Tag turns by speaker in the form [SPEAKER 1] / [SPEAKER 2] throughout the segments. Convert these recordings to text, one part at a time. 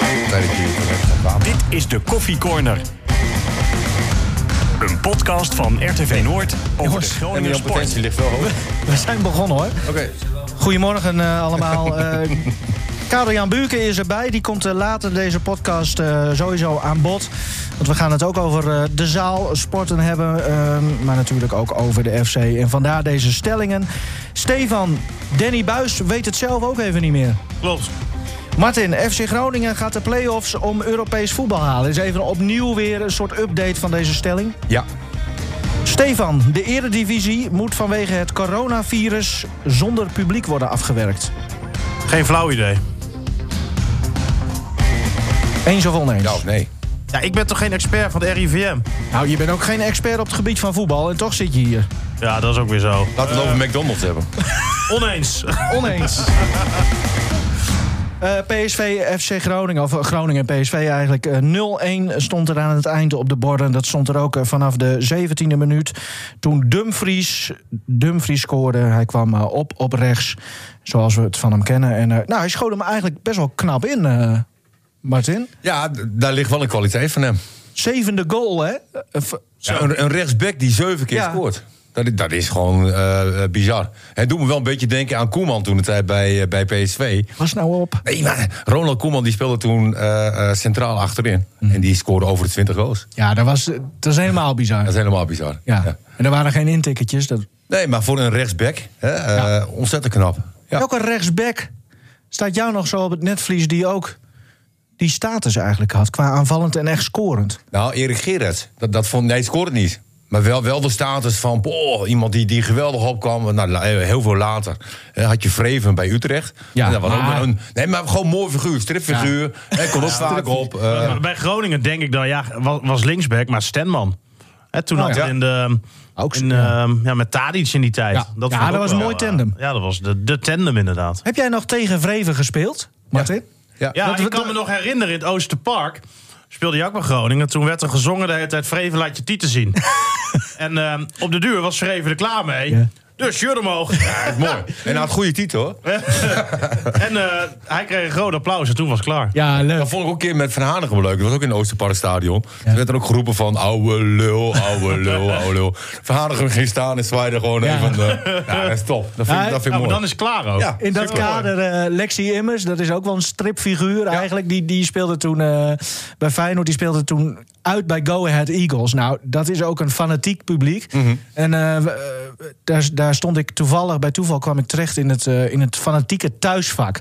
[SPEAKER 1] Nee, dat kun je van rechts naar kwaad.
[SPEAKER 2] Dit is de Koffie Corner. Een podcast van RTV Noord over de
[SPEAKER 3] Jongens,
[SPEAKER 1] En
[SPEAKER 2] Groninger
[SPEAKER 1] die
[SPEAKER 2] sport.
[SPEAKER 1] potentie ligt wel hoog.
[SPEAKER 3] We zijn begonnen hoor.
[SPEAKER 1] Oké.
[SPEAKER 3] Goedemorgen eh, allemaal. Eh Karel Jan Buurken is erbij. Die komt eh, later deze podcast eh, sowieso aan bod. Want we gaan het ook over eh, de zaal, sporten hebben. eh, maar natuurlijk ook over de FC. En vandaar deze stellingen. Stefan, Danny Buis weet het zelf ook even niet meer.
[SPEAKER 4] Klopt.
[SPEAKER 3] Martin, FC Groningen gaat de play-offs om Europees voetbal halen. Is even opnieuw weer een soort update van deze stelling.
[SPEAKER 1] Ja.
[SPEAKER 3] Stefan, de eredivisie moet vanwege het coronavirus zonder publiek worden afgewerkt.
[SPEAKER 4] Geen flauw idee.
[SPEAKER 3] Eens of oneens?
[SPEAKER 1] Ja of nee?
[SPEAKER 4] Ja, ik ben toch geen expert van de RIVM?
[SPEAKER 3] Nou, je bent ook geen expert op het gebied van voetbal en toch zit je hier.
[SPEAKER 4] Ja, dat is ook weer zo.
[SPEAKER 1] Laten we het over McDonald's hebben.
[SPEAKER 4] Oneens.
[SPEAKER 3] Oneens. Eh, PSV, FC Groningen, of eh, Groningen en PSV eigenlijk. eh, 0-1 stond er aan het einde op de borden. Dat stond er ook eh, vanaf de 17e minuut. Toen Dumfries, Dumfries scoorde. Hij kwam eh, op, op rechts, zoals we het van hem kennen. En, eh, nou, hij schoot hem eigenlijk best wel knap in, eh, Martin.
[SPEAKER 1] Ja, d- daar ligt wel een kwaliteit van hem.
[SPEAKER 3] Zevende goal, hè? Eh, v-
[SPEAKER 1] Ja, een, een rechtsback die zeven keer
[SPEAKER 3] Ja.
[SPEAKER 1] scoort. Dat, i- dat is gewoon eh, eh, bizar. Het doet me wel een beetje denken aan Koeman toen het tijd bij, eh, bij PSV.
[SPEAKER 3] was nou op.
[SPEAKER 1] Nee, maar Ronald Koeman die speelde toen eh, eh, centraal achterin. En die scoorde over de 20 goals.
[SPEAKER 3] Ja, dat was, eh, dat was helemaal bizar.
[SPEAKER 1] Dat is helemaal bizar.
[SPEAKER 3] Ja.
[SPEAKER 1] Ja.
[SPEAKER 3] En er waren geen intikketjes. Dat...
[SPEAKER 1] Nee, maar voor een rechtsback, hè, eh, ontzettend knap. Ja.
[SPEAKER 3] Welke rechtsback staat jou nog zo op het netvlies die ook die status eigenlijk had qua aanvallend en echt scorend?
[SPEAKER 1] Nou, Erik Gerrits, dat, dat vond, nee, het scoorde niet. Maar wel, wel de status van boh, iemand die, die geweldig opkwam. Nou, la- heel veel later hè, had je Vreven bij Utrecht.
[SPEAKER 3] Ja,
[SPEAKER 1] En dat was ook
[SPEAKER 3] maar-
[SPEAKER 1] wel een, nee, maar gewoon mooi figuur, stripfiguur. Hij kon ook vaak op. eh,
[SPEAKER 4] Bij Groningen denk ik dan, ja, was, was linksback, maar Stenman. Hè, toen
[SPEAKER 3] Oh,
[SPEAKER 4] had
[SPEAKER 1] ja.
[SPEAKER 4] het in de...
[SPEAKER 3] Ook zo,
[SPEAKER 4] in,
[SPEAKER 3] ja.
[SPEAKER 4] ehm, ja, met Tadic in die tijd.
[SPEAKER 3] Ja. Ja,
[SPEAKER 4] vond ik
[SPEAKER 3] dat
[SPEAKER 4] ook
[SPEAKER 3] was een
[SPEAKER 4] wel,
[SPEAKER 3] mooi
[SPEAKER 4] eh,
[SPEAKER 3] tandem.
[SPEAKER 4] ja, dat was de, de tandem inderdaad.
[SPEAKER 3] Heb jij nog tegen Vreven gespeeld, Martin?
[SPEAKER 1] ja.
[SPEAKER 4] Ja,
[SPEAKER 3] Dat-
[SPEAKER 4] ik
[SPEAKER 3] dat-
[SPEAKER 4] kan me nog herinneren in het Oosterpark. Speelde je ook bij Groningen. Toen werd er gezongen de hele tijd Vreven laat je tieten zien. en ehm, op de duur was Vreven er klaar mee.
[SPEAKER 3] Ja.
[SPEAKER 4] Dus shirt omhoog.
[SPEAKER 1] Ja, dat is mooi. En hij had een goede titel hoor.
[SPEAKER 4] en eh, hij kreeg een groot applaus en toen was het klaar.
[SPEAKER 3] Ja, leuk.
[SPEAKER 1] Dat vond ik ook een keer met Van Hanegem leuk. Dat was ook in het Oosterparkstadion. Toen werd er ook geroepen van ouwe lul, ouwe lul, ouwe lul. Van Hanegem ging staan en zwaaide gewoon
[SPEAKER 3] Ja.
[SPEAKER 1] even. eh, ja, dat is top. Dat vind, ik-
[SPEAKER 3] Ja,
[SPEAKER 1] dat vind
[SPEAKER 4] Ja,
[SPEAKER 1] ik
[SPEAKER 4] maar
[SPEAKER 1] mooi.
[SPEAKER 4] dan is het klaar ook.
[SPEAKER 1] Ja.
[SPEAKER 3] In dat
[SPEAKER 1] Supermooi.
[SPEAKER 3] kader, eh, Lexi Immers, dat is ook wel een stripfiguur eigenlijk. Die, die speelde toen eh, bij Feyenoord, die speelde toen uit bij Go Ahead Eagles. Nou, dat is ook een fanatiek publiek.
[SPEAKER 1] Mhm.
[SPEAKER 3] En eh, we- eh, daar, daar stond ik toevallig, bij toeval kwam ik terecht in het, eh, in het fanatieke thuisvak.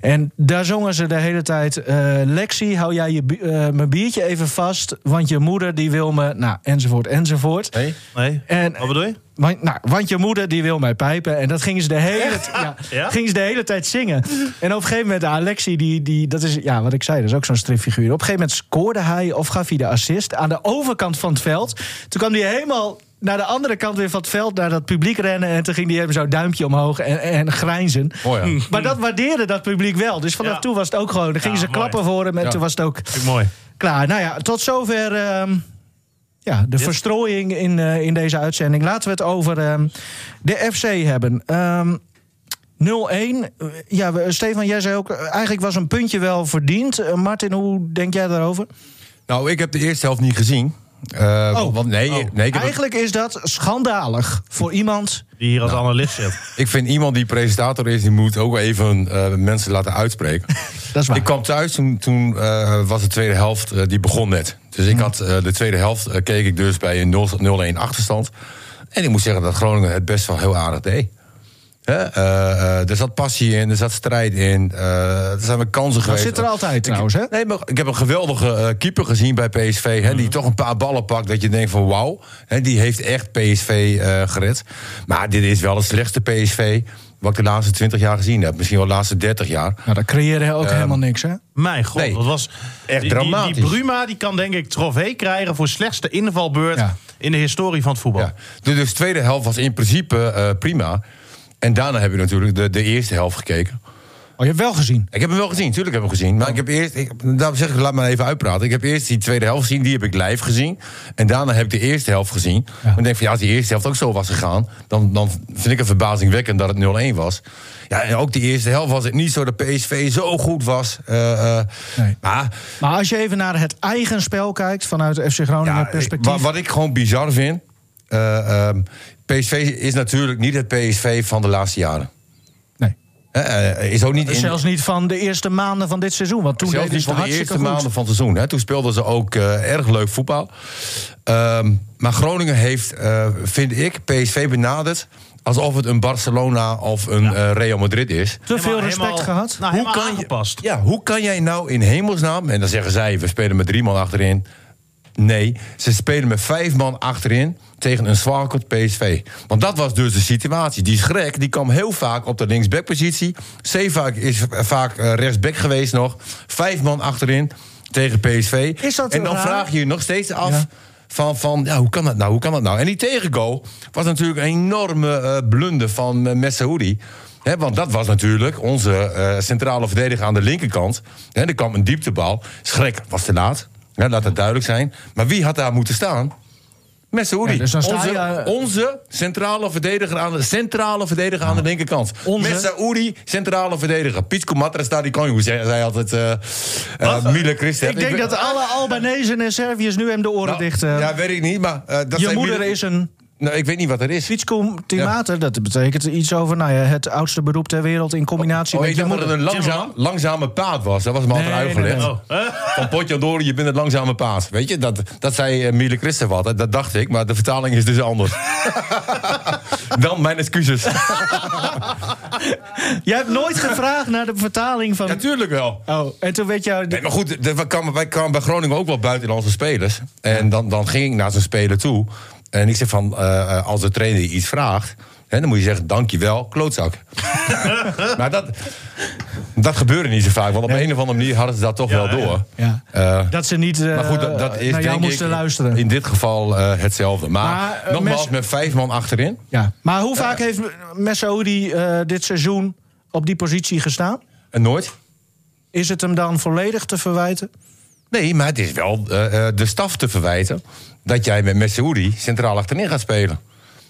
[SPEAKER 3] En daar zongen ze de hele tijd, eh, Lexi, hou jij je, bi- eh, mijn biertje even vast, want je moeder die wil me, nou, enzovoort, enzovoort.
[SPEAKER 1] Hey?
[SPEAKER 4] Nee.
[SPEAKER 3] En,
[SPEAKER 4] Wat bedoel je?
[SPEAKER 3] want, nou, want je moeder die wil mij pijpen. En dat gingen ze de hele, t- ja,
[SPEAKER 4] Ja?
[SPEAKER 3] gingen ze de hele tijd zingen. En op een gegeven moment, Alexi, die, die, dat is ja, wat ik zei, dat is ook zo'n stripfiguur. Op een gegeven moment scoorde hij of gaf hij de assist aan de overkant van het veld. Toen kwam hij helemaal naar de andere kant weer van het veld, naar dat publiek rennen. En toen ging hij hem zo'n duimpje omhoog en, en grijnzen.
[SPEAKER 1] Mooi, ja.
[SPEAKER 3] Maar dat waardeerde dat publiek wel. Dus vanaf
[SPEAKER 4] Ja.
[SPEAKER 3] toen was het ook gewoon. Dan gingen
[SPEAKER 4] Ja,
[SPEAKER 3] ze
[SPEAKER 4] mooi.
[SPEAKER 3] klappen voor hem en
[SPEAKER 1] Ja.
[SPEAKER 3] toen was het ook
[SPEAKER 4] Vind ik mooi.
[SPEAKER 3] klaar. Nou ja, tot zover ehm, ja, de verstrooiing in, eh, in deze uitzending. Laten we het over ehm, de FC hebben. Ehm, 0-1. Eh, Ja, we- Stefan, jij zei ook, eh, eigenlijk was een puntje wel verdiend. Eh, Martin, hoe denk jij daarover?
[SPEAKER 1] Nou, ik heb de eerste helft niet gezien. Eh,
[SPEAKER 3] Oh.
[SPEAKER 1] Want nee, nee ik, heb-
[SPEAKER 3] Eigenlijk is dat schandalig voor iemand.
[SPEAKER 4] Die hier als analist zit.
[SPEAKER 1] ik vind iemand die presentator is, die moet ook even eh, mensen laten uitspreken.
[SPEAKER 3] Dat is waar.
[SPEAKER 1] Ik kwam thuis, toen, toen eh, was de tweede helft, eh, die begon net. Dus
[SPEAKER 3] Mm.
[SPEAKER 1] ik had eh, de tweede helft, eh, keek ik dus bij een 0 0-1 achterstand. En ik moet zeggen dat Groningen het best wel heel aardig deed. Hè? Eh, eh, er zat passie in, er zat strijd in. eh, er zijn wel kansen
[SPEAKER 3] Dat
[SPEAKER 1] geweest.
[SPEAKER 3] zit er altijd trouwens, hè?
[SPEAKER 1] Nee, maar ik heb een geweldige eh, keeper gezien bij PSV. Hè,
[SPEAKER 3] Mm-hmm.
[SPEAKER 1] Die toch een paar ballen pakt. Dat je denkt van wauw. Hè, die heeft echt PSV eh, gered. Maar dit is wel het slechtste PSV. Wat ik de laatste 20 jaar gezien heb. Misschien wel de laatste 30 jaar.
[SPEAKER 3] Nou, dat creëerde
[SPEAKER 1] Ehm,
[SPEAKER 3] ook helemaal niks, hè?
[SPEAKER 4] Mijn god,
[SPEAKER 1] Nee.
[SPEAKER 4] dat was... die- die,
[SPEAKER 1] dramatisch.
[SPEAKER 4] Die, Bruma die kan denk ik trofee krijgen voor slechtste invalbeurt...
[SPEAKER 3] Ja.
[SPEAKER 4] in de historie van het voetbal.
[SPEAKER 1] Ja. Dus de tweede helft was in principe eh, prima. En daarna heb je natuurlijk de, de eerste helft gekeken.
[SPEAKER 3] je hebt wel gezien.
[SPEAKER 1] Ik heb hem wel gezien, tuurlijk heb ik hem gezien. Maar ik heb eerst, ik, daarom zeg ik, laat me even uitpraten. Ik heb eerst die tweede helft gezien, die heb ik live gezien. En daarna heb ik de eerste helft gezien. En ik denk van ja, als die eerste helft ook zo was gegaan, dan, dan vind ik het verbazingwekkend dat het 0-1 was. Ja, en ook die eerste helft was het niet zo dat PSV zo goed was. Eh, eh,
[SPEAKER 3] Nee.
[SPEAKER 1] Maar
[SPEAKER 3] Maar als je even naar het eigen spel kijkt vanuit FC Groningen
[SPEAKER 1] ja,
[SPEAKER 3] perspectief.
[SPEAKER 1] Wat, wat ik gewoon bizar vind. eh, ehm, PSV is natuurlijk niet het PSV van de laatste jaren.
[SPEAKER 3] nee.
[SPEAKER 1] Eh, eh, is ook niet in,
[SPEAKER 3] Zelfs niet van de eerste maanden van dit seizoen. Want toen
[SPEAKER 1] Zelfs
[SPEAKER 3] deden
[SPEAKER 1] niet
[SPEAKER 3] ze
[SPEAKER 1] van
[SPEAKER 3] het
[SPEAKER 1] de
[SPEAKER 3] hartstikke
[SPEAKER 1] eerste maanden
[SPEAKER 3] goed.
[SPEAKER 1] van het seizoen. Hè. Toen speelden ze ook eh, erg leuk voetbal. Ehm, maar Groningen heeft, eh, vind ik, PSV benaderd... alsof het een Barcelona of een eh, Real Madrid is.
[SPEAKER 3] Te veel
[SPEAKER 4] Helemaal-
[SPEAKER 3] respect
[SPEAKER 4] helemaal-
[SPEAKER 3] gehad.
[SPEAKER 4] Nou,
[SPEAKER 1] Hoe
[SPEAKER 4] helemaal
[SPEAKER 1] kan je-
[SPEAKER 4] aangepast.
[SPEAKER 1] Ja, hoe kan jij nou in hemelsnaam... en dan zeggen zij, we spelen met drie man achterin... Nee, ze spelen met vijf man achterin tegen een zwakkend PSV. Want dat was dus de situatie. Die schrek die kwam heel vaak op de linksbackpositie. Zeevaak is eh, vaak eh, rechtsback geweest nog. Vijf man achterin tegen PSV.
[SPEAKER 3] Is dat
[SPEAKER 1] en dan
[SPEAKER 3] raar?
[SPEAKER 1] vraag je je nog steeds af...
[SPEAKER 3] Ja.
[SPEAKER 1] Van, van ja, hoe kan dat nou? Hoe kan dat nou? En die tegengoal was natuurlijk een enorme eh blunder van uh, Messaoudi. Hè, want dat was natuurlijk onze eh, centrale verdediger aan de linkerkant. Hè, er kwam een dieptebal. Schrek was te laat. Hè, laat dat duidelijk zijn. Maar wie had daar moeten staan? Messaoudi.
[SPEAKER 3] Ja, dus dan sta
[SPEAKER 1] onze,
[SPEAKER 3] je, eh,
[SPEAKER 1] onze centrale verdediger aan de, centrale verdediger aan de linkerkant.
[SPEAKER 3] Onze?
[SPEAKER 1] Messaoudi, centrale verdediger. Piet Matra daar die kon je. Zij, zei altijd eh eh Mile Christen.
[SPEAKER 3] Ik denk dat alle Albanezen en Serviërs nu hem de oren
[SPEAKER 1] Nou,
[SPEAKER 3] dicht... eh,
[SPEAKER 1] Ja, weet ik niet, maar... eh, dat
[SPEAKER 3] je
[SPEAKER 1] zijn
[SPEAKER 3] moeder
[SPEAKER 1] midden-
[SPEAKER 3] is een
[SPEAKER 1] Nou, ik weet niet wat er is.
[SPEAKER 3] Twitchcom Timate. Dat betekent iets over nou ja, het oudste beroep ter wereld in combinatie
[SPEAKER 1] Oh,
[SPEAKER 3] met
[SPEAKER 1] ik
[SPEAKER 3] je
[SPEAKER 1] dacht dat
[SPEAKER 3] moeder.
[SPEAKER 1] het een langzaam,
[SPEAKER 4] Timmerman?
[SPEAKER 1] langzame paard was. Dat was me altijd
[SPEAKER 3] Nee,
[SPEAKER 1] uitgelegd.
[SPEAKER 3] nee, nee.
[SPEAKER 1] Van Potjandori, je bent het langzame paard. Weet je, dat, dat zei eh, Miele Christen wat. hè. Dat dacht ik, maar de vertaling is dus anders. Dan mijn excuses.
[SPEAKER 3] Jij hebt nooit gevraagd naar de vertaling van...
[SPEAKER 1] Natuurlijk wel.
[SPEAKER 3] Oh, en toen weet je...
[SPEAKER 1] Nee, maar goed, de- wij kwamen, wij kwamen bij Groningen ook wel buitenlandse spelers. En dan, dan ging ik naar zo'n speler toe. En ik zeg van, eh, eh, als de trainer je iets vraagt... Hè, dan moet je zeggen, dankjewel, klootzak. maar dat, dat gebeurde niet zo vaak. Want op een of andere manier hadden ze dat toch wel door.
[SPEAKER 3] Ja.
[SPEAKER 1] Eh,
[SPEAKER 3] dat ze niet eh,
[SPEAKER 1] maar goed, dat, dat is
[SPEAKER 3] naar jou
[SPEAKER 1] denk
[SPEAKER 3] moesten
[SPEAKER 1] ik
[SPEAKER 3] luisteren.
[SPEAKER 1] in dit geval eh, hetzelfde. Maar,
[SPEAKER 3] Maar, eh,
[SPEAKER 1] nogmaals,
[SPEAKER 3] mes-
[SPEAKER 1] met vijf man achterin.
[SPEAKER 3] Ja. Maar hoe vaak heeft Messaoudi eh dit seizoen op die positie gestaan?
[SPEAKER 1] En nooit.
[SPEAKER 3] Is het hem dan volledig te verwijten?
[SPEAKER 1] Nee, maar het is wel eh, eh, de staf te verwijten dat jij met Messeoudi centraal achterin gaat spelen.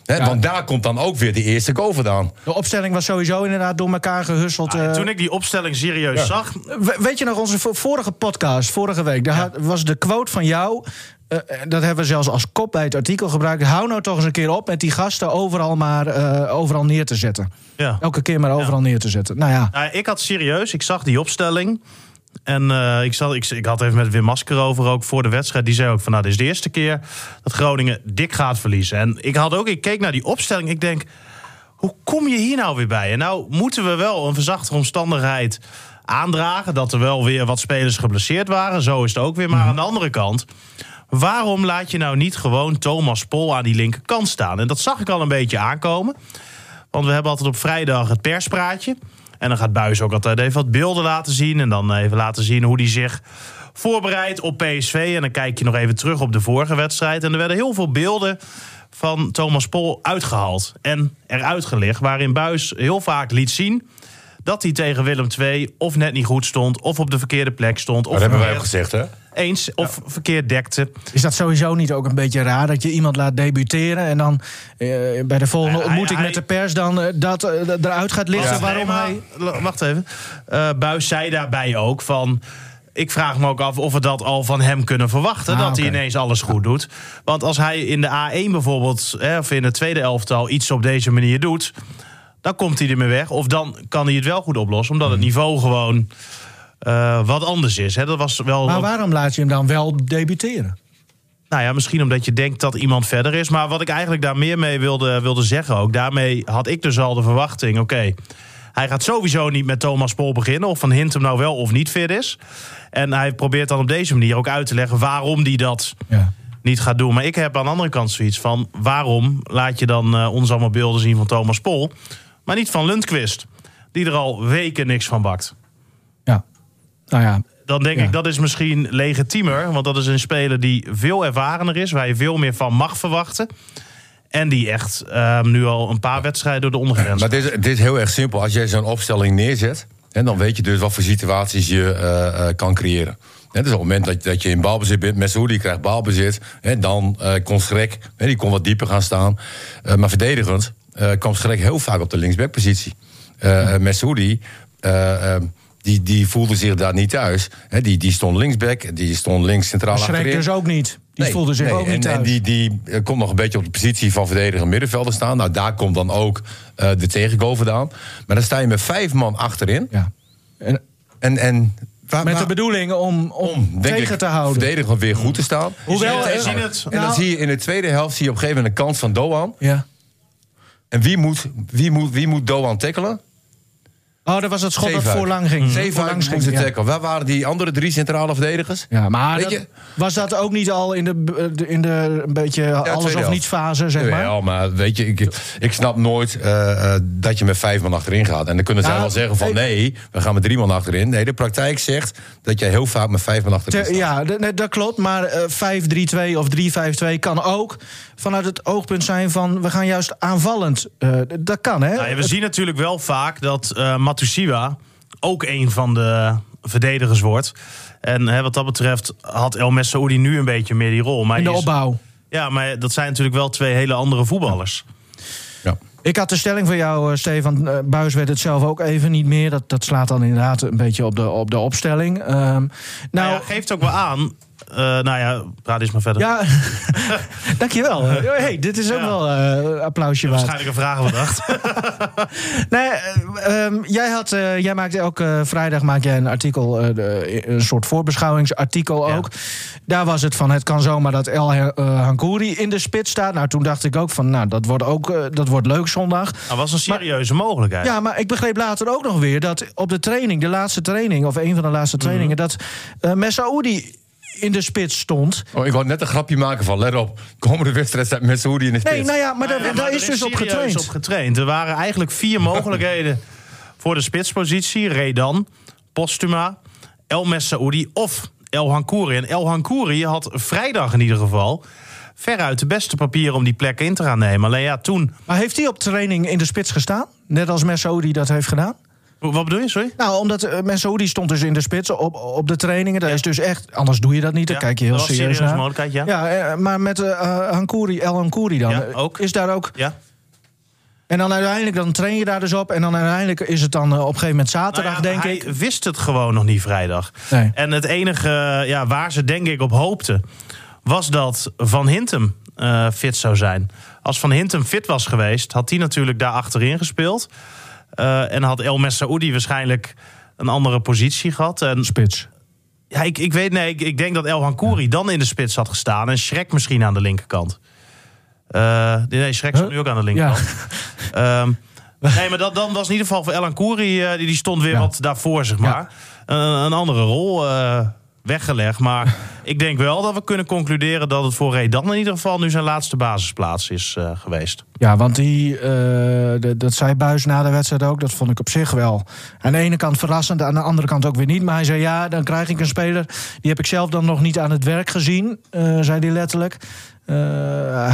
[SPEAKER 1] Hè, Want daar komt dan ook weer die eerste goal vandaan.
[SPEAKER 3] De opstelling was sowieso inderdaad door elkaar gehusteld.
[SPEAKER 4] Ah,
[SPEAKER 3] eh.
[SPEAKER 4] Toen ik die opstelling serieus zag,
[SPEAKER 3] We- Weet je nog, onze vo- vorige podcast, vorige week, daar had- was de quote van jou. eh, eh, dat hebben we zelfs als kop bij het artikel gebruikt. Hou nou toch eens een keer op met die gasten overal maar eh, overal neer te zetten.
[SPEAKER 4] Ja.
[SPEAKER 3] Elke keer maar overal neer te zetten. Nou ja,
[SPEAKER 4] Nou, ik had serieus, ik zag die opstelling. En eh, ik, zat, ik, ik had even met Wim Masker over, ook voor de wedstrijd. Die zei ook van, nou, dit is de eerste keer dat Groningen dik gaat verliezen. En ik had ook, ik keek naar die opstelling, ik denk, hoe kom je hier nou weer bij? En nou moeten we wel een verzachte omstandigheid aandragen... dat er wel weer wat spelers geblesseerd waren. Zo is het ook weer. Maar aan de andere kant, waarom laat je nou niet gewoon Thomas Pol aan die linkerkant staan? En dat zag ik al een beetje aankomen. Want we hebben altijd op vrijdag het perspraatje. En dan gaat Buis ook altijd even wat beelden laten zien. En dan even laten zien hoe hij zich voorbereidt op PSV. En dan kijk je nog even terug op de vorige wedstrijd. En er werden heel veel beelden van Thomas Pol uitgehaald. En eruit gelegd. Waarin Buis heel vaak liet zien dat hij tegen Willem II of net niet goed stond. Of op de verkeerde plek stond. Of
[SPEAKER 1] Dat hebben wij ook
[SPEAKER 4] verkeerd
[SPEAKER 1] gezegd, hè?
[SPEAKER 4] Eens of verkeerd dekte.
[SPEAKER 3] is dat sowieso niet ook een beetje raar dat je iemand laat debuteren en dan eh, bij de volgende
[SPEAKER 4] Hij-
[SPEAKER 3] ontmoeting
[SPEAKER 4] hij-
[SPEAKER 3] met de pers dan eh, dat eh, dat eruit gaat liggen
[SPEAKER 4] Ja.
[SPEAKER 3] waarom
[SPEAKER 4] Nee, maar-
[SPEAKER 3] hij.
[SPEAKER 4] L- Wacht even. Eh, Buis zei daarbij ook van... Ik vraag me ook af of we dat al van hem kunnen verwachten.
[SPEAKER 3] Ah,
[SPEAKER 4] dat hij
[SPEAKER 3] oké.
[SPEAKER 4] ineens alles goed doet. Want als hij in de A1 bijvoorbeeld, hè, of in het tweede elftal, iets op deze manier doet. dan komt hij ermee weg. Of dan kan hij het wel goed oplossen, omdat
[SPEAKER 3] Hmm.
[SPEAKER 4] het niveau gewoon eh, wat anders is. Hè. Dat was wel.
[SPEAKER 3] Maar
[SPEAKER 4] ook-
[SPEAKER 3] waarom laat je hem dan wel debuteren?
[SPEAKER 4] nou ja, misschien omdat je denkt dat iemand verder is. Maar wat ik eigenlijk daar meer mee wilde, wilde zeggen ook. Daarmee had ik dus al de verwachting. Oké, hij gaat sowieso niet met Thomas Pol beginnen. Of Van Hint hem nou wel of niet fit is. En hij probeert dan op deze manier ook uit te leggen waarom hij dat
[SPEAKER 3] Ja.
[SPEAKER 4] niet gaat doen. Maar ik heb aan de andere kant zoiets van... waarom laat je dan eh, ons allemaal beelden zien van Thomas Pol... maar niet van Lundqvist, die er al weken niks van bakt.
[SPEAKER 3] ja. Nou ja,
[SPEAKER 4] Dan denk
[SPEAKER 3] Ja.
[SPEAKER 4] ik, dat is misschien legitiemer. Want dat is een speler die veel ervarener is. Waar je veel meer van mag verwachten. En die echt ehm, nu al een paar wedstrijden door de ondergrens.
[SPEAKER 1] Maar het is, het is heel erg simpel. Als jij zo'n opstelling neerzet, En dan weet je dus wat voor situaties je eh, eh, kan creëren. Hè, dus op het moment dat, dat je in balbezit bent, Messi krijgt balbezit. Hè, dan eh kon Schrek, hè, die kon wat dieper gaan staan. Eh, maar verdedigend eh, kwam Schrek heel vaak op de linksbackpositie. Eh eh, Messoudi, eh, eh, die, die voelde zich daar niet thuis. Hè, die, die stond linksback, die stond links centraal
[SPEAKER 3] Schreek
[SPEAKER 1] achterin.
[SPEAKER 3] dus ook niet. Die
[SPEAKER 1] Nee,
[SPEAKER 3] voelde zich
[SPEAKER 1] nee,
[SPEAKER 3] ook
[SPEAKER 1] en,
[SPEAKER 3] niet thuis.
[SPEAKER 1] En die, die eh, komt nog een beetje op de positie van verdediger en middenvelder staan. Nou, daar komt dan ook eh, de tegengoal vandaan. Maar dan sta je met vijf man achterin.
[SPEAKER 3] ja. En
[SPEAKER 1] En, en waar-
[SPEAKER 3] met
[SPEAKER 1] waar-
[SPEAKER 3] de bedoeling om, om,
[SPEAKER 1] om, denk
[SPEAKER 3] tegen
[SPEAKER 1] ik,
[SPEAKER 3] te houden.
[SPEAKER 1] verdedigend weer goed te staan.
[SPEAKER 3] Hoewel,
[SPEAKER 1] en,
[SPEAKER 4] Je ziet het.
[SPEAKER 1] en dan
[SPEAKER 3] Nou-
[SPEAKER 1] zie je in de tweede helft zie je op een gegeven moment een kans van Doan.
[SPEAKER 3] Ja.
[SPEAKER 1] En wie moet, wie moet, wie moet Doan tackelen?
[SPEAKER 3] Oh, dat was het schot dat
[SPEAKER 1] Zeefuik.
[SPEAKER 3] voorlang ging.
[SPEAKER 1] Zeefuik
[SPEAKER 3] Voorlangs
[SPEAKER 1] moest de
[SPEAKER 3] ja.
[SPEAKER 1] tackle. Waar waren die andere drie centrale verdedigers?
[SPEAKER 3] Ja, maar
[SPEAKER 1] Weet
[SPEAKER 3] dat-
[SPEAKER 1] je-
[SPEAKER 3] was dat ook niet al in de, eh, in de een beetje alles
[SPEAKER 1] tweede
[SPEAKER 3] of
[SPEAKER 1] helft.
[SPEAKER 3] niets fase, zeg maar?
[SPEAKER 1] Jawel, maar weet je, ik, ik snap nooit eh, eh, dat je met vijf man achterin gaat. En dan kunnen zij
[SPEAKER 3] Nou,
[SPEAKER 1] wel zeggen van
[SPEAKER 3] ik-
[SPEAKER 1] nee, we gaan met drie man achterin. Nee, de praktijk zegt dat jij heel vaak met vijf man achterin
[SPEAKER 3] Te-
[SPEAKER 1] staat.
[SPEAKER 3] ja, d- nee, dat klopt. Maar eh, 5-3-2 of 3-5-2 kan ook vanuit het oogpunt zijn van we gaan juist aanvallend. Eh, d- dat kan, hè?
[SPEAKER 4] Nou ja, we zien natuurlijk wel vaak dat eh Matusiwa ook een van de verdedigers wordt. En hè, wat dat betreft had El Messaoudi nu een beetje meer die rol. Maar
[SPEAKER 3] in de
[SPEAKER 4] is-
[SPEAKER 3] opbouw.
[SPEAKER 4] Ja, maar dat zijn natuurlijk wel twee hele andere voetballers.
[SPEAKER 1] Ja.
[SPEAKER 3] Ik had de stelling voor jou, eh, Stefan. Eh, Buis weet het zelf ook even niet meer. Dat, dat slaat dan inderdaad een beetje op de, op de opstelling. Ehm, nou,
[SPEAKER 4] Nou, ja, geeft ook wel aan. eh, nou ja, praat eens maar verder.
[SPEAKER 3] ja, dankjewel. Hey, dit is ook
[SPEAKER 4] Ja.
[SPEAKER 3] wel eh, een applausje waard.
[SPEAKER 4] Waarschijnlijk een vraag bedacht.
[SPEAKER 3] Nee, eh, ehm, jij, had, eh, jij maakt elke vrijdag maak jij een artikel, eh, de- een soort voorbeschouwingsartikel
[SPEAKER 4] Ja.
[SPEAKER 3] ook. Daar was het van, het kan zomaar dat El eh, Hankouri in de spits staat. Nou, toen dacht ik ook van, nou, dat wordt, ook, eh, dat wordt leuk zondag.
[SPEAKER 4] Dat was een serieuze mogelijkheid.
[SPEAKER 3] Ja, maar ik begreep later ook nog weer dat op de training, de laatste training, of een van de laatste trainingen, dat eh Messaoudi in de spits stond.
[SPEAKER 1] Oh, ik wou net een grapje maken van, let op, komende wedstrijd staat met Saoedi in de spits.
[SPEAKER 3] Nee, nou ja, maar, daar,
[SPEAKER 4] Ja, maar
[SPEAKER 3] daar
[SPEAKER 4] er
[SPEAKER 3] is dus op
[SPEAKER 4] serieus
[SPEAKER 3] getraind.
[SPEAKER 4] op getraind. Er waren eigenlijk vier mogelijkheden voor de spitspositie. Redan, Postuma, El Messaoudi of El Hankouri. En El Hankouri had vrijdag in ieder geval veruit de beste papieren om die plek in te gaan nemen. Alleen ja, toen...
[SPEAKER 3] Maar heeft hij op training in de spits gestaan? Net als Messaoudi dat heeft gedaan?
[SPEAKER 4] Wat bedoel je, sorry?
[SPEAKER 3] Nou, omdat uh, Mensoudi stond dus in de spits op, op de trainingen. Dat is dus echt, anders doe je dat niet. Dan
[SPEAKER 4] Ja,
[SPEAKER 3] kijk je heel
[SPEAKER 4] dat was een
[SPEAKER 3] serieus
[SPEAKER 4] serieuze
[SPEAKER 3] naar.
[SPEAKER 4] mogelijkheid, ja.
[SPEAKER 3] eh, maar met eh Hankouri, El Hankouri dan.
[SPEAKER 4] Ja,
[SPEAKER 3] eh,
[SPEAKER 4] ook.
[SPEAKER 3] Is daar ook.
[SPEAKER 4] Ja.
[SPEAKER 3] En dan uiteindelijk dan train je daar dus op. En dan uiteindelijk is het dan eh, op een gegeven moment zaterdag,
[SPEAKER 4] Nou ja,
[SPEAKER 3] denk ik.
[SPEAKER 4] Hij wist het gewoon nog niet vrijdag.
[SPEAKER 3] Nee.
[SPEAKER 4] En het enige eh, ja, waar ze denk ik op hoopte... was dat Van Hintem eh, fit zou zijn. Als Van Hintem fit was geweest, had hij natuurlijk daar achterin gespeeld. Eh, en had El Messaoudi waarschijnlijk een andere positie gehad. En,
[SPEAKER 3] Spits.
[SPEAKER 4] ja, ik, ik weet nee, ik, ik denk dat El Hankouri dan in de spits had gestaan... en Schrek misschien aan de linkerkant. Eh, nee, Schrek zat
[SPEAKER 3] Huh?
[SPEAKER 4] nu ook aan de
[SPEAKER 3] Ja.
[SPEAKER 4] linkerkant. Ehm, nee, maar dat, dan was in ieder geval voor Elan Koeri, eh, die, die stond weer
[SPEAKER 3] Ja.
[SPEAKER 4] wat daarvoor, zeg maar. Een- een andere rol eh, weggelegd. Maar ik denk wel dat we kunnen concluderen dat het voor Redan in ieder geval nu zijn laatste basisplaats is eh, geweest.
[SPEAKER 3] ja, want die, eh, d- dat zei Buis na de wedstrijd ook. Dat vond ik op zich wel aan de ene kant verrassend. Aan de andere kant ook weer niet. Maar hij zei ja, dan krijg ik een speler. Die heb ik zelf dan nog niet aan het werk gezien. eh, zei hij letterlijk. Eh,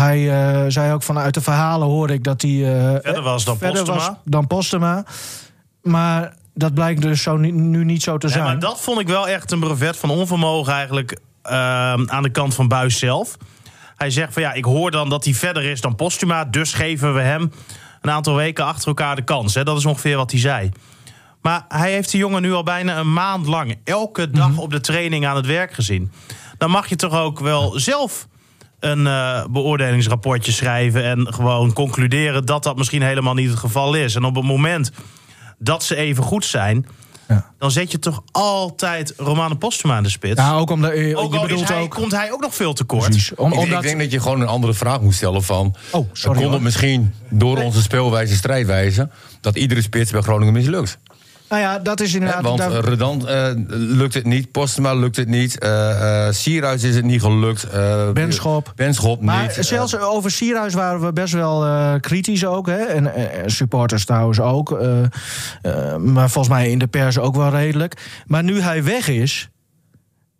[SPEAKER 3] hij eh, zei ook vanuit de verhalen hoorde ik dat hij... eh,
[SPEAKER 4] Verder was dan
[SPEAKER 3] verder
[SPEAKER 4] Postema.
[SPEAKER 3] was dan Postema. Maar dat blijkt dus zo ni- nu niet zo te
[SPEAKER 4] Ja,
[SPEAKER 3] zijn.
[SPEAKER 4] maar dat vond ik wel echt een brevet van onvermogen eigenlijk ehm, aan de kant van Buis zelf. Hij zegt van ja, ik hoor dan dat hij verder is dan Postuma, dus geven we hem een aantal weken achter elkaar de kans. Hè? Dat is ongeveer wat hij zei. Maar hij heeft die jongen nu al bijna een maand lang elke dag op de training aan het werk gezien. Dan mag je toch ook wel zelf een eh, beoordelingsrapportje schrijven en gewoon concluderen dat dat misschien helemaal niet het geval is. En op het moment dat ze even goed zijn,
[SPEAKER 3] Ja.
[SPEAKER 4] dan zet je toch altijd Romane Postuma aan de spits.
[SPEAKER 3] Ja, ook omdat eh,
[SPEAKER 4] ook
[SPEAKER 3] je
[SPEAKER 4] al is
[SPEAKER 3] bedoelt
[SPEAKER 4] hij,
[SPEAKER 3] ook...
[SPEAKER 4] komt hij ook nog veel tekort.
[SPEAKER 3] Precies, Oh,
[SPEAKER 1] Ik,
[SPEAKER 3] om-
[SPEAKER 1] ik
[SPEAKER 3] omdat-
[SPEAKER 1] denk dat je gewoon een andere vraag moet stellen van...
[SPEAKER 3] Oh, sorry,
[SPEAKER 1] kon
[SPEAKER 3] hoor.
[SPEAKER 1] het misschien door onze speelwijze, strijdwijze... dat iedere spits bij Groningen mislukt?
[SPEAKER 3] Nou ja, dat is inderdaad...
[SPEAKER 1] Hè, want
[SPEAKER 3] daar-
[SPEAKER 1] eh, Redan eh, lukt het niet, Postema lukt het niet, eh eh Sierhuis is het niet gelukt. eh,
[SPEAKER 3] Benschop.
[SPEAKER 1] Benschop
[SPEAKER 3] Maar
[SPEAKER 1] niet. eh,
[SPEAKER 3] zelfs over Sierhuis waren we best wel eh, kritisch ook. Hè? En eh, supporters trouwens ook. eh, eh, maar volgens mij in de pers ook wel redelijk. Maar nu hij weg is,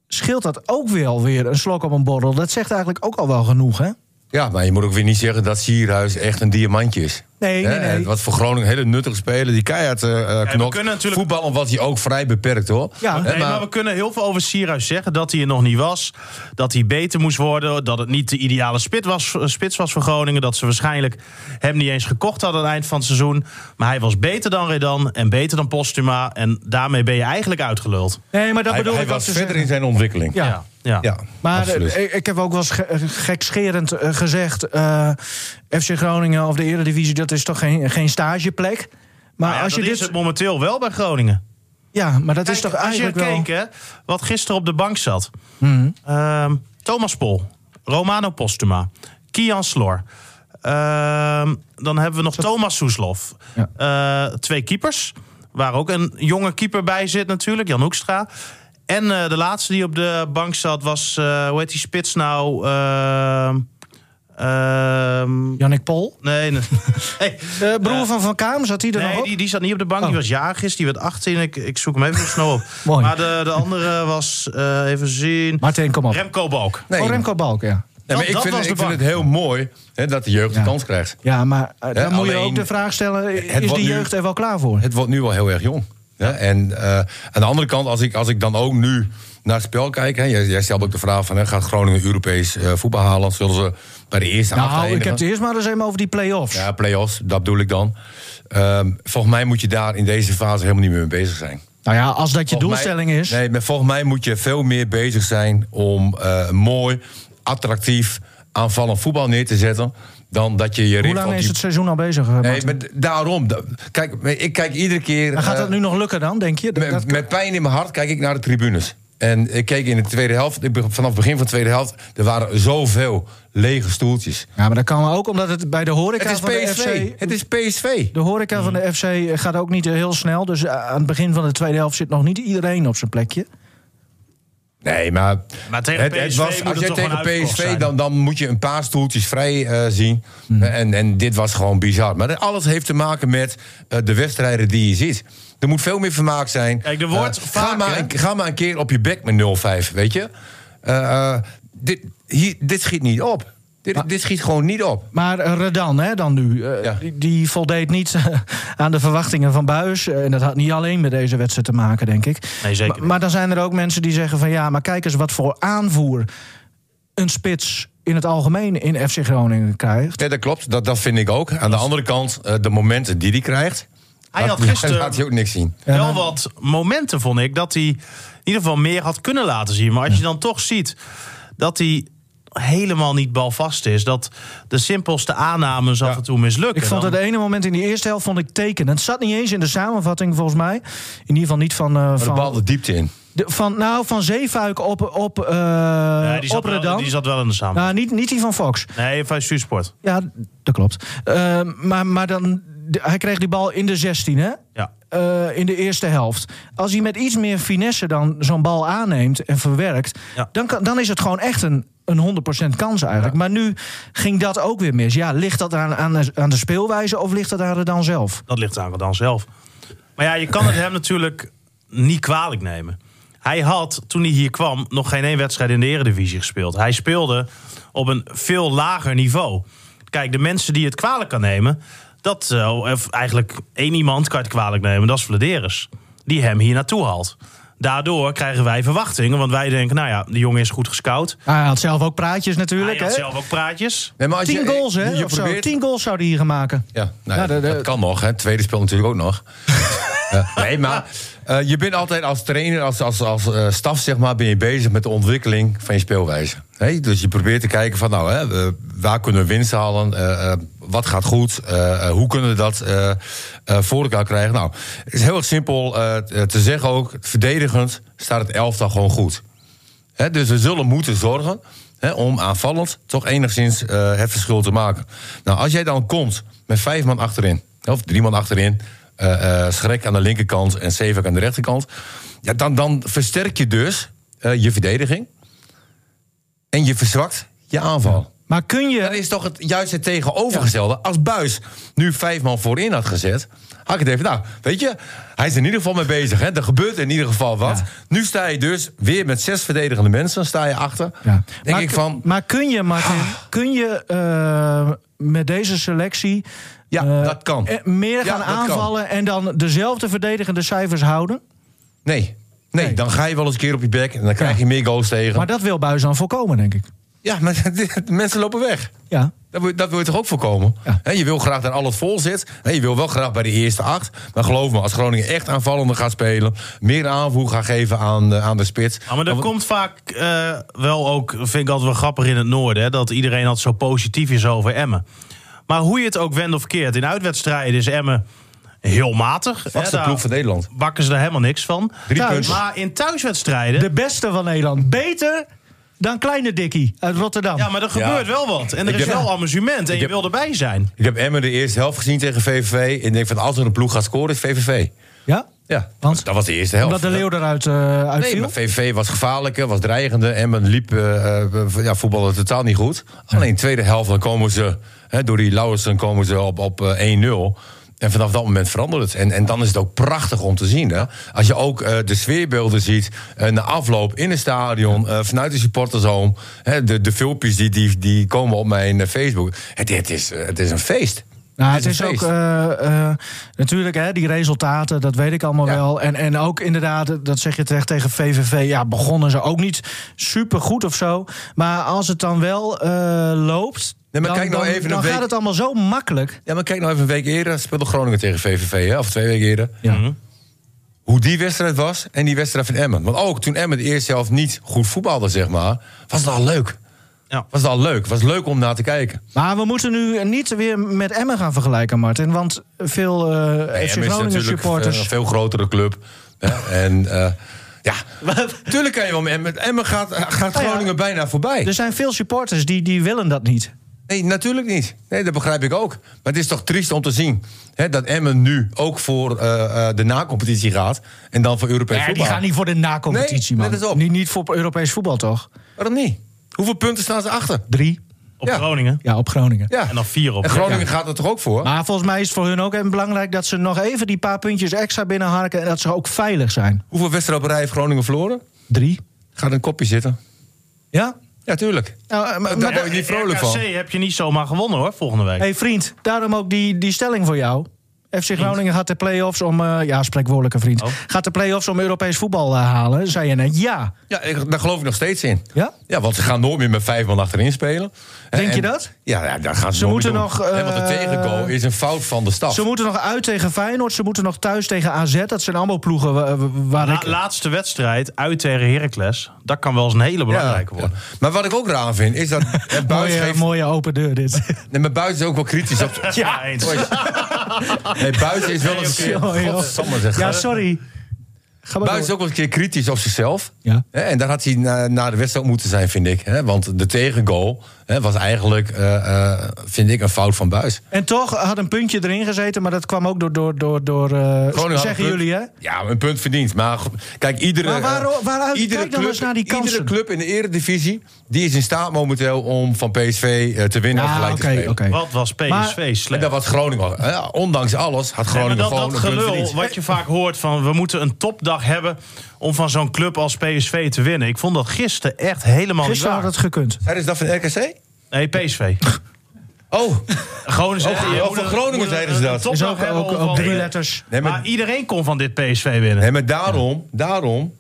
[SPEAKER 3] scheelt dat ook wel weer een slok op een borrel. Dat zegt eigenlijk ook al wel genoeg, hè?
[SPEAKER 1] Eh, Ja, maar je moet ook weer niet zeggen dat Sierhuis echt een diamantje is.
[SPEAKER 3] Nee, nee,
[SPEAKER 1] Hè,
[SPEAKER 3] nee.
[SPEAKER 1] Wat voor Groningen een hele nuttige speler die keihard eh, eh, knokt.
[SPEAKER 4] kunnen natuurlijk-
[SPEAKER 1] Voetballen was hij ook vrij beperkt hoor.
[SPEAKER 3] Ja.
[SPEAKER 1] Hè,
[SPEAKER 4] Nee, maar we kunnen heel veel over Sierhuis zeggen. Dat hij er nog niet was. Dat hij beter moest worden. Dat het niet de ideale spit was, eh, spits was voor Groningen. Dat ze waarschijnlijk hem niet eens gekocht hadden aan het eind van het seizoen. Maar hij was beter dan Redan en beter dan Postuma. En daarmee ben je eigenlijk uitgeluld.
[SPEAKER 3] Nee, maar dat
[SPEAKER 1] hij,
[SPEAKER 3] bedoel
[SPEAKER 1] hij
[SPEAKER 3] ik ook
[SPEAKER 1] was
[SPEAKER 3] te
[SPEAKER 1] verder in
[SPEAKER 3] zeggen.
[SPEAKER 1] zijn ontwikkeling.
[SPEAKER 3] Ja.
[SPEAKER 4] Ja. Nou ja.
[SPEAKER 1] Ja,
[SPEAKER 3] Maar eh,
[SPEAKER 1] absoluut.
[SPEAKER 3] ik, ik heb ook wel eens ge- eh, gekscherend eh, gezegd... eh, FC Groningen of de Eredivisie, dat is toch geen, geen stageplek? Maar
[SPEAKER 4] Nou ja,
[SPEAKER 3] als je
[SPEAKER 4] dat
[SPEAKER 3] dit...
[SPEAKER 4] is het momenteel wel bij Groningen.
[SPEAKER 3] Ja, maar dat is
[SPEAKER 4] Kijk,
[SPEAKER 3] toch
[SPEAKER 4] als je
[SPEAKER 3] eigenlijk wel... Hmm.
[SPEAKER 4] keek, hè, wat gisteren op de bank zat. Ehm, Thomas Pol, Romano Postuma, Kian Slor. Ehm, dan hebben we nog Thomas Soeslof. Eh, twee keepers, waar ook een jonge keeper bij zit natuurlijk, Jan Hoekstra. En eh, de laatste die op de bank zat was, eh, hoe heet die spits nou? Ehm, ehm,
[SPEAKER 3] Jannik Pol?
[SPEAKER 4] nee, nee. Hey,
[SPEAKER 3] De broer
[SPEAKER 4] eh,
[SPEAKER 3] van Van Kaam, zat hij er nog
[SPEAKER 4] Nee,
[SPEAKER 3] op?
[SPEAKER 4] die, die zat niet op de bank.
[SPEAKER 3] Oh.
[SPEAKER 4] Die was jarig is. Die werd 18. Ik, ik zoek hem even zo snel op.
[SPEAKER 3] Mooi.
[SPEAKER 4] Maar de, de andere was, eh, even zien...
[SPEAKER 3] Martin, kom op.
[SPEAKER 4] Remco Balk.
[SPEAKER 1] Nee,
[SPEAKER 3] Oh, Remco Balk, ja.
[SPEAKER 1] nee, maar
[SPEAKER 4] dat-
[SPEAKER 1] ik
[SPEAKER 4] dat
[SPEAKER 1] vind,
[SPEAKER 4] was
[SPEAKER 1] het-
[SPEAKER 4] de
[SPEAKER 1] ik vind
[SPEAKER 4] bank.
[SPEAKER 1] het heel mooi hè, dat de jeugd
[SPEAKER 3] Ja.
[SPEAKER 1] de kans krijgt.
[SPEAKER 3] Ja, maar eh, dan
[SPEAKER 1] Hè,
[SPEAKER 3] moet je
[SPEAKER 1] alleen-
[SPEAKER 3] ook de vraag stellen...
[SPEAKER 1] het
[SPEAKER 3] is
[SPEAKER 1] wordt
[SPEAKER 3] die
[SPEAKER 1] nu-
[SPEAKER 3] jeugd er wel klaar voor?
[SPEAKER 1] Het wordt nu wel heel erg jong. Hè? En eh, aan de andere kant, als ik, als ik dan ook nu naar het spel kijk... Hè, jij, jij stelt ook de vraag van, hè, gaat Groningen Europees eh, voetbal halen? Zullen ze bij de eerste acht
[SPEAKER 3] Nou, ik
[SPEAKER 1] eindigen?
[SPEAKER 3] heb het eerst maar eens even over die play-offs.
[SPEAKER 1] Ja, play-offs, dat bedoel ik dan. Ehm, volgens mij moet je daar in deze fase helemaal niet meer mee bezig zijn.
[SPEAKER 3] Nou ja, als dat je
[SPEAKER 1] Volgens mij-
[SPEAKER 3] doelstelling is...
[SPEAKER 1] Nee, maar volgens mij moet je veel meer bezig zijn om eh, mooi, attractief, aanvallend voetbal neer te zetten. Dan dat je je
[SPEAKER 3] Hoe
[SPEAKER 1] richt op
[SPEAKER 3] lang is
[SPEAKER 1] die-
[SPEAKER 3] het seizoen al bezig? eh,
[SPEAKER 1] Nee,
[SPEAKER 3] Martin?
[SPEAKER 1] maar d- daarom. da- Kijk, maar ik kijk iedere keer.
[SPEAKER 3] Maar gaat
[SPEAKER 1] eh,
[SPEAKER 3] dat nu nog lukken dan, denk je? Dat- dat-
[SPEAKER 1] met, met pijn in mijn hart kijk ik naar de tribunes. En ik keek in de tweede helft, ik be- vanaf het begin van de tweede helft, er waren zoveel lege stoeltjes.
[SPEAKER 3] Ja, maar dat kan ook omdat het bij de horeca
[SPEAKER 1] Het is
[SPEAKER 3] van
[SPEAKER 1] PSV.
[SPEAKER 3] de FC...
[SPEAKER 1] Het is PSV.
[SPEAKER 3] De horeca van
[SPEAKER 1] Hmm.
[SPEAKER 3] de FC gaat ook niet heel snel. Dus eh, aan het begin van de tweede helft zit nog niet iedereen op zijn plekje.
[SPEAKER 1] Nee, maar,
[SPEAKER 4] Maar tegen PSV moet het
[SPEAKER 1] als jij tegen
[SPEAKER 4] toch gewoon uitverkocht
[SPEAKER 1] PSV,
[SPEAKER 4] zijn.
[SPEAKER 1] dan, dan moet je een paar stoeltjes vrij eh, zien.
[SPEAKER 3] Hmm.
[SPEAKER 1] En, en dit was gewoon bizar. Maar alles heeft te maken met eh, de wedstrijden die je ziet. Er moet veel meer vermaak zijn.
[SPEAKER 4] Kijk, er wordt
[SPEAKER 1] Eh, ga,
[SPEAKER 4] vaak,
[SPEAKER 1] maar
[SPEAKER 4] hè?
[SPEAKER 1] een, ga maar een keer op je bek met 0-5, weet je. Eh, eh, dit, hier, dit schiet niet op. Dit, dit schiet gewoon niet op.
[SPEAKER 3] Maar eh, Redan, hè, dan nu. eh,
[SPEAKER 1] Ja.
[SPEAKER 3] die, die voldeed niet eh, aan de verwachtingen van Buis. Eh, En dat had niet alleen met deze wedstrijd te maken, denk ik.
[SPEAKER 4] Nee, zeker
[SPEAKER 3] Ma-
[SPEAKER 4] niet.
[SPEAKER 3] Maar dan zijn er ook mensen die zeggen van... ja, maar kijk eens wat voor aanvoer een spits in het algemeen in FC Groningen krijgt.
[SPEAKER 1] Ja, dat klopt, dat, dat vind ik ook. Aan de andere kant, eh, de momenten die hij krijgt...
[SPEAKER 4] Hij
[SPEAKER 1] laat-
[SPEAKER 4] had gisteren-
[SPEAKER 1] laat hij ook niks zien.
[SPEAKER 4] wel
[SPEAKER 3] nou.
[SPEAKER 4] wat momenten, vond ik, dat hij in ieder geval meer had kunnen laten zien. Maar als je dan toch ziet dat hij helemaal niet balvast is... dat de simpelste aannames af en toe mislukken...
[SPEAKER 3] Ik vond
[SPEAKER 4] dan-
[SPEAKER 3] het ene moment in die eerste helft vond ik tekenend. Het zat niet eens in de samenvatting, volgens mij. In ieder geval niet van... eh,
[SPEAKER 1] De
[SPEAKER 3] van
[SPEAKER 1] bal de diepte in.
[SPEAKER 3] De- van, nou, van Zeefuik op, op, eh
[SPEAKER 4] Nee, die,
[SPEAKER 3] op
[SPEAKER 4] zat wel,
[SPEAKER 3] Redan.
[SPEAKER 4] die zat wel in de samen.
[SPEAKER 3] Nou, niet, niet die van Fox.
[SPEAKER 4] Nee, van Stuursport.
[SPEAKER 3] Ja, dat klopt. Eh, maar, maar dan, de- hij kreeg die bal in de 16, hè?
[SPEAKER 4] Ja.
[SPEAKER 3] Eh, in de eerste helft. Als hij met iets meer finesse dan zo'n bal aanneemt en verwerkt...
[SPEAKER 4] Ja.
[SPEAKER 3] Dan, kan, dan is het gewoon echt een, een 100% kans eigenlijk. Maar nu ging dat ook weer mis. Ja, ligt dat aan, aan, aan de speelwijze of ligt dat aan Redan zelf?
[SPEAKER 4] Dat ligt aan Rodan zelf. Maar ja, je kan het hem natuurlijk niet kwalijk nemen. Hij had, toen hij hier kwam, nog geen één wedstrijd in de Eredivisie gespeeld. Hij speelde op een veel lager niveau. Kijk, de mensen die het kwalijk kan nemen... dat eh, of eigenlijk één iemand kan het kwalijk nemen, dat is Vladeris. Die hem hier naartoe haalt. Daardoor krijgen wij verwachtingen, want wij denken... nou ja, de jongen is goed gescout.
[SPEAKER 3] Ah, Hij had zelf ook praatjes
[SPEAKER 4] Hij
[SPEAKER 3] natuurlijk,
[SPEAKER 4] had
[SPEAKER 3] hè?
[SPEAKER 4] zelf ook praatjes.
[SPEAKER 1] Nee, maar als
[SPEAKER 3] Tien
[SPEAKER 1] je-
[SPEAKER 3] goals, hè?
[SPEAKER 1] je- Je
[SPEAKER 3] of zo.
[SPEAKER 1] probeert
[SPEAKER 3] Tien goals zou hij hier gaan maken.
[SPEAKER 1] Ja, nou ja,
[SPEAKER 3] Nou, de- de-
[SPEAKER 1] dat kan nog. Hè. Het tweede spel natuurlijk ook nog. Ja, nee, maar eh, je bent altijd als trainer, als, als, als eh, staf, zeg maar, ben je bezig met de ontwikkeling van je speelwijze. Hè, dus je probeert te kijken van, nou, hè, eh, waar kunnen we winst halen? Eh, eh, wat gaat goed? Eh, eh, hoe kunnen we dat eh, eh, voor elkaar krijgen? Nou, het is heel erg simpel eh, t- eh, te zeggen ook, verdedigend staat het elftal gewoon goed. Hè, dus we zullen moeten zorgen hè, om aanvallend toch enigszins eh, het verschil te maken. Nou, als jij dan komt met vijf man achterin, of drie man achterin, eh eh Schrek aan de linkerkant en Zeevak aan de rechterkant, ja, dan, dan versterk je dus eh, je verdediging en je verzwakt je aanval.
[SPEAKER 3] Maar kun je...
[SPEAKER 1] Dan is toch het, juist het tegenovergestelde. Als Buis nu vijf man voorin had gezet, had ik het even. Nou, weet je, hij is in ieder geval mee bezig. Hè? Er gebeurt in ieder geval wat. Nu sta je dus weer met zes verdedigende mensen, sta je achter.
[SPEAKER 3] Ja.
[SPEAKER 1] Denk
[SPEAKER 3] maar,
[SPEAKER 1] ik van, Ah.
[SPEAKER 3] maar kun je, Martin, kun je eh, met deze selectie
[SPEAKER 1] Ja,
[SPEAKER 3] eh,
[SPEAKER 1] dat kan.
[SPEAKER 3] eh,
[SPEAKER 1] Ja,
[SPEAKER 3] meer gaan
[SPEAKER 1] dat kan.
[SPEAKER 3] aanvallen en dan dezelfde verdedigende cijfers houden?
[SPEAKER 1] nee. Nee, dan ga je wel eens een keer op je bek en dan krijg
[SPEAKER 3] Ja.
[SPEAKER 1] je meer goals tegen.
[SPEAKER 3] Maar dat wil Buis dan voorkomen, denk ik.
[SPEAKER 1] ja, maar de mensen lopen weg.
[SPEAKER 3] Ja.
[SPEAKER 1] Dat wil, dat wil je toch ook voorkomen?
[SPEAKER 3] Ja.
[SPEAKER 1] Hè, je wil graag dat alles vol zit. Hè, je wil wel graag bij de eerste acht. Maar geloof me, als Groningen echt aanvallender gaat spelen... meer aanvoer gaat geven aan de, aan de spits...
[SPEAKER 4] Ja, maar dat
[SPEAKER 1] dan-
[SPEAKER 4] komt vaak eh, wel ook, vind ik altijd wel grappig in het noorden, hè, dat iedereen altijd zo positief is over Emmen. Maar hoe je het ook wendt of keert, in uitwedstrijden is Emmen heel matig. hè,
[SPEAKER 1] Zwakste
[SPEAKER 4] daar
[SPEAKER 1] ploeg van Nederland.
[SPEAKER 4] Bakken ze daar helemaal niks van.
[SPEAKER 1] Drie
[SPEAKER 3] Thuis.
[SPEAKER 1] punten.
[SPEAKER 4] Maar in thuiswedstrijden.
[SPEAKER 3] De beste van Nederland. Beter dan Kleine Dikkie uit Rotterdam.
[SPEAKER 4] Ja, maar er
[SPEAKER 1] Ja.
[SPEAKER 4] gebeurt wel wat. En er
[SPEAKER 1] Ik
[SPEAKER 4] is
[SPEAKER 1] heb-
[SPEAKER 4] wel amusement. En je
[SPEAKER 1] heb-
[SPEAKER 4] wil erbij zijn.
[SPEAKER 1] Ik heb Emmen de eerste helft gezien tegen VVV. En ik denk van, als er een ploeg gaat scoren, is VVV.
[SPEAKER 3] Ja?
[SPEAKER 1] Ja,
[SPEAKER 3] Want?
[SPEAKER 1] dat was de eerste helft.
[SPEAKER 3] Omdat de Leeuw eruit eh
[SPEAKER 1] Nee,
[SPEAKER 3] uitviel?
[SPEAKER 1] maar VVV was gevaarlijker, was dreigender. Emmen liep eh eh, ja, voetballen totaal niet goed. Alleen tweede helft, dan komen ze... Hè, door die Lauwersen komen ze op, op eh, 1-0... En vanaf dat moment verandert het. En, en dan is het ook prachtig om te zien. Hè? Als je ook eh, de sfeerbeelden ziet. eh, na afloop in het stadion. eh, vanuit de supportershome. Hè, de, de filmpjes die, die, die komen op mijn eh, Facebook. Het, het, is, eh, het is een feest.
[SPEAKER 3] Nou, het is
[SPEAKER 1] een
[SPEAKER 3] ook
[SPEAKER 1] feest.
[SPEAKER 3] eh, eh, natuurlijk, hè, die resultaten, dat weet ik allemaal
[SPEAKER 1] Ja.
[SPEAKER 3] wel. En, en ook inderdaad, dat zeg je terecht tegen VVV, ja, begonnen ze ook niet super goed of zo. Maar als het dan wel eh, loopt,
[SPEAKER 1] Nee, maar
[SPEAKER 3] dan,
[SPEAKER 1] kijk nou
[SPEAKER 3] dan-
[SPEAKER 1] even
[SPEAKER 3] dan
[SPEAKER 1] een
[SPEAKER 3] gaat
[SPEAKER 1] week-
[SPEAKER 3] het allemaal zo makkelijk.
[SPEAKER 1] Ja, maar kijk nou even een week eerder. Speelde Groningen tegen VVV, hè? of twee weken eerder.
[SPEAKER 3] Ja.
[SPEAKER 1] Hoe die wedstrijd was en die wedstrijd van Emmen. Want ook toen Emmen de eerste helft niet goed voetbalde, zeg maar, was het al leuk.
[SPEAKER 4] Ja.
[SPEAKER 1] Was het al leuk. Was leuk om naar te kijken.
[SPEAKER 3] Maar we moeten nu niet weer met Emmen gaan vergelijken, Martin. Want veel eh
[SPEAKER 1] Nee,
[SPEAKER 3] FC
[SPEAKER 1] Emmen is
[SPEAKER 3] Groningen
[SPEAKER 1] natuurlijk eh,
[SPEAKER 3] supporters...
[SPEAKER 1] een veel grotere club. hè, en eh, ja, tuurlijk kan je wel met Emmen. Emmen gaat, eh, gaat
[SPEAKER 3] Nou ja,
[SPEAKER 1] Groningen bijna voorbij.
[SPEAKER 3] er zijn veel supporters die, die willen dat niet.
[SPEAKER 1] Nee, natuurlijk niet. Nee, dat begrijp ik ook. Maar het is toch triest om te zien hè, dat Emmen nu ook voor eh, eh, de nacompetitie gaat. En dan voor Europees
[SPEAKER 3] Nee, die
[SPEAKER 1] voetbal.
[SPEAKER 3] gaan niet voor de na-competitie,
[SPEAKER 1] Nee,
[SPEAKER 3] man.
[SPEAKER 1] let eens op.
[SPEAKER 3] Niet, niet voor Europees voetbal, toch?
[SPEAKER 1] Waarom Oh, niet? Hoeveel punten staan ze achter?
[SPEAKER 3] Drie.
[SPEAKER 4] Op
[SPEAKER 1] Ja.
[SPEAKER 4] Groningen.
[SPEAKER 3] Ja, op Groningen.
[SPEAKER 1] Ja.
[SPEAKER 4] En dan vier op.
[SPEAKER 1] En Groningen gaat er toch ook voor?
[SPEAKER 3] Maar volgens mij is het voor hun ook even belangrijk dat ze nog even die paar puntjes extra binnenharken en dat ze ook veilig zijn.
[SPEAKER 1] Hoeveel wedstrijden op rij heeft Groningen verloren?
[SPEAKER 3] Drie.
[SPEAKER 1] Gaat een kopje zitten.
[SPEAKER 3] Ja?
[SPEAKER 1] Ja, tuurlijk.
[SPEAKER 3] Nou, eh, maar,
[SPEAKER 1] Daar
[SPEAKER 3] maar
[SPEAKER 1] word
[SPEAKER 3] da-
[SPEAKER 1] je niet vrolijk
[SPEAKER 4] RKC
[SPEAKER 1] van.
[SPEAKER 4] heb je niet zomaar gewonnen hoor, volgende week.
[SPEAKER 3] hey vriend, daarom ook die, die stelling voor jou. FC Groningen gaat de play-offs om... eh, ja, spreekwoordelijke vriend.
[SPEAKER 4] Oh.
[SPEAKER 3] Gaat de play-offs om Europees voetbal eh, halen, zei je net. Ja.
[SPEAKER 1] Ja, ik, daar geloof ik nog steeds in.
[SPEAKER 3] Ja?
[SPEAKER 1] Ja, want ze gaan nooit meer met vijf man achterin spelen.
[SPEAKER 3] Denk
[SPEAKER 1] En-
[SPEAKER 3] je dat?
[SPEAKER 1] Ja, ja daar gaan ze,
[SPEAKER 3] Ze
[SPEAKER 1] nooit meer
[SPEAKER 3] moeten
[SPEAKER 1] doen.
[SPEAKER 3] nog,
[SPEAKER 1] Hè, want de
[SPEAKER 3] eh,
[SPEAKER 1] tegengoal is een fout van de staf.
[SPEAKER 3] Ze moeten nog uit tegen Feyenoord, ze moeten nog thuis tegen AZ. Dat zijn allemaal ploegen wa- wa- waar
[SPEAKER 4] La-
[SPEAKER 3] ik...
[SPEAKER 4] laatste wedstrijd uit tegen Heracles. Dat kan wel eens een hele belangrijke
[SPEAKER 1] Ja,
[SPEAKER 4] worden.
[SPEAKER 1] ja. Maar wat ik ook raar vind, is dat... eh, Buis
[SPEAKER 3] Mooie,
[SPEAKER 1] geeft...
[SPEAKER 3] mooie open deur dit.
[SPEAKER 1] Nee, maar Buis is ook wel kritisch op...
[SPEAKER 4] Ja, eens.
[SPEAKER 1] Nee, Buis is wel eens...
[SPEAKER 3] Sorry, joh.
[SPEAKER 1] Godsamme, zeg.
[SPEAKER 3] Ja, sorry. Ga maar
[SPEAKER 1] Buis is
[SPEAKER 3] door.
[SPEAKER 1] ook wel een keer kritisch op zichzelf.
[SPEAKER 3] Ja.
[SPEAKER 1] Hè, En daar had hij na, na de wedstrijd ook moeten zijn, vind ik. hè. Want de tegengoal hè, was eigenlijk, eh, eh, vind ik, een fout van Buis.
[SPEAKER 3] En toch had een puntje erin gezeten, maar dat kwam ook door... door, door, door eh,
[SPEAKER 1] Groningen had
[SPEAKER 3] zeggen
[SPEAKER 1] een punt.
[SPEAKER 3] jullie, hè?
[SPEAKER 1] Ja, een punt verdiend. Maar go- kijk, iedere,
[SPEAKER 3] Maar waarom-
[SPEAKER 1] eh,
[SPEAKER 3] waaruit-
[SPEAKER 1] iedere
[SPEAKER 3] kijk dan
[SPEAKER 1] club,
[SPEAKER 3] eens naar die kansen.
[SPEAKER 1] Iedere club in de eredivisie die is in staat momenteel om van PSV eh, te winnen of
[SPEAKER 3] Ah,
[SPEAKER 1] gelijk te spelen.
[SPEAKER 4] Wat was PSV
[SPEAKER 3] Maar-
[SPEAKER 1] En
[SPEAKER 4] slecht.
[SPEAKER 1] dat was Groningen. hè. Ondanks alles had
[SPEAKER 4] Nee, maar
[SPEAKER 1] Groningen
[SPEAKER 4] dat,
[SPEAKER 1] gewoon
[SPEAKER 4] dat
[SPEAKER 1] een punt
[SPEAKER 4] gelul
[SPEAKER 1] verdiend.
[SPEAKER 4] wat je vaak hoort van we moeten een topdag hebben om van zo'n club als PSV te winnen. Ik vond dat gisteren echt helemaal
[SPEAKER 3] Gisteren
[SPEAKER 4] niet
[SPEAKER 3] had
[SPEAKER 4] waar.
[SPEAKER 3] het gekund.
[SPEAKER 1] Zeiden ze dat van RKC?
[SPEAKER 4] Nee, PSV.
[SPEAKER 1] Oh,
[SPEAKER 4] Gewoon
[SPEAKER 1] Oh, van Groningen zeiden ze dat.
[SPEAKER 3] Is ook, ook, ook drie letters.
[SPEAKER 1] nee, maar,
[SPEAKER 4] maar iedereen kon van dit PSV winnen.
[SPEAKER 1] nee, maar daarom, daarom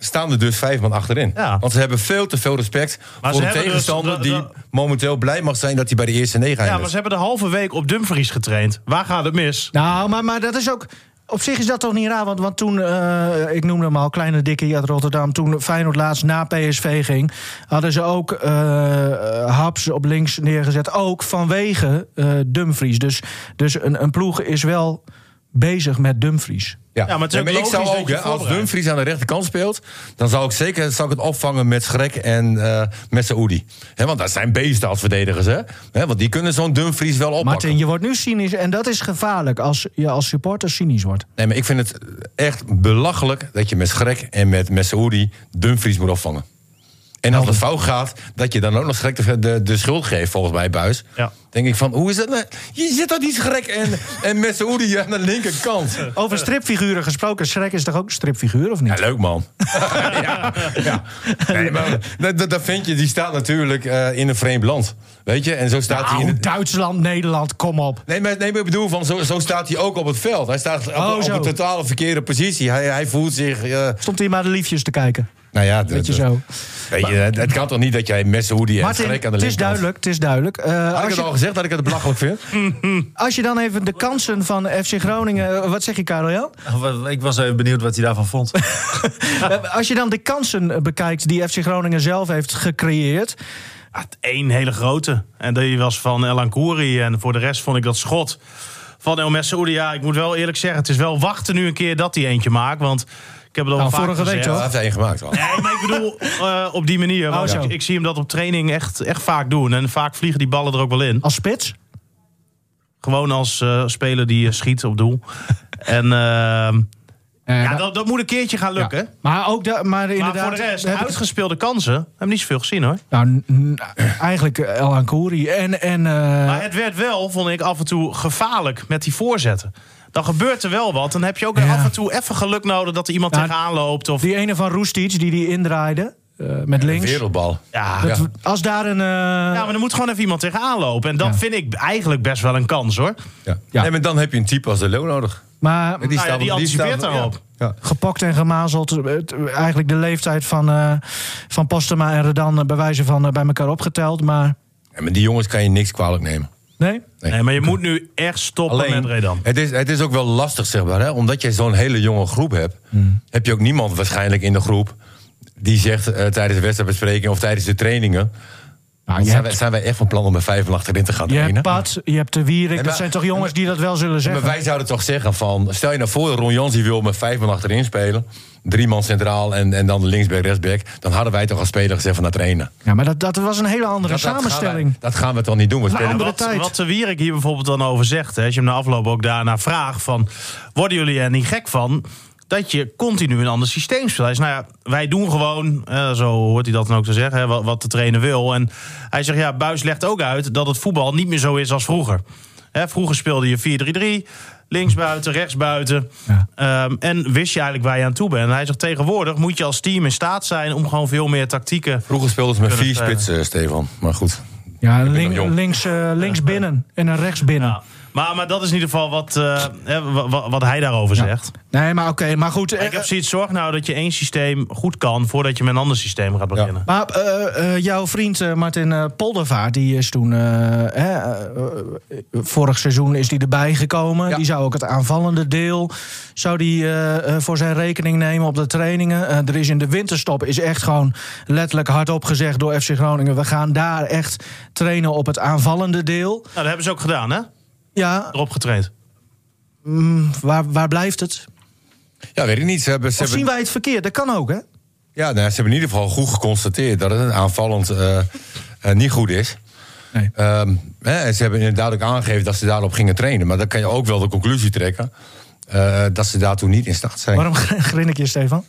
[SPEAKER 1] staan er dus vijf man achterin.
[SPEAKER 4] Ja.
[SPEAKER 1] Want ze hebben veel te veel respect
[SPEAKER 4] Maar
[SPEAKER 1] voor
[SPEAKER 4] ze
[SPEAKER 1] een
[SPEAKER 4] hebben dus-
[SPEAKER 1] tegenstander...
[SPEAKER 4] dat-
[SPEAKER 1] die
[SPEAKER 4] dat-
[SPEAKER 1] momenteel blij mag zijn dat hij bij de eerste negen
[SPEAKER 4] ja,
[SPEAKER 1] eindigt.
[SPEAKER 4] maar ze hebben de halve week op Dumfries getraind. Waar gaat het mis?
[SPEAKER 3] Nou, maar, maar dat is ook... Op zich is dat toch niet raar, want, want toen, eh, ik noemde hem al, Kleine Dikkie uit Rotterdam... toen Feyenoord laatst na PSV ging, hadden ze ook eh Haps op links neergezet. Ook vanwege eh, Dumfries. Dus, dus een, een ploeg is wel bezig met Dumfries.
[SPEAKER 1] Ja,
[SPEAKER 4] Ja, maar
[SPEAKER 1] maar,
[SPEAKER 4] het is ook
[SPEAKER 1] ik
[SPEAKER 4] logisch
[SPEAKER 1] zou
[SPEAKER 4] dat
[SPEAKER 1] ook,
[SPEAKER 4] je
[SPEAKER 1] hè, als
[SPEAKER 4] voorbereidt.
[SPEAKER 1] Dumfries aan de rechterkant speelt, dan zou ik zeker zou ik het opvangen met Schrek en eh, met Saoedi. Hè, want dat zijn beesten als verdedigers, hè? Hè, want die kunnen zo'n Dumfries wel oppakken.
[SPEAKER 3] Martin, je wordt nu cynisch en dat is gevaarlijk als je als supporter cynisch wordt.
[SPEAKER 1] Nee, maar ik vind het echt belachelijk dat je met Schrek en met, met Saoedi Dumfries moet opvangen. En als het fout gaat, dat je dan ook nog gek de, de, de schuld geeft, volgens mij, Buis.
[SPEAKER 4] Ja.
[SPEAKER 1] Denk ik van, hoe is dat nou? Je zit toch niet gek en, en met Saoedi aan de linkerkant.
[SPEAKER 3] Over stripfiguren gesproken. Shrek is toch ook een stripfiguur, of niet?
[SPEAKER 1] Ja, leuk man. ja, ja. Nee, maar dat, dat- dat vind je, die staat natuurlijk eh, in een vreemd land. Weet je, en zo staat hij in
[SPEAKER 3] Nou,
[SPEAKER 1] het-
[SPEAKER 3] Duitsland, Nederland, kom op.
[SPEAKER 1] Nee, maar, nee, maar ik bedoel, van, zo, zo staat hij ook op het veld. Hij staat op,
[SPEAKER 3] Oh,
[SPEAKER 1] op
[SPEAKER 3] zo.
[SPEAKER 1] een totale verkeerde positie. Hij, hij voelt zich... eh,
[SPEAKER 3] Stond hier maar de liefjes te kijken.
[SPEAKER 1] nou ja, d-
[SPEAKER 3] Beetje
[SPEAKER 1] d-
[SPEAKER 3] zo.
[SPEAKER 1] Weet je, het, het kan toch niet dat jij messen hoe die
[SPEAKER 3] Martin,
[SPEAKER 1] aan de
[SPEAKER 3] het is
[SPEAKER 1] linkerkant-
[SPEAKER 3] duidelijk, het is duidelijk. Eh,
[SPEAKER 1] Had ik
[SPEAKER 3] als,
[SPEAKER 1] het
[SPEAKER 3] je,
[SPEAKER 1] al gezegd dat ik het belachelijk vind?
[SPEAKER 3] als je dan even de kansen van FC Groningen... eh, Wat zeg je, Karel Jan?
[SPEAKER 5] Oh, Ik was even benieuwd wat hij daarvan vond.
[SPEAKER 3] Eh, Als je dan de kansen eh, bekijkt die FC Groningen zelf heeft gecreëerd...
[SPEAKER 4] Ja, het één hele grote. En die was van Elan Kouri. En voor de rest vond ik dat schot van El Messoudi. Ja, ik moet wel eerlijk zeggen, het is wel wachten nu een keer dat hij eentje maakt. Want ik heb het al
[SPEAKER 3] Nou,
[SPEAKER 4] vaak
[SPEAKER 3] vorige week
[SPEAKER 4] gezegd.
[SPEAKER 3] toch?
[SPEAKER 1] Dat heeft hij één gemaakt al.
[SPEAKER 4] Nee, maar ik bedoel eh, op die manier. Want
[SPEAKER 3] Oh, zo.
[SPEAKER 4] ik, ik zie hem dat op training echt, echt vaak doen. En vaak vliegen die ballen er ook wel in.
[SPEAKER 3] als spits...
[SPEAKER 4] Gewoon als eh, speler die eh, schiet op doel. En ehm,
[SPEAKER 3] eh,
[SPEAKER 4] ja,
[SPEAKER 1] nou,
[SPEAKER 3] maar-
[SPEAKER 4] dat, dat moet een keertje gaan
[SPEAKER 3] ja.
[SPEAKER 4] lukken.
[SPEAKER 3] Maar ook da- maar
[SPEAKER 4] Maar
[SPEAKER 3] inderdaad...
[SPEAKER 4] voor de rest,
[SPEAKER 3] heb ik-
[SPEAKER 4] uitgespeelde kansen. Hebben we niet zoveel gezien hoor.
[SPEAKER 3] Nou, n- n- eigenlijk El Ankouri en... en eh,
[SPEAKER 4] Maar het werd wel, vond ik, af en toe gevaarlijk met die voorzetten. Dan gebeurt er wel wat. Dan heb je ook
[SPEAKER 3] Ja.
[SPEAKER 4] af en toe even geluk nodig dat er iemand
[SPEAKER 3] Ja,
[SPEAKER 4] tegenaan loopt. Of,
[SPEAKER 3] Die ene van Roestic, die die indraaide eh, met links.
[SPEAKER 1] Wereldbal.
[SPEAKER 4] ja.
[SPEAKER 3] Dat- Als daar een... eh,
[SPEAKER 4] ja, maar er moet gewoon even iemand tegenaan lopen. En dat
[SPEAKER 3] Ja.
[SPEAKER 4] vind ik eigenlijk best wel een kans hoor.
[SPEAKER 1] Ja.
[SPEAKER 3] Ja.
[SPEAKER 1] Nee, maar dan heb je een type als de Leeuw nodig.
[SPEAKER 3] maar,
[SPEAKER 4] Nou ja, die anticipeert daarop.
[SPEAKER 1] Ja.
[SPEAKER 3] gepokt en gemazeld. Het- Eigenlijk de leeftijd van, eh van Postema en Redan eh, bij wijze van eh, bij elkaar opgeteld. Maar
[SPEAKER 1] Ja, maar die jongens kan je niks kwalijk nemen.
[SPEAKER 3] nee,
[SPEAKER 1] Nee.
[SPEAKER 4] Nee, maar je moet nu echt stoppen met Redan.
[SPEAKER 1] het is, het is ook wel lastig, zeg maar. Hè? Omdat je zo'n hele jonge groep hebt...
[SPEAKER 3] Hmm.
[SPEAKER 1] heb je ook niemand waarschijnlijk in de groep... die zegt eh, tijdens de wedstrijdbespreking of tijdens de trainingen...
[SPEAKER 3] Nou, je
[SPEAKER 1] zijn,
[SPEAKER 3] hebt-
[SPEAKER 1] wij, zijn wij echt van plan om met vijf en achterin te gaan
[SPEAKER 3] je hebt
[SPEAKER 1] trainen?
[SPEAKER 3] Pat, je hebt de Wierik.
[SPEAKER 1] maar-
[SPEAKER 3] dat zijn toch jongens die dat wel zullen
[SPEAKER 1] Maar
[SPEAKER 3] zeggen.
[SPEAKER 1] wij zouden toch zeggen van... stel je nou voor, Ron Jans die wil met vijf man achterin spelen... drie man centraal en, en dan linksback, rechtsback... dan hadden wij toch als speler gezegd van dat trainen.
[SPEAKER 3] ja, maar dat, dat was een hele andere
[SPEAKER 1] Dat- dat gaan
[SPEAKER 3] samenstelling.
[SPEAKER 1] wij- Dat gaan we toch niet doen? We spelen
[SPEAKER 3] andere
[SPEAKER 4] wat,
[SPEAKER 3] tijd.
[SPEAKER 4] Wat de Wierik hier bijvoorbeeld dan over zegt, hè, als je hem na afloop ook daarna vraagt van, worden jullie er niet gek van? Dat je continu een ander systeem speelt. Hij zegt, nou ja, wij doen gewoon, eh, zo hoort hij dat dan ook te zeggen, hè, wat, wat de trainer wil. En hij zegt, ja, Buis legt ook uit dat het voetbal niet meer zo is als vroeger. Hè, vroeger speelde je 4-3-3, linksbuiten, rechtsbuiten.
[SPEAKER 3] Ja.
[SPEAKER 4] Ehm, en wist je eigenlijk waar je aan toe bent. En hij zegt, tegenwoordig moet je als team in staat zijn om gewoon veel meer tactieken
[SPEAKER 1] Vroeger speelden ze met
[SPEAKER 4] Kunnen
[SPEAKER 1] vier
[SPEAKER 4] we spelen.
[SPEAKER 1] spitsen, Stefan. Maar goed.
[SPEAKER 3] Ja,
[SPEAKER 1] ben
[SPEAKER 3] link-
[SPEAKER 1] nog jong.
[SPEAKER 3] links, eh, links binnen en een rechts binnen.
[SPEAKER 4] Ja. Maar, maar dat is in ieder geval wat, eh, hè, wa- wa- wat hij daarover zegt.
[SPEAKER 3] Nee, maar oké, maar goed. eh,
[SPEAKER 4] Ik heb zoiets, zorg nou dat je één systeem goed kan... voordat je met een ander systeem gaat beginnen.
[SPEAKER 3] Maar eh, eh, jouw vriend eh, Martin eh, Poldervaart, die is toen... eh, hè, eh, eh, vorig seizoen is die erbij gekomen.
[SPEAKER 1] Ja.
[SPEAKER 3] Die zou ook het aanvallende deel zou die, eh, eh, voor zijn rekening nemen op de trainingen. Eh, er is in de winterstop is echt gewoon letterlijk hardop gezegd door FC Groningen... we gaan daar echt trainen op het aanvallende deel.
[SPEAKER 4] Nou, dat hebben ze ook gedaan, hè?
[SPEAKER 3] Ja,
[SPEAKER 4] Erop getraind.
[SPEAKER 3] mm, waar, waar blijft het?
[SPEAKER 1] Ja, weet ik niet. Ze hebben, ze
[SPEAKER 3] Of zien
[SPEAKER 1] hebben,
[SPEAKER 3] wij het verkeerd? Dat kan ook, hè?
[SPEAKER 1] ja, nou, ja, ze hebben in ieder geval goed geconstateerd dat het aanvallend eh, eh, niet goed is.
[SPEAKER 3] Nee.
[SPEAKER 1] Ehm, hè, en ze hebben inderdaad ook aangegeven dat ze daarop gingen trainen. Maar dan kan je ook wel de conclusie trekken eh, dat ze daartoe niet in staat zijn.
[SPEAKER 3] Waarom grin ik je, Stefan?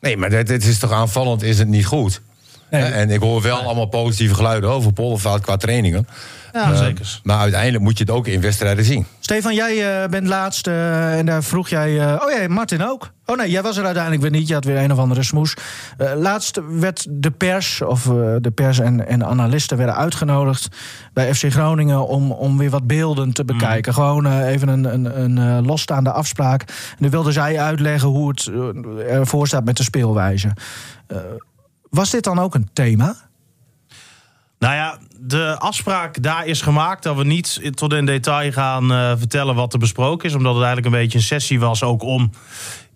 [SPEAKER 1] Nee, maar dit, dit is toch aanvallend, is het niet goed?
[SPEAKER 3] Nee.
[SPEAKER 1] Hè, En ik hoor wel allemaal positieve geluiden over Poldervaart qua trainingen.
[SPEAKER 4] Ja, zeker.
[SPEAKER 1] Maar uiteindelijk moet je het ook in wedstrijden zien.
[SPEAKER 3] Stefan, jij eh, bent laatst eh, en daar vroeg jij... eh, oh ja, Martin ook. Oh nee, jij was er uiteindelijk weer niet. Je had weer een of andere smoes. Eh, laatst werd de pers, of eh, de pers en, en de analisten werden uitgenodigd... bij FC Groningen om, om weer wat beelden te bekijken. Gewoon eh, even een, een, een eh, losstaande afspraak. En dan wilden zij uitleggen hoe het eh, ervoor staat met de speelwijze. Eh, was dit dan ook een thema?
[SPEAKER 4] Nou ja, de afspraak daar is gemaakt... dat we niet in- tot in detail gaan eh, vertellen wat er besproken is. Omdat het eigenlijk een beetje een sessie was ook om...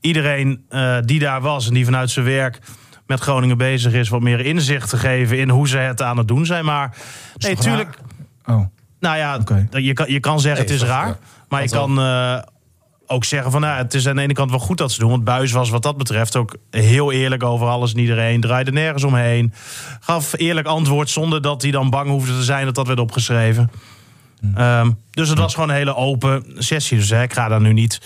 [SPEAKER 4] iedereen eh, die daar was en die vanuit zijn werk met Groningen bezig is... wat meer inzicht te geven in hoe ze het aan het doen zijn. Maar nee,
[SPEAKER 3] toch
[SPEAKER 4] tuurlijk...
[SPEAKER 3] Oh.
[SPEAKER 4] Nou ja,
[SPEAKER 3] Oké.
[SPEAKER 4] d- je, kan, je kan zeggen
[SPEAKER 1] Nee,
[SPEAKER 4] het is
[SPEAKER 1] dat-
[SPEAKER 4] raar.
[SPEAKER 1] ja,
[SPEAKER 4] maar je kan eh, ook zeggen van nou, het is aan de ene kant wel goed dat ze doen. Want Buis was wat dat betreft ook heel eerlijk over alles en iedereen. Draaide nergens omheen. Gaf eerlijk antwoord zonder dat hij dan bang hoefde te zijn dat dat werd opgeschreven.
[SPEAKER 1] Hm.
[SPEAKER 4] Ehm, dus het was gewoon een hele open sessie. Dus hè, ik ga daar nu niet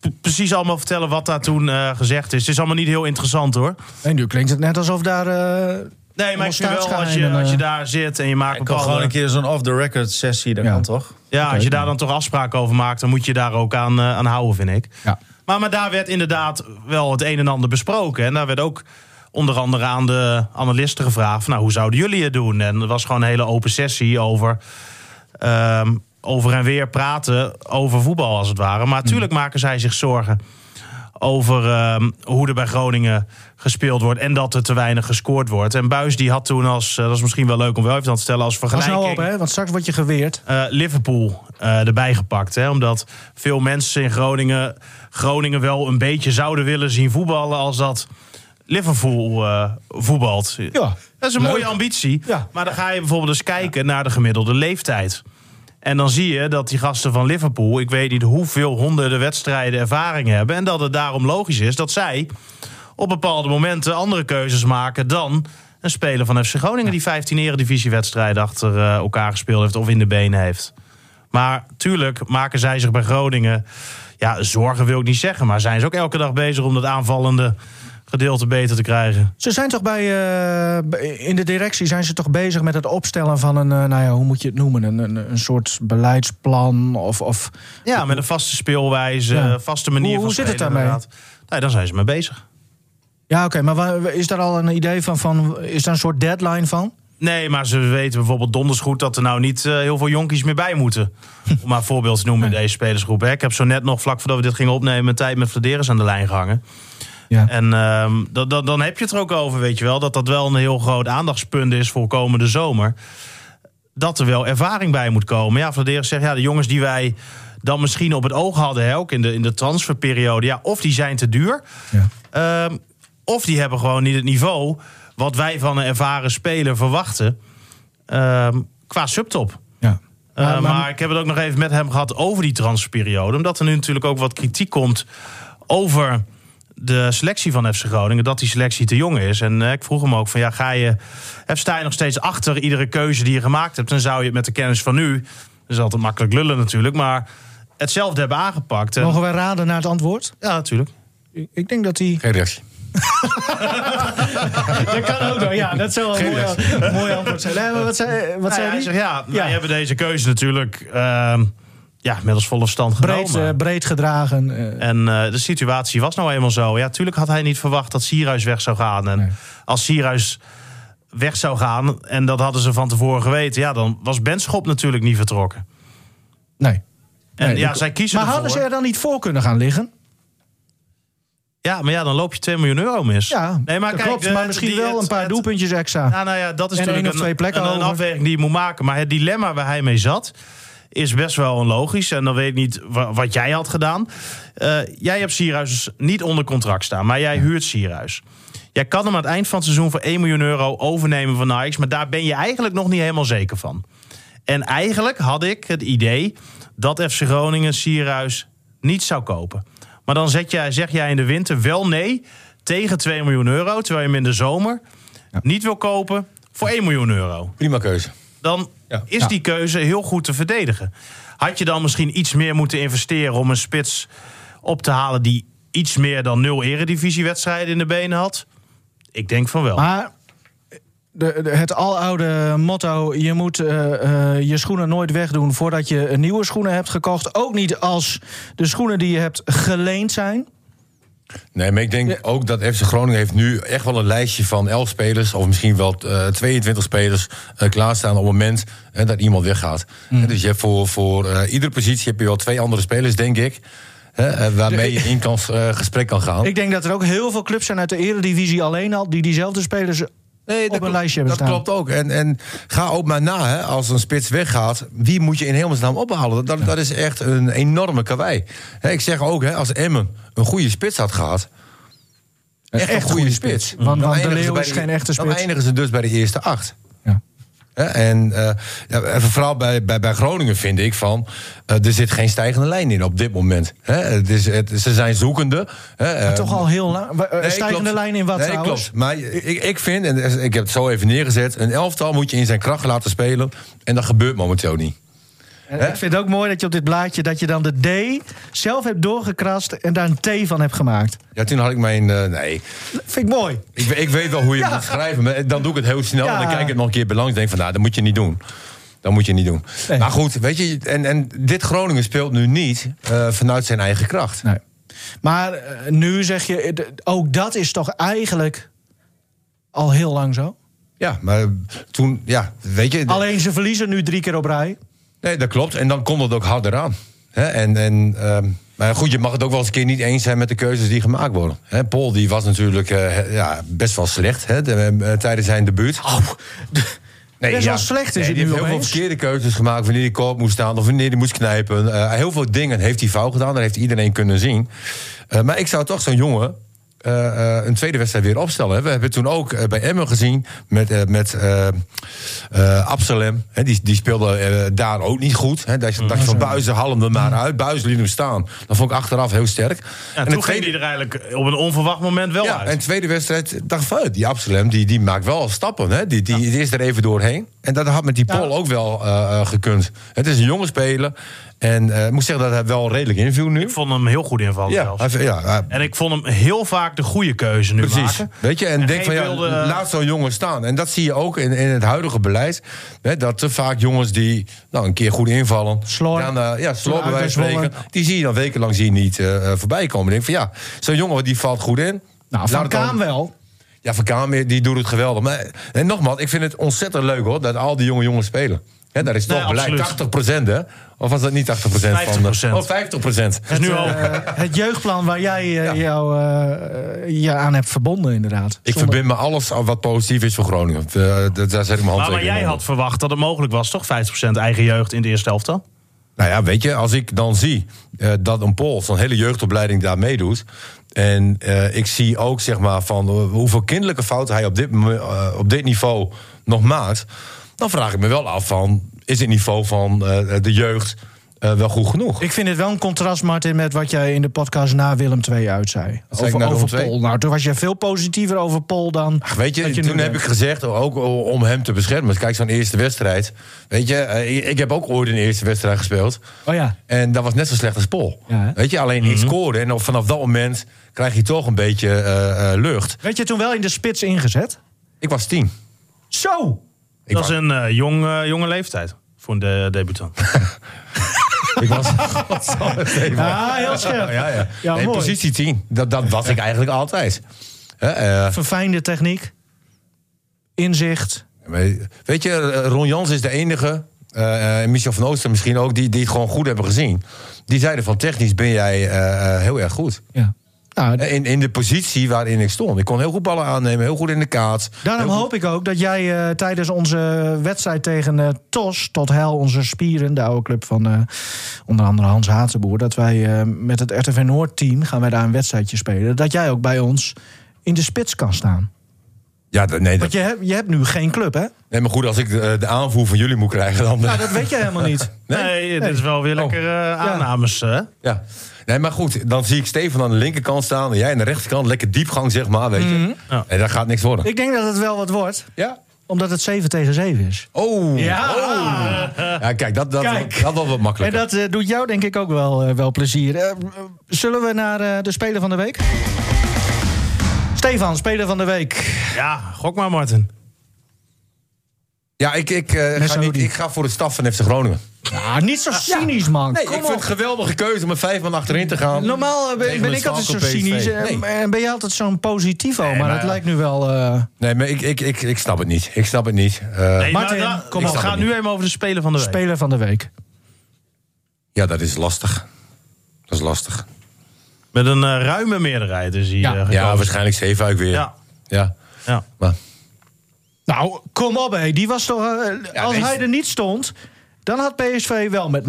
[SPEAKER 4] p- precies allemaal vertellen wat daar toen eh, gezegd is. Het is allemaal niet heel interessant hoor.
[SPEAKER 3] En nu klinkt het net alsof daar... eh,
[SPEAKER 4] Nee, maar ik vind wel, als je,
[SPEAKER 3] staatsgeheimen,
[SPEAKER 4] als je
[SPEAKER 3] eh.
[SPEAKER 4] daar zit en je maakt
[SPEAKER 5] Ik kan
[SPEAKER 4] bepaalde-
[SPEAKER 5] gewoon een keer zo'n off-the-record sessie, dat
[SPEAKER 3] Ja.
[SPEAKER 5] kan toch?
[SPEAKER 4] Ja, als je daar dan toch afspraken over maakt, dan moet je daar ook aan, eh, aan houden, vind ik.
[SPEAKER 3] Ja.
[SPEAKER 4] Maar, maar daar werd inderdaad wel het een en ander besproken. En daar werd ook onder andere aan de analisten gevraagd: van, nou, hoe zouden jullie het doen? En er was gewoon een hele open sessie over. ehm, over en weer praten over voetbal, als het ware. Maar natuurlijk maken zij zich zorgen over ehm, hoe er bij Groningen gespeeld wordt... en dat er te weinig gescoord wordt. En Buis die had toen als... eh, dat is misschien wel leuk om wel even aan te stellen... als
[SPEAKER 3] Pas
[SPEAKER 4] vergelijking...
[SPEAKER 3] nou op, hè, want straks word je geweerd.
[SPEAKER 4] eh, Liverpool eh, erbij gepakt. Hè? Omdat veel mensen in Groningen Groningen wel een beetje zouden willen zien voetballen als dat Liverpool eh, voetbalt.
[SPEAKER 3] Ja.
[SPEAKER 4] Dat is een mooie ambitie.
[SPEAKER 3] Ja.
[SPEAKER 4] Maar dan ga je bijvoorbeeld eens kijken naar de gemiddelde leeftijd. En dan zie je dat die gasten van Liverpool, ik weet niet hoeveel honderden wedstrijden ervaring hebben. En dat het daarom logisch is dat zij op bepaalde momenten andere keuzes maken dan een speler van FC Groningen die 15 eredivisiewedstrijden achter eh, elkaar gespeeld heeft of in de benen heeft. Maar tuurlijk maken zij zich bij Groningen, ja, zorgen wil ik niet zeggen, maar zijn ze ook elke dag bezig om dat aanvallende gedeelte beter te krijgen.
[SPEAKER 3] Ze zijn toch bij, eh, bij- in de directie zijn ze toch bezig met het opstellen van een, eh, nou ja, hoe moet je het noemen, een, een, een soort beleidsplan of, of
[SPEAKER 4] Ja, met een vaste speelwijze,
[SPEAKER 3] Ja.
[SPEAKER 4] vaste manier
[SPEAKER 3] Hoe-
[SPEAKER 4] van
[SPEAKER 3] hoe zit het
[SPEAKER 4] spelen,
[SPEAKER 3] daarmee?
[SPEAKER 4] inderdaad. Nee, dan zijn ze mee bezig.
[SPEAKER 3] ja, oké, maar wa- is daar al een idee van, van, is daar een soort deadline van?
[SPEAKER 4] Nee, maar ze weten bijvoorbeeld donders goed dat er nou niet eh, heel veel jonkies meer bij moeten. Om maar een voorbeeld te noemen in deze spelersgroep. Hè. Ik heb zo net nog, vlak voordat we dit gingen opnemen, een tijd met Vladeris aan de lijn gehangen.
[SPEAKER 3] Ja.
[SPEAKER 4] En ehm, dat, dat, dan heb je het er ook over, weet je wel. Dat dat wel een heel groot aandachtspunt is voor komende zomer. Dat er wel ervaring bij moet komen. Ja, Vladeris zegt, ja, de jongens die wij dan misschien op het oog hadden, hè, ook in de, in de transferperiode. Ja, of die zijn te duur.
[SPEAKER 3] Ja.
[SPEAKER 4] Ehm, of die hebben gewoon niet het niveau wat wij van een ervaren speler verwachten ehm, qua subtop.
[SPEAKER 3] ja.
[SPEAKER 4] Eh,
[SPEAKER 3] Maar-
[SPEAKER 4] maar,
[SPEAKER 3] maar-
[SPEAKER 4] ik heb het ook nog even met hem gehad over die transperiode. Omdat er nu natuurlijk ook wat kritiek komt over de selectie van FC Groningen. Dat die selectie te jong is. En eh, ik vroeg hem ook van ja, ga je, eh, sta je nog steeds achter iedere keuze die je gemaakt hebt? Dan zou je het met de kennis van nu, dat is altijd makkelijk lullen natuurlijk, maar hetzelfde hebben aangepakt. En-
[SPEAKER 3] Mogen wij raden naar het antwoord?
[SPEAKER 4] ja, natuurlijk.
[SPEAKER 3] Ik- Ik denk dat die.
[SPEAKER 1] Geen reactie.
[SPEAKER 3] Dat kan ook wel, ja, dat zou wel
[SPEAKER 1] Geen
[SPEAKER 3] mooi, antwoord zijn. Nee, maar wat zei, wat
[SPEAKER 4] Nou
[SPEAKER 3] zei
[SPEAKER 4] ja,
[SPEAKER 3] die?
[SPEAKER 4] hij zegt, ja,
[SPEAKER 3] Ja.
[SPEAKER 4] wij hebben deze keuze natuurlijk ehm, ja, met als volle stand
[SPEAKER 3] breed,
[SPEAKER 4] genomen.
[SPEAKER 3] eh, breed gedragen. eh,
[SPEAKER 4] en eh, de situatie was nou eenmaal zo. Ja, tuurlijk had hij niet verwacht dat Sierhuis weg zou gaan. En
[SPEAKER 3] Nee.
[SPEAKER 4] als Sierhuis weg zou gaan, en dat hadden ze van tevoren geweten... ja, dan was Benschop natuurlijk niet vertrokken.
[SPEAKER 3] nee.
[SPEAKER 4] En
[SPEAKER 3] Nee,
[SPEAKER 4] ja,
[SPEAKER 3] dat-
[SPEAKER 4] zij kiezen
[SPEAKER 3] Maar
[SPEAKER 4] ervoor.
[SPEAKER 3] hadden ze er dan niet voor kunnen gaan liggen?
[SPEAKER 4] Ja, maar ja, dan loop je 2 miljoen euro mis.
[SPEAKER 3] Ja,
[SPEAKER 4] nee, maar
[SPEAKER 3] dat
[SPEAKER 4] kijk,
[SPEAKER 3] klopt.
[SPEAKER 4] de-
[SPEAKER 3] maar misschien
[SPEAKER 4] die-
[SPEAKER 3] wel
[SPEAKER 4] het-
[SPEAKER 3] een paar
[SPEAKER 4] het-
[SPEAKER 3] doelpuntjes extra.
[SPEAKER 4] Ja, nou ja, dat is
[SPEAKER 3] En
[SPEAKER 4] natuurlijk
[SPEAKER 3] één of
[SPEAKER 4] een,
[SPEAKER 3] twee plekken
[SPEAKER 4] een, een
[SPEAKER 3] over.
[SPEAKER 4] afweging die je moet maken. Maar het dilemma waar hij mee zat is best wel onlogisch. En dan weet ik niet wa- wat jij had gedaan. Eh, jij hebt Sierhuis dus niet onder contract staan, maar jij huurt Sierhuis. Jij kan hem aan het eind van het seizoen voor 1 miljoen euro overnemen van Ajax. Maar daar ben je eigenlijk nog niet helemaal zeker van. En eigenlijk had ik het idee dat FC Groningen Sierhuis niet zou kopen. Maar dan zet jij, zeg jij in de winter wel nee tegen 2 miljoen euro. Terwijl je hem in de zomer niet wil kopen voor 1 miljoen euro.
[SPEAKER 1] Prima keuze.
[SPEAKER 4] Dan
[SPEAKER 1] Ja.
[SPEAKER 4] is die keuze heel goed te verdedigen. Had je dan misschien iets meer moeten investeren om een spits op te halen die iets meer dan nul eredivisiewedstrijden in de benen had? Ik denk van wel.
[SPEAKER 3] Maar de, de- het aloude motto: je moet eh, eh, je schoenen nooit wegdoen voordat je nieuwe schoenen hebt gekocht. Ook niet als de schoenen die je hebt geleend zijn.
[SPEAKER 1] Nee, maar ik denk ook dat FC Groningen heeft nu echt wel een lijstje van 11 spelers... of misschien wel eh, 22 spelers eh, klaarstaan op het moment eh, dat iemand weggaat.
[SPEAKER 3] Mm.
[SPEAKER 1] Eh, Dus je hebt voor, voor eh, iedere positie heb je wel twee andere spelers, denk ik... eh, eh, waarmee je in kan, eh, gesprek kan gaan.
[SPEAKER 3] Ik denk dat er ook heel veel clubs zijn uit de Eredivisie alleen al die diezelfde spelers op een
[SPEAKER 1] klopt-
[SPEAKER 3] lijstje hebben
[SPEAKER 1] dat
[SPEAKER 3] staan.
[SPEAKER 1] klopt ook. En, en ga ook maar na, hè, als een spits weggaat... wie moet je in hemelsnaam ophalen? Dat, dat is echt een enorme karwei. Hè, ik zeg ook, hè, als Emmen een goede spits had gehad... Echt, een goede spits.
[SPEAKER 3] Want- want
[SPEAKER 1] Dan
[SPEAKER 3] De
[SPEAKER 1] eindigen ze
[SPEAKER 3] Leeuw
[SPEAKER 1] bij
[SPEAKER 3] is
[SPEAKER 1] de-
[SPEAKER 3] geen echte
[SPEAKER 1] Dan
[SPEAKER 3] spits.
[SPEAKER 1] eindigen ze dus bij de eerste acht.
[SPEAKER 3] Ja.
[SPEAKER 1] Hè, En eh, ja, even vooral bij, bij, bij Groningen vind ik van... eh, er zit geen stijgende lijn in op dit moment. Hè, het is, het, ze zijn zoekende. Hè, eh,
[SPEAKER 3] Toch al heel lang. Wa- eh,
[SPEAKER 1] Nee,
[SPEAKER 3] stijgende
[SPEAKER 1] klopt.
[SPEAKER 3] lijn in wat
[SPEAKER 1] nee,
[SPEAKER 3] trouwens?
[SPEAKER 1] Klopt. Maar ik, ik vind, en ik heb het zo even neergezet... een elftal moet je in zijn kracht laten spelen. En dat gebeurt momenteel niet. Hè?
[SPEAKER 3] Eh, Ik vind het ook mooi dat je op dit blaadje dat je dan de D zelf hebt doorgekrast en daar een T van hebt gemaakt.
[SPEAKER 1] Ja, toen had ik mijn... eh, nee,
[SPEAKER 3] Vind ik mooi.
[SPEAKER 1] ik, we- ik weet wel hoe je het
[SPEAKER 3] Ja.
[SPEAKER 1] moet schrijven. Maar dan doe ik het heel snel. En
[SPEAKER 3] Ja.
[SPEAKER 1] dan kijk ik het nog een keer belangrijk. denk van, nou, dat moet je niet doen. Dat moet je niet doen.
[SPEAKER 3] Nee.
[SPEAKER 1] Maar goed, weet je... En, en dit Groningen speelt nu niet eh, vanuit zijn eigen kracht.
[SPEAKER 3] Nee. Maar eh, nu zeg je, eh, d- ook dat is toch eigenlijk al heel lang zo?
[SPEAKER 1] Ja, maar toen... Ja, weet je...
[SPEAKER 3] Alleen ze verliezen nu drie keer op
[SPEAKER 1] Nou,
[SPEAKER 3] rij.
[SPEAKER 1] Nee, dat klopt. En dan komt het ook harder aan. Hè, en, en, ehm, maar goed, je mag het ook wel eens een keer niet eens zijn met de keuzes die gemaakt worden. Hè, Paul die was natuurlijk eh, ja, best wel slecht hè, de- eh, tijdens zijn debuut. Nee,
[SPEAKER 3] Oh, Best wel slecht is
[SPEAKER 1] nee, die
[SPEAKER 3] het nu
[SPEAKER 1] heeft heel veel
[SPEAKER 3] opeens.
[SPEAKER 1] verkeerde keuzes gemaakt. Wanneer die koop moest staan of wanneer die moest knijpen. Eh, heel veel dingen heeft hij fout gedaan. Dat heeft iedereen kunnen zien. Eh, maar ik zou toch zo'n jongen eh, eh, een tweede wedstrijd weer opstellen. hè. We hebben toen ook eh, bij Emmen gezien met, eh, met eh, eh, Absalem. Hè, die, die speelde eh, daar ook niet goed. Hè. Daar
[SPEAKER 4] Mhm.
[SPEAKER 1] dacht je van Buizen, haal hem er maar uit. Buizen liet hem staan. Dat vond ik achteraf heel sterk.
[SPEAKER 4] En
[SPEAKER 1] de
[SPEAKER 4] toen
[SPEAKER 1] tweede-
[SPEAKER 4] ging hij er eigenlijk op een onverwacht moment wel
[SPEAKER 1] ja,
[SPEAKER 4] uit.
[SPEAKER 1] en tweede wedstrijd dacht ik van, eh, die Absalem die, die maakt wel stappen. Hè? Die, die, die is er even doorheen. En dat had met die Paul ook wel eh, eh, gekund. Het is een jonge speler. En eh, ik moet zeggen dat hij wel redelijk inviel nu.
[SPEAKER 4] Ik vond hem heel goed invallen
[SPEAKER 1] Ja,
[SPEAKER 4] zelfs.
[SPEAKER 1] hij- ja hij-
[SPEAKER 4] En ik vond hem heel vaak de goede keuze nu
[SPEAKER 1] precies.
[SPEAKER 4] maken.
[SPEAKER 1] Weet je, en,
[SPEAKER 4] En
[SPEAKER 1] denk
[SPEAKER 4] geen
[SPEAKER 1] van, ja,
[SPEAKER 4] wilde-
[SPEAKER 1] laat zo'n jongen staan. En dat zie je ook in, in het huidige beleid. Hè, dat te vaak jongens die nou, een keer goed invallen...
[SPEAKER 3] Slor.
[SPEAKER 1] Dan, eh, ja, slor bij wijze van
[SPEAKER 3] Uitwisselen.
[SPEAKER 1] spreken. Die zie je dan wekenlang zie je niet eh, eh, voorbij komen. Ik denk van, ja, zo'n jongen die valt goed in.
[SPEAKER 3] Nou,
[SPEAKER 1] Laat
[SPEAKER 3] van
[SPEAKER 1] het dan-
[SPEAKER 3] Kaam wel.
[SPEAKER 1] Ja, Van Kamer, die doet het geweldig. Maar, en nogmaals, ik vind het ontzettend leuk hoor, dat al die jonge jongens spelen. Hè, daar is
[SPEAKER 4] Nee,
[SPEAKER 1] toch beleid
[SPEAKER 4] absoluut.
[SPEAKER 1] 80 hè? Of was dat niet 80 van de...
[SPEAKER 4] 50%.
[SPEAKER 1] Oh, 50
[SPEAKER 4] Het is nu al...
[SPEAKER 3] Eh, het jeugdplan waar jij eh,
[SPEAKER 1] Ja.
[SPEAKER 3] jou eh, eh, je aan hebt verbonden, inderdaad.
[SPEAKER 1] Ik
[SPEAKER 3] Zonder-
[SPEAKER 1] verbind me alles aan wat positief is voor Groningen. Eh, dat- daar zet ik mijn hand
[SPEAKER 4] Maar, maar
[SPEAKER 1] tegen
[SPEAKER 4] jij
[SPEAKER 1] in.
[SPEAKER 4] had verwacht dat het mogelijk was, toch? 50% eigen jeugd in de eerste helft dan?
[SPEAKER 1] Nou ja, weet je, als ik dan zie eh, dat een Pool zo'n hele jeugdopleiding daar meedoet. En eh, ik zie ook zeg maar van eh, hoeveel kinderlijke fouten hij op dit, mo- eh, op dit niveau nog maakt. Dan vraag ik me wel af van, is het niveau van eh, de jeugd eh, wel goed genoeg?
[SPEAKER 3] Ik vind het wel een contrast, Martin, met wat jij in de podcast na Willem II uitzei.
[SPEAKER 1] zei ik na
[SPEAKER 3] Over, over
[SPEAKER 1] Willem II?
[SPEAKER 3] Pol. Nou, toen was je veel positiever over Pol dan.
[SPEAKER 1] Ach, weet je,
[SPEAKER 3] dat nu
[SPEAKER 1] toen heb
[SPEAKER 3] bent.
[SPEAKER 1] ik gezegd, eh, ook om hem te beschermen. Want Kijk, zo'n eerste wedstrijd. Weet je, eh, ik- ik heb ook ooit een eerste wedstrijd gespeeld.
[SPEAKER 3] Oh ja.
[SPEAKER 1] En dat was net zo slecht als Pol.
[SPEAKER 3] Ja, hè?
[SPEAKER 1] Weet je, alleen
[SPEAKER 4] Mhm.
[SPEAKER 1] ik scoorde. En op- vanaf dat moment krijg je toch een beetje eh, eh, lucht.
[SPEAKER 3] Werd je toen wel in de spits ingezet?
[SPEAKER 1] Ik was tien.
[SPEAKER 3] Zo!
[SPEAKER 1] Ik
[SPEAKER 4] dat
[SPEAKER 1] was,
[SPEAKER 4] is een eh, jong, eh, jonge leeftijd voor de debutant.
[SPEAKER 1] ik was Godsamme, nee, maar-
[SPEAKER 3] Ah, heel scherp.
[SPEAKER 1] ja, ja.
[SPEAKER 3] Ja,
[SPEAKER 1] Nee,
[SPEAKER 3] mooi.
[SPEAKER 1] positie 10. Dat, dat was ik eigenlijk altijd. Hè, eh,
[SPEAKER 3] Verfijnde techniek. Inzicht.
[SPEAKER 1] Maar Weet je, eh, Ron Jans is de enige, eh, en Michel van Ooster misschien ook, die, die het gewoon goed hebben gezien. Die zeiden van technisch ben jij eh, eh, heel erg goed.
[SPEAKER 3] Ja. Nou,
[SPEAKER 1] Eh, In, in de positie waarin ik stond. Ik kon heel goed ballen aannemen, heel goed in de kaats.
[SPEAKER 3] Daarom
[SPEAKER 1] Heel goed-
[SPEAKER 3] hoop ik ook dat jij eh, tijdens onze wedstrijd tegen eh, TOS, tot hel onze spieren, de oude club van eh, onder andere Hans Hatenboer, dat wij eh, met het RTV Noord-team gaan wij daar een wedstrijdje spelen. Dat jij ook bij ons in de spits kan staan.
[SPEAKER 1] Ja, dat- nee, dat,
[SPEAKER 3] Want je, hebt- je hebt nu geen club, hè?
[SPEAKER 1] nee, maar goed, als ik de, de aanvoer van jullie moet krijgen, dan... eh,
[SPEAKER 3] Nou, dat weet jij helemaal niet.
[SPEAKER 4] Nee, dit is wel weer lekker eh, aannames. hè?
[SPEAKER 1] Ja. Nee, maar goed, dan zie ik Steven aan de linkerkant staan... en jij aan de rechterkant, lekker diepgang, zeg maar, weet je.
[SPEAKER 4] Ja.
[SPEAKER 1] En dat gaat niks worden.
[SPEAKER 3] Mhm. Ik denk dat het wel wat wordt,
[SPEAKER 1] Ja?
[SPEAKER 3] omdat het 7 tegen 7 is.
[SPEAKER 1] Oh!
[SPEAKER 3] Ja.
[SPEAKER 1] oh. ja kijk, dat, dat,
[SPEAKER 3] Kijk.
[SPEAKER 1] dat was wat
[SPEAKER 3] En
[SPEAKER 1] makkelijker.
[SPEAKER 3] dat eh, doet jou denk ik ook wel, eh, wel plezier. Eh, eh, zullen we naar eh, de Speler van de Week? Stefan, Speler van de Week.
[SPEAKER 4] Ja, gok maar, Martin.
[SPEAKER 1] Ja, ik, ik, eh, ga
[SPEAKER 3] Saoedi.
[SPEAKER 1] niet, ik ga voor de staf van FC Groningen.
[SPEAKER 3] Ah, niet zo cynisch, man.
[SPEAKER 1] Nee, ik
[SPEAKER 3] Kom
[SPEAKER 1] vind
[SPEAKER 3] op.
[SPEAKER 1] het een geweldige keuze om met vijf man achterin te gaan.
[SPEAKER 3] Normaal eh, ben,
[SPEAKER 1] Tegen
[SPEAKER 3] ben
[SPEAKER 1] een
[SPEAKER 3] ik altijd zo
[SPEAKER 1] zwakke PSV.
[SPEAKER 3] cynisch. eh,
[SPEAKER 1] Nee.
[SPEAKER 3] En ben je altijd zo'n positivo. maar
[SPEAKER 4] maar-
[SPEAKER 3] het lijkt nu wel... eh,
[SPEAKER 1] Nee, maar ik, ik, ik, ik snap het niet. Ik snap het niet. Eh,
[SPEAKER 4] Nee,
[SPEAKER 3] Martin,
[SPEAKER 4] nou, nou,
[SPEAKER 3] kom
[SPEAKER 4] het
[SPEAKER 1] op.
[SPEAKER 4] gaat nu even over de speler van de week.
[SPEAKER 3] Speler van de Week.
[SPEAKER 1] Ja, dat is lastig. Dat is lastig.
[SPEAKER 4] Met een eh, ruime meerderheid is hij
[SPEAKER 3] Ja.
[SPEAKER 4] eh, gekomen.
[SPEAKER 1] Ja, waarschijnlijk Zeefuik weer.
[SPEAKER 4] Ja.
[SPEAKER 1] ja.
[SPEAKER 4] Ja.
[SPEAKER 1] Maar,
[SPEAKER 3] Nou, kom op, hé. Die was toch... eh,
[SPEAKER 1] Ja,
[SPEAKER 3] als
[SPEAKER 1] nee,
[SPEAKER 3] hij
[SPEAKER 1] ze-
[SPEAKER 3] er niet stond... Dan had PSV wel met 0-3, 0-4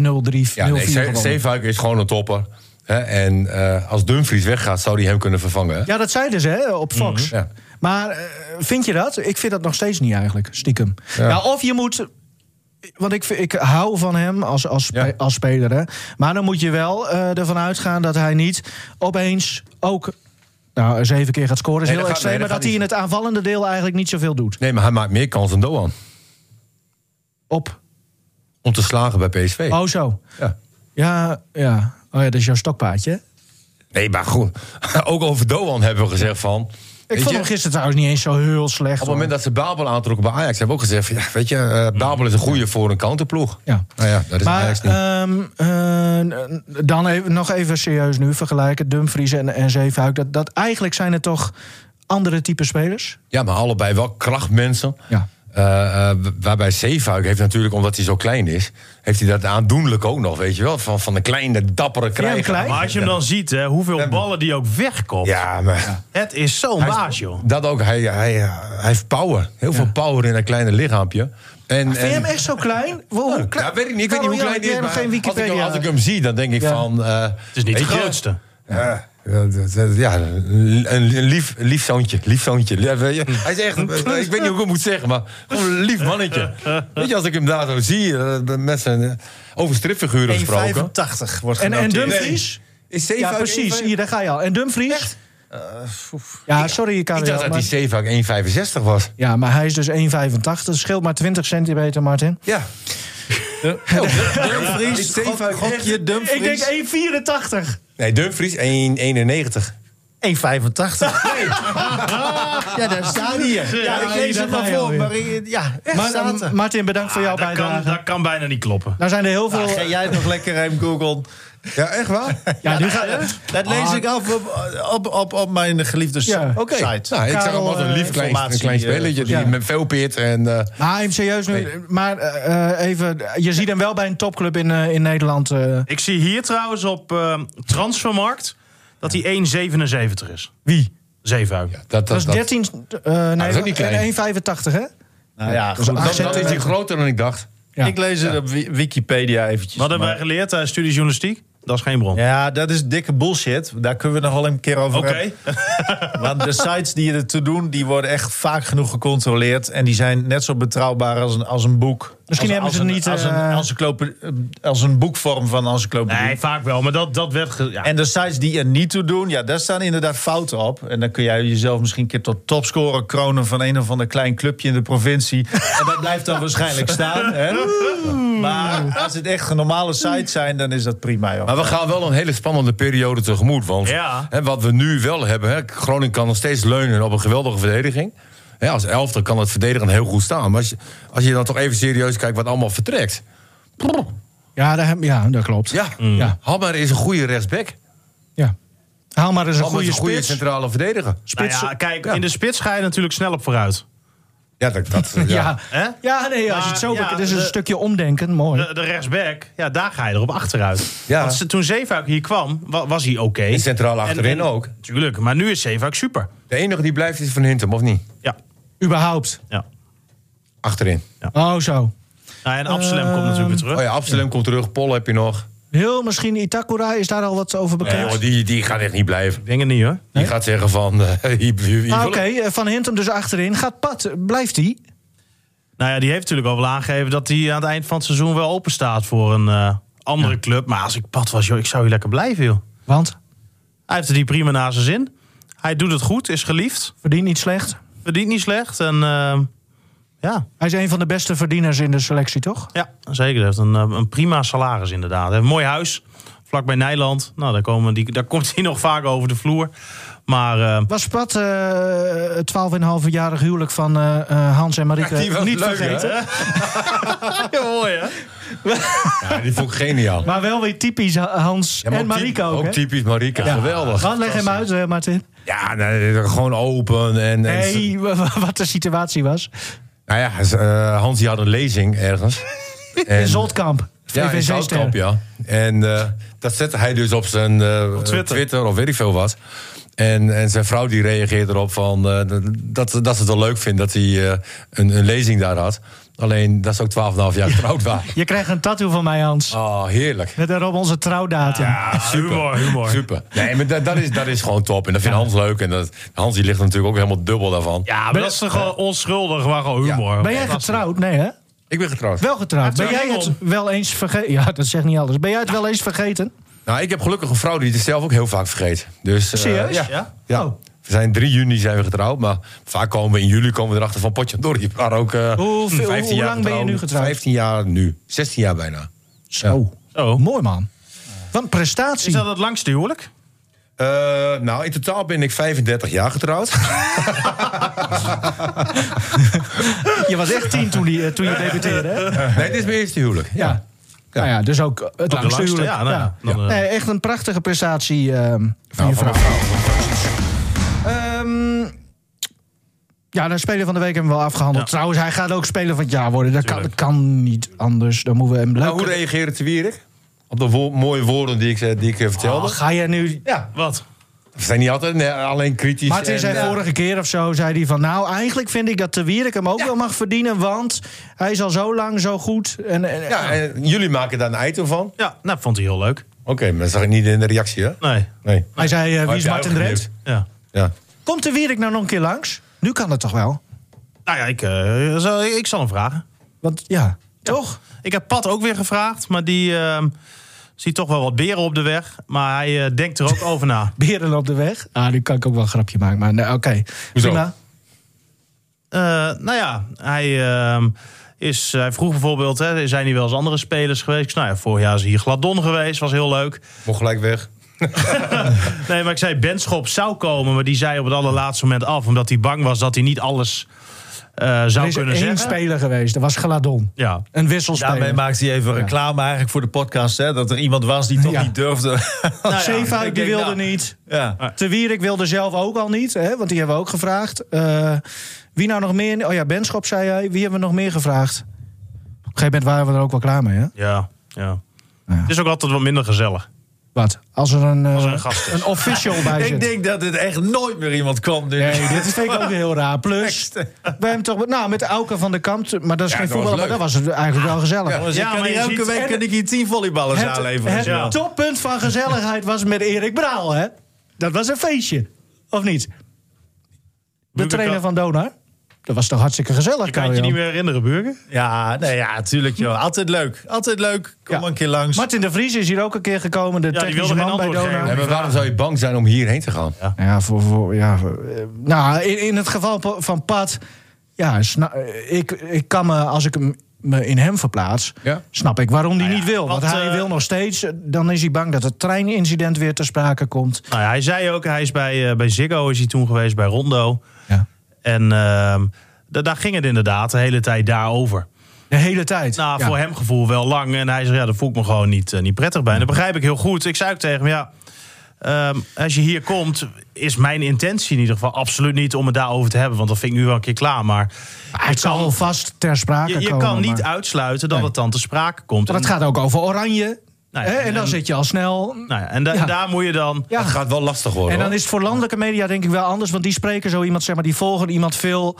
[SPEAKER 1] ja, nee, Zee-
[SPEAKER 3] gewonnen.
[SPEAKER 1] Zeefuik is gewoon een topper. Hè? En eh, als Dumfries weggaat, zou die hem kunnen vervangen. hè?
[SPEAKER 3] Ja, dat zeiden ze hè, op Fox.
[SPEAKER 1] Mhm, Ja.
[SPEAKER 3] Maar eh, vind je dat? Ik vind dat nog steeds niet eigenlijk, stiekem. Nou, of je moet... Want ik, ik hou van hem als, als, spe-
[SPEAKER 1] Ja.
[SPEAKER 3] als speler. Hè. Maar dan moet je wel eh, ervan uitgaan dat hij niet opeens ook... Nou, zeven keer gaat scoren is
[SPEAKER 1] Nee,
[SPEAKER 3] heel
[SPEAKER 1] dat gaat-
[SPEAKER 3] extreem.
[SPEAKER 1] nee,
[SPEAKER 3] maar
[SPEAKER 1] dat
[SPEAKER 3] dat hij
[SPEAKER 1] gaat
[SPEAKER 3] in het aanvallende deel eigenlijk niet zoveel doet.
[SPEAKER 1] Nee, maar hij maakt meer kans dan Doan.
[SPEAKER 3] Op
[SPEAKER 1] om te slagen bij PSV.
[SPEAKER 3] Oh, zo.
[SPEAKER 1] Ja.
[SPEAKER 3] Ja, ja. Oh ja, dat is jouw stokpaardje. hè?
[SPEAKER 1] Nee, maar goed. Ook over Doan hebben we gezegd van...
[SPEAKER 3] Ik
[SPEAKER 1] weet
[SPEAKER 3] vond
[SPEAKER 1] je,
[SPEAKER 3] hem gisteren trouwens niet eens zo heel slecht.
[SPEAKER 1] Op het moment dat ze Babel aantrokken bij Ajax... hebben we ook gezegd, van, ja, weet je, eh, Babel is een goede voor een counterploeg.
[SPEAKER 3] Ja.
[SPEAKER 1] Nou ja, dat is
[SPEAKER 3] maar eh,
[SPEAKER 1] Ajax niet.
[SPEAKER 3] ehm, eh, dan even, nog even serieus nu vergelijken. Dumfries en, en Zeefuik. Dat, dat, eigenlijk zijn het toch andere type spelers?
[SPEAKER 1] Ja, maar allebei wel krachtmensen.
[SPEAKER 3] Ja.
[SPEAKER 1] Eh, eh, waarbij Zeefuik heeft natuurlijk, omdat hij zo klein is... heeft hij dat aandoenlijk ook nog, weet je wel? Van, van de kleine, dappere krijger.
[SPEAKER 3] klein?
[SPEAKER 4] Maar als je hem dan ziet, hè, hoeveel ballen die ook wegkomt.
[SPEAKER 1] Ja, maar...
[SPEAKER 4] Het is zo'n
[SPEAKER 1] Hij is-
[SPEAKER 4] baas, joh.
[SPEAKER 1] Dat ook. Hij, hij, eh, hij heeft power. Heel veel power in dat kleine lichaampje. En,
[SPEAKER 3] Vind je
[SPEAKER 1] en-
[SPEAKER 3] hem echt zo klein? Wow, hoe klein?
[SPEAKER 1] Ja, weet ik niet. Ik weet niet hoe
[SPEAKER 3] Karel-Jan,
[SPEAKER 1] klein die is.
[SPEAKER 3] jij hebt
[SPEAKER 1] Maar
[SPEAKER 3] geen
[SPEAKER 1] als, ik, hem-
[SPEAKER 3] Wikipedia.
[SPEAKER 1] als ik hem zie, dan denk ik
[SPEAKER 3] Ja.
[SPEAKER 1] van... eh,
[SPEAKER 4] Het is niet de
[SPEAKER 1] weet je,
[SPEAKER 4] grootste.
[SPEAKER 1] Ja, ja, dat- dat- ja, een een lief, lief zoontje. Lief zoontje. Ja, weet je, Hij is echt, ik weet niet hoe ik het moet zeggen, maar gewoon een lief mannetje. Weet je, als ik hem daar zo zie, eh, met zijn eh, over stripfiguren gesproken.
[SPEAKER 5] 1,85 wordt
[SPEAKER 3] En, en
[SPEAKER 5] genoteerd.
[SPEAKER 3] Dumfries?
[SPEAKER 1] Is Zeefuik
[SPEAKER 3] Ja, precies.
[SPEAKER 1] 1,5?
[SPEAKER 3] Hier, daar ga je al. En Dumfries? Ja, sorry, Karel.
[SPEAKER 1] Ik dacht dat die Zeefuik 1,65 was.
[SPEAKER 3] Ja, maar hij is dus 1,85. Dat scheelt maar 20 centimeter, Martin.
[SPEAKER 1] Ja.
[SPEAKER 5] Dumfries,
[SPEAKER 1] Zeefuik
[SPEAKER 5] gok-
[SPEAKER 1] echt-
[SPEAKER 5] gokje Dumfries.
[SPEAKER 3] Ik denk 1,84.
[SPEAKER 1] Nee, Dumfries 1,91.
[SPEAKER 5] 1,85. ja, daar staat hij. Ja, ik
[SPEAKER 3] nee,
[SPEAKER 5] lees
[SPEAKER 3] daar
[SPEAKER 5] het maar
[SPEAKER 3] ga je
[SPEAKER 5] voor.
[SPEAKER 3] alweer.
[SPEAKER 5] Maar ik- ja, echt
[SPEAKER 3] Maar,
[SPEAKER 5] staat
[SPEAKER 3] eh,
[SPEAKER 5] er.
[SPEAKER 3] Martin, bedankt
[SPEAKER 1] Ah,
[SPEAKER 3] voor jouw
[SPEAKER 4] Ah, dat, kan,
[SPEAKER 3] bijdrage.
[SPEAKER 4] dat kan bijna niet kloppen.
[SPEAKER 3] Nou zijn er heel veel...
[SPEAKER 5] Ga jij het nog lekker heen googlen? Eh,
[SPEAKER 1] Ja, echt waar?
[SPEAKER 3] ja, nu ga
[SPEAKER 5] Dat lees
[SPEAKER 3] Ah.
[SPEAKER 5] ik af op, op, op, op mijn geliefde s-
[SPEAKER 3] Ja,
[SPEAKER 1] Oké.
[SPEAKER 5] site.
[SPEAKER 1] Nou, ik zag hem
[SPEAKER 3] Karel,
[SPEAKER 1] als een
[SPEAKER 3] eh,
[SPEAKER 1] lief klein, een
[SPEAKER 5] informatie,
[SPEAKER 1] klein
[SPEAKER 5] eh,
[SPEAKER 1] spelletje die
[SPEAKER 3] ja.
[SPEAKER 1] met veel peert en... eh,
[SPEAKER 3] Maar Ah, even serieus nu. Maar eh, eh, even, je ziet hem wel bij een topclub in, eh, in Nederland. eh,
[SPEAKER 4] Ik zie hier trouwens op eh, Transfermarkt dat hij 1,77 is.
[SPEAKER 3] wie?
[SPEAKER 4] Zeefuik.
[SPEAKER 1] dat,
[SPEAKER 3] Dat is 13. eh nee,
[SPEAKER 1] is ook niet klein.
[SPEAKER 3] 1,85 hè?
[SPEAKER 5] Nou ja, goed.
[SPEAKER 1] dat-
[SPEAKER 3] acht
[SPEAKER 1] dat is hij
[SPEAKER 3] centimeter.
[SPEAKER 1] groter dan ik dacht.
[SPEAKER 3] Ja.
[SPEAKER 5] Ik lees het op Wi- Wikipedia eventjes.
[SPEAKER 4] Wat hebben
[SPEAKER 5] Maar-
[SPEAKER 4] wij geleerd? eh studie journalistiek? Dat is geen bron.
[SPEAKER 5] Ja, dat is dikke bullshit. Daar kunnen we nog wel een keer over
[SPEAKER 4] Oké.
[SPEAKER 5] hebben. Want de sites die er toe doen, die worden echt vaak genoeg gecontroleerd. En die zijn net zo betrouwbaar als een, als een boek.
[SPEAKER 3] Misschien hebben
[SPEAKER 5] als,
[SPEAKER 3] ze
[SPEAKER 5] als
[SPEAKER 3] het
[SPEAKER 5] een-
[SPEAKER 3] niet,
[SPEAKER 5] Als een,
[SPEAKER 3] eh,
[SPEAKER 5] encyclope- als een boekvorm van encyclopedie.
[SPEAKER 4] Nee, vaak wel. Maar dat, dat werd... ge- ja.
[SPEAKER 5] En de sites die er niet toe doen, ja, daar staan inderdaad fouten op. En dan kun jij jezelf misschien een keer tot topscorer kronen van een of ander klein clubje in de provincie. En dat blijft dan waarschijnlijk staan. Hè? Maar als het echt normale sites zijn, dan is dat prima. Joh.
[SPEAKER 1] Maar we gaan wel een hele spannende periode tegemoet. Want
[SPEAKER 4] Ja.
[SPEAKER 1] hè, wat we nu wel hebben, hè, Groningen kan nog steeds leunen op een geweldige verdediging. Hè, als elfde kan het verdedigen heel goed staan. Maar als je, als je dan toch even serieus kijkt wat allemaal vertrekt. Prrr,
[SPEAKER 3] Ja, daar heb- ja, dat klopt.
[SPEAKER 1] ja,
[SPEAKER 3] Ja.
[SPEAKER 1] Hammer is een goede rechtsback.
[SPEAKER 3] Ja. Haal maar eens een
[SPEAKER 1] Hammer is
[SPEAKER 3] goede
[SPEAKER 1] een goede
[SPEAKER 3] spits.
[SPEAKER 1] centrale verdediger.
[SPEAKER 4] Nou
[SPEAKER 3] spits.
[SPEAKER 4] ja, kijk,
[SPEAKER 1] Ja.
[SPEAKER 4] in de spits ga je natuurlijk snel op vooruit.
[SPEAKER 1] Ja, dat, dat, ja.
[SPEAKER 3] ja.
[SPEAKER 4] Hè?
[SPEAKER 3] ja, nee, als je het zo
[SPEAKER 4] Maar, ja,
[SPEAKER 3] bekijkt. Dit is een
[SPEAKER 4] de-
[SPEAKER 3] stukje omdenken. Mooi.
[SPEAKER 4] De, de rechtsback, ja, daar ga je erop achteruit.
[SPEAKER 1] Ja.
[SPEAKER 4] Want ze- toen Zeefuik hier kwam, wa- was hij oké.
[SPEAKER 1] En centraal achterin ook.
[SPEAKER 4] Tuurlijk, maar nu is Zeefuik super.
[SPEAKER 1] De enige die blijft is Van Hintem, of niet?
[SPEAKER 4] Ja,
[SPEAKER 3] Überhaupt.
[SPEAKER 4] ja.
[SPEAKER 1] Achterin.
[SPEAKER 3] Oh, zo.
[SPEAKER 4] Nou, en Absalem komt natuurlijk weer terug.
[SPEAKER 1] Oh ja, Absalem komt terug, Pol heb je nog.
[SPEAKER 3] Heel misschien Itakura, is daar al wat over
[SPEAKER 1] Nee,
[SPEAKER 3] bekend?
[SPEAKER 1] joh, die, die gaat echt niet blijven.
[SPEAKER 4] Ik denk het niet, hoor.
[SPEAKER 1] Die gaat zeggen van... eh, hier- hier- hier-
[SPEAKER 3] Ah, Oké, eh, Van Hintem dus achterin. Gaat Pat, blijft hij?
[SPEAKER 4] Nou ja, die heeft natuurlijk al wel aangegeven dat hij aan het eind van het seizoen wel open staat voor een eh, andere club. Maar als ik pad was, joh, ik zou hier lekker blijven, joh.
[SPEAKER 3] Want
[SPEAKER 4] Hij heeft het hier prima naar zijn zin. Hij doet het goed, is geliefd,
[SPEAKER 3] verdient niet slecht.
[SPEAKER 4] verdient niet slecht. En eh, ja,
[SPEAKER 3] Hij is een van de beste verdieners in de selectie, toch?
[SPEAKER 4] ja, zeker. Hij heeft een, eh, een prima salaris inderdaad. Hij heeft een mooi huis, vlakbij Nijland. Nou, daar, komen die, daar komt hij nog vaak over de vloer. Maar eh,
[SPEAKER 3] Was Pat eh, het 12,5-jarig huwelijk van eh, eh, Hans en Marieke
[SPEAKER 1] die was
[SPEAKER 3] niet
[SPEAKER 1] leuk,
[SPEAKER 3] vergeten?
[SPEAKER 4] Ja, mooi, hè?
[SPEAKER 1] Ja, die vond ik geniaal.
[SPEAKER 3] Maar wel weer typisch Ha- Hans
[SPEAKER 1] Ja, maar
[SPEAKER 3] en
[SPEAKER 1] ook
[SPEAKER 3] Marieke
[SPEAKER 1] typ-
[SPEAKER 3] ook, hè?
[SPEAKER 1] typisch Marika, geweldig.
[SPEAKER 3] Want leg hem uit, eh, Martin.
[SPEAKER 1] Ja, nee, gewoon open. En, en
[SPEAKER 3] Nee, wa- wa- wat de situatie was.
[SPEAKER 1] Nou ja, z- eh, Hans die had een lezing ergens.
[SPEAKER 3] In Zoltkamp.
[SPEAKER 1] Ja, in
[SPEAKER 3] VVC
[SPEAKER 1] Zoutkamp,
[SPEAKER 3] sterren.
[SPEAKER 1] ja. En eh, dat zette hij dus op zijn eh, Twitter.
[SPEAKER 4] Twitter.
[SPEAKER 1] of weet ik veel wat. En, en zijn vrouw die reageert erop van, eh, dat, dat ze het wel leuk vindt dat hij eh, een, een lezing daar had. Alleen dat ze ook 12,5 jaar getrouwd waren.
[SPEAKER 3] Je krijgt een tattoo van mij, Hans.
[SPEAKER 1] Oh, heerlijk.
[SPEAKER 3] Met daarop onze trouwdatum.
[SPEAKER 4] Ja, humor, humor.
[SPEAKER 1] Super. Nee, maar dat, dat, is, dat is gewoon top. En dat vindt Hans leuk. En dat, Hans die ligt er natuurlijk ook helemaal dubbel daarvan.
[SPEAKER 4] Ja, maar dat is toch gewoon onschuldig, maar gewoon humor.
[SPEAKER 3] ben jij
[SPEAKER 4] Fantastisch.
[SPEAKER 3] getrouwd? Nee, hè?
[SPEAKER 1] Ik ben getrouwd.
[SPEAKER 3] Wel getrouwd. Ben jij
[SPEAKER 4] trouwens,
[SPEAKER 3] het wel eens vergeten? Ja, dat zegt niet alles. Ben jij het wel eens vergeten?
[SPEAKER 1] Nou, ik heb gelukkig een vrouw die het zelf ook heel vaak vergeet. Dus, eh,
[SPEAKER 3] Serieus?
[SPEAKER 1] ja.
[SPEAKER 4] Ja?
[SPEAKER 1] ja.
[SPEAKER 3] Oh.
[SPEAKER 1] We zijn 3 juni zijn we getrouwd, maar vaak komen we in juli komen we erachter van potje door. Je waren ook eh,
[SPEAKER 3] Hoeveel-
[SPEAKER 1] 15
[SPEAKER 3] hoe
[SPEAKER 1] jaar
[SPEAKER 3] lang ben je nu getrouwd?
[SPEAKER 1] 15 jaar nu, 16 jaar bijna.
[SPEAKER 3] Zo.
[SPEAKER 4] Zo.
[SPEAKER 3] Mooi man. Wat een
[SPEAKER 4] Is
[SPEAKER 3] prestatie.
[SPEAKER 4] dat het langste huwelijk?
[SPEAKER 1] Eh, nou, in totaal ben ik 35 jaar getrouwd.
[SPEAKER 3] Je was echt tien toen, die, eh, toen je debuteerde. Hè? Ja.
[SPEAKER 1] nee, dit is mijn eerste huwelijk.
[SPEAKER 3] Nou ja, dus ook het
[SPEAKER 4] de
[SPEAKER 3] langste
[SPEAKER 4] langste,
[SPEAKER 3] huwelijk.
[SPEAKER 4] ja, nou ja. Dan, eh.
[SPEAKER 3] Nee, echt een prachtige prestatie ehm, van je vrouw. Ehm, ja, de speler van de week hebben we wel afgehandeld.
[SPEAKER 4] Ja.
[SPEAKER 3] Trouwens, hij gaat ook speler van het jaar worden. Dat kan, dat
[SPEAKER 4] Tuurlijk.
[SPEAKER 3] kan niet anders. Dan moeten we hem
[SPEAKER 1] Nou, hoe
[SPEAKER 3] leuk...
[SPEAKER 1] reageerde Te Wierik? Op de wo- mooie woorden die ik, eh, die ik eh, vertelde.
[SPEAKER 3] Oh, ga jij nu...
[SPEAKER 1] ja,
[SPEAKER 4] Wat?
[SPEAKER 1] we zijn niet altijd nee, alleen kritisch.
[SPEAKER 3] Martin
[SPEAKER 1] en,
[SPEAKER 3] zei
[SPEAKER 1] eh,
[SPEAKER 3] vorige keer of zo, zei hij van... nou, eigenlijk vind ik dat de Wierik hem ook wel mag verdienen... want hij is al zo lang zo goed. En, en,
[SPEAKER 1] Ja, en jullie maken daar een item van. Oké,
[SPEAKER 4] Ja, nou, vond hij heel leuk.
[SPEAKER 1] maar dat zag ik niet in de reactie, hè?
[SPEAKER 4] Nee.
[SPEAKER 1] Nee.
[SPEAKER 3] Hij zei, eh,
[SPEAKER 1] Oh,
[SPEAKER 3] wie
[SPEAKER 1] heb
[SPEAKER 3] is
[SPEAKER 1] jij
[SPEAKER 3] Martin
[SPEAKER 1] ook
[SPEAKER 3] Drees?
[SPEAKER 1] geleerd?
[SPEAKER 4] Ja.
[SPEAKER 1] Ja.
[SPEAKER 3] Komt de Wierik nou nog een keer langs? Nu kan dat toch wel?
[SPEAKER 4] Nou ja, ik, eh, zal, ik zal hem vragen.
[SPEAKER 3] Want ja, toch?
[SPEAKER 4] Ik heb Pat ook weer gevraagd, maar die ehm, ziet toch wel wat beren op de weg. Maar hij eh, denkt er ook over na.
[SPEAKER 3] Beren op de weg. Ah, nu kan ik ook wel een grapje maken, maar nou, oké.
[SPEAKER 1] Hoezo?
[SPEAKER 3] Prima.
[SPEAKER 4] Eh, nou ja, hij, ehm, is, hij vroeg bijvoorbeeld, hè, zijn hier wel eens andere spelers geweest? Ik zei, Nou ja, vorig jaar is hier Gladon geweest, was heel leuk.
[SPEAKER 1] Mocht gelijk weg.
[SPEAKER 4] Nee, maar ik zei Benschop zou komen, maar die zei op het allerlaatste moment af. Omdat hij bang was dat hij niet alles eh,
[SPEAKER 3] Er
[SPEAKER 4] zou
[SPEAKER 3] is
[SPEAKER 4] kunnen
[SPEAKER 3] één
[SPEAKER 4] zeggen.
[SPEAKER 3] speler geweest, dat was Gladon.
[SPEAKER 4] Ja.
[SPEAKER 3] Een wisselspeler.
[SPEAKER 5] Daarmee maakt hij even reclame eigenlijk voor de podcast. Hè? Dat er iemand was die toch
[SPEAKER 3] Ja.
[SPEAKER 5] niet durfde.
[SPEAKER 4] ja,
[SPEAKER 3] Zeefuik,
[SPEAKER 5] ik
[SPEAKER 3] die
[SPEAKER 5] denk,
[SPEAKER 3] wilde
[SPEAKER 5] nou.
[SPEAKER 3] niet. Ah,
[SPEAKER 5] ja.
[SPEAKER 3] Te Wierik wilde zelf ook al niet, hè, want die hebben we ook gevraagd. Eh, wie nou nog meer? Oh ja, Benschop zei hij. Wie hebben we nog meer gevraagd? Op een gegeven moment waren we er ook wel klaar mee, hè?
[SPEAKER 4] Ja, ja. Het is ook altijd wat minder gezellig.
[SPEAKER 3] Wat? Als er een, eh,
[SPEAKER 4] Als er een gast is.
[SPEAKER 3] een official bij zit.
[SPEAKER 5] Ik denk dat het echt nooit meer iemand kwam. Dus.
[SPEAKER 3] Nee, dit vind ik ook weer heel raar. Plus, we hebben toch... Nou, met Auken van de Kamp, maar dat is
[SPEAKER 1] Ja,
[SPEAKER 3] geen
[SPEAKER 1] dat was
[SPEAKER 3] voetbal, maar
[SPEAKER 1] leuk.
[SPEAKER 3] dat was het eigenlijk wel gezellig.
[SPEAKER 5] Ja,
[SPEAKER 4] Ja,
[SPEAKER 5] Dus ik kan
[SPEAKER 4] maar je
[SPEAKER 5] hier elke
[SPEAKER 4] ziet-
[SPEAKER 5] week
[SPEAKER 4] en-
[SPEAKER 5] kan ik hier tien volleyballers
[SPEAKER 3] Het,
[SPEAKER 5] aanleveren.
[SPEAKER 3] het
[SPEAKER 5] Ja.
[SPEAKER 3] toppunt van gezelligheid was met Erik Braal, hè? Dat was een feestje, of niet? De
[SPEAKER 4] Burger
[SPEAKER 3] trainer
[SPEAKER 4] kan-
[SPEAKER 3] van Donar. Dat was toch hartstikke gezellig,
[SPEAKER 4] Ik kan het je
[SPEAKER 3] Karel-Jan?
[SPEAKER 4] niet meer herinneren, Burger.
[SPEAKER 5] Ja, nee, ja, tuurlijk joh. Altijd leuk. Altijd leuk. Kom
[SPEAKER 3] Ja.
[SPEAKER 5] een keer langs.
[SPEAKER 3] Martin de Vries is hier ook een keer gekomen, de
[SPEAKER 4] die
[SPEAKER 3] technische
[SPEAKER 4] wilde geen
[SPEAKER 3] man bij
[SPEAKER 4] antwoord
[SPEAKER 3] Donar.
[SPEAKER 4] geven.
[SPEAKER 1] Nee, maar waarom zou je bang zijn om hierheen te gaan?
[SPEAKER 3] Ja, voor, voor, ja voor- eh, nou, in, in het geval pa- van Pat... Ja, sna- eh, ik, ik kan me, als ik hem- me in hem verplaats...
[SPEAKER 1] Ja.
[SPEAKER 3] snap ik waarom hij
[SPEAKER 4] Nou ja,
[SPEAKER 3] niet wil. Want
[SPEAKER 4] wat,
[SPEAKER 3] hij
[SPEAKER 4] eh,
[SPEAKER 3] wil nog steeds... eh, dan is hij bang dat het treinincident weer ter sprake komt.
[SPEAKER 4] Nou ja, hij zei ook, hij is bij, eh, bij Ziggo is hij toen geweest, bij Rondo.
[SPEAKER 3] Ja.
[SPEAKER 4] En ehm, da- daar ging het inderdaad de hele tijd daarover.
[SPEAKER 3] De hele tijd.
[SPEAKER 4] Nou,
[SPEAKER 3] Ja.
[SPEAKER 4] voor hem gevoel wel lang. En hij zei, ja, daar voel ik me gewoon niet, eh, niet prettig bij. En
[SPEAKER 3] Mm.
[SPEAKER 4] dat begrijp ik heel goed. Ik zei ook tegen hem, ja... ehm, als je hier komt, is mijn intentie in ieder geval absoluut niet om het daarover te hebben. Want dat vind ik nu wel een keer klaar. Maar
[SPEAKER 3] Ah, Het zal wel vast ter sprake
[SPEAKER 4] je, je
[SPEAKER 3] komen.
[SPEAKER 4] kan niet
[SPEAKER 3] maar-
[SPEAKER 4] uitsluiten dat
[SPEAKER 3] Nee.
[SPEAKER 4] het dan te sprake komt.
[SPEAKER 3] Want het
[SPEAKER 4] En-
[SPEAKER 3] gaat ook over oranje.
[SPEAKER 4] Nou ja,
[SPEAKER 3] hè, en,
[SPEAKER 4] en-
[SPEAKER 3] dan
[SPEAKER 4] en-
[SPEAKER 3] zit je al snel...
[SPEAKER 4] nou ja, en da-
[SPEAKER 3] Ja.
[SPEAKER 4] daar moet je dan...
[SPEAKER 3] ja.
[SPEAKER 1] Het gaat wel lastig worden.
[SPEAKER 3] En dan
[SPEAKER 1] hoor.
[SPEAKER 3] is het voor landelijke media denk ik wel anders. Want die spreken zo iemand, zeg maar, die volgen iemand veel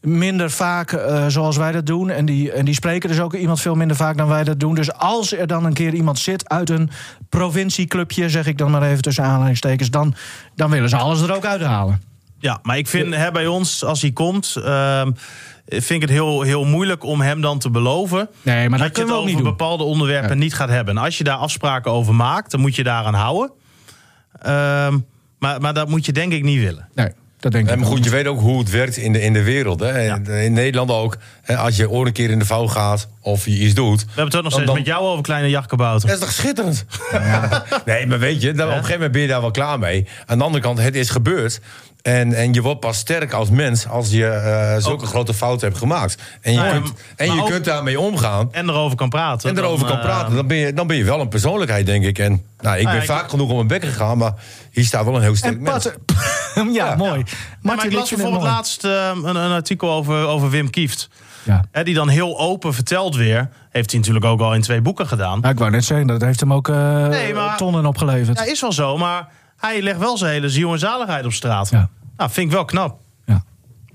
[SPEAKER 3] minder vaak eh, zoals wij dat doen. En die, en die spreken dus ook iemand veel minder vaak dan wij dat doen. Dus als er dan een keer iemand zit uit een provincieclubje, zeg ik dan maar even tussen aanhalingstekens, dan, dan willen ze alles er ook uithalen.
[SPEAKER 4] Ja, maar ik vind hè, bij ons, als hij komt, ehm, vind ik het heel, heel moeilijk om hem dan te beloven.
[SPEAKER 3] Nee, maar dat,
[SPEAKER 4] je het
[SPEAKER 3] kunnen we ook
[SPEAKER 4] over
[SPEAKER 3] niet doen.
[SPEAKER 4] bepaalde onderwerpen niet gaat hebben. En als je daar afspraken over maakt, dan moet je daaraan houden. Ehm, maar, maar dat moet je denk ik niet willen.
[SPEAKER 3] Nee, dat denk
[SPEAKER 1] Nee,
[SPEAKER 3] ik
[SPEAKER 1] maar
[SPEAKER 3] ook
[SPEAKER 1] goed,
[SPEAKER 3] niet.
[SPEAKER 1] je weet ook hoe het werkt in de, in de wereld. Hè? En eh, In Nederland ook. Hè, als je ooit een keer in de vouw gaat of je iets doet...
[SPEAKER 4] We hebben het ook nog steeds
[SPEAKER 1] dan-
[SPEAKER 4] met jou over kleine jachtkabouter.
[SPEAKER 1] Dat is toch schitterend? nee, maar weet je, dan, op een gegeven moment ben je daar wel klaar mee. Aan de andere kant, het is gebeurd. En, en je wordt pas sterk als mens als je eh, zulke grote fouten hebt gemaakt. En je,
[SPEAKER 4] Nou ja,
[SPEAKER 1] kunt,
[SPEAKER 4] maar
[SPEAKER 1] en je
[SPEAKER 4] ook-
[SPEAKER 1] kunt daarmee omgaan.
[SPEAKER 4] En erover kan praten.
[SPEAKER 1] En erover kan
[SPEAKER 4] Dan, eh,
[SPEAKER 1] praten. Dan ben, je, dan ben je wel een persoonlijkheid, denk ik. En nou, ik ben
[SPEAKER 4] ja, ik-
[SPEAKER 1] vaak genoeg om mijn bek gegaan, maar hier staat wel een heel sterk
[SPEAKER 3] En
[SPEAKER 1] mens.
[SPEAKER 3] Pat, ja, mooi.
[SPEAKER 4] Ja, maar ik las bijvoorbeeld laatst ehm, een, een artikel over, over Wim Kieft.
[SPEAKER 3] Ja.
[SPEAKER 4] Hè, die dan heel open vertelt weer. Heeft hij natuurlijk ook al in twee boeken gedaan.
[SPEAKER 3] Nou, ik wou net zeggen, dat heeft hem ook eh,
[SPEAKER 4] Nee, maar-
[SPEAKER 3] tonnen opgeleverd.
[SPEAKER 4] Ja, is wel zo, maar hij legt wel zijn hele ziel en zaligheid op straat.
[SPEAKER 3] Ja.
[SPEAKER 4] Nou, vind ik wel knap.
[SPEAKER 3] Ja.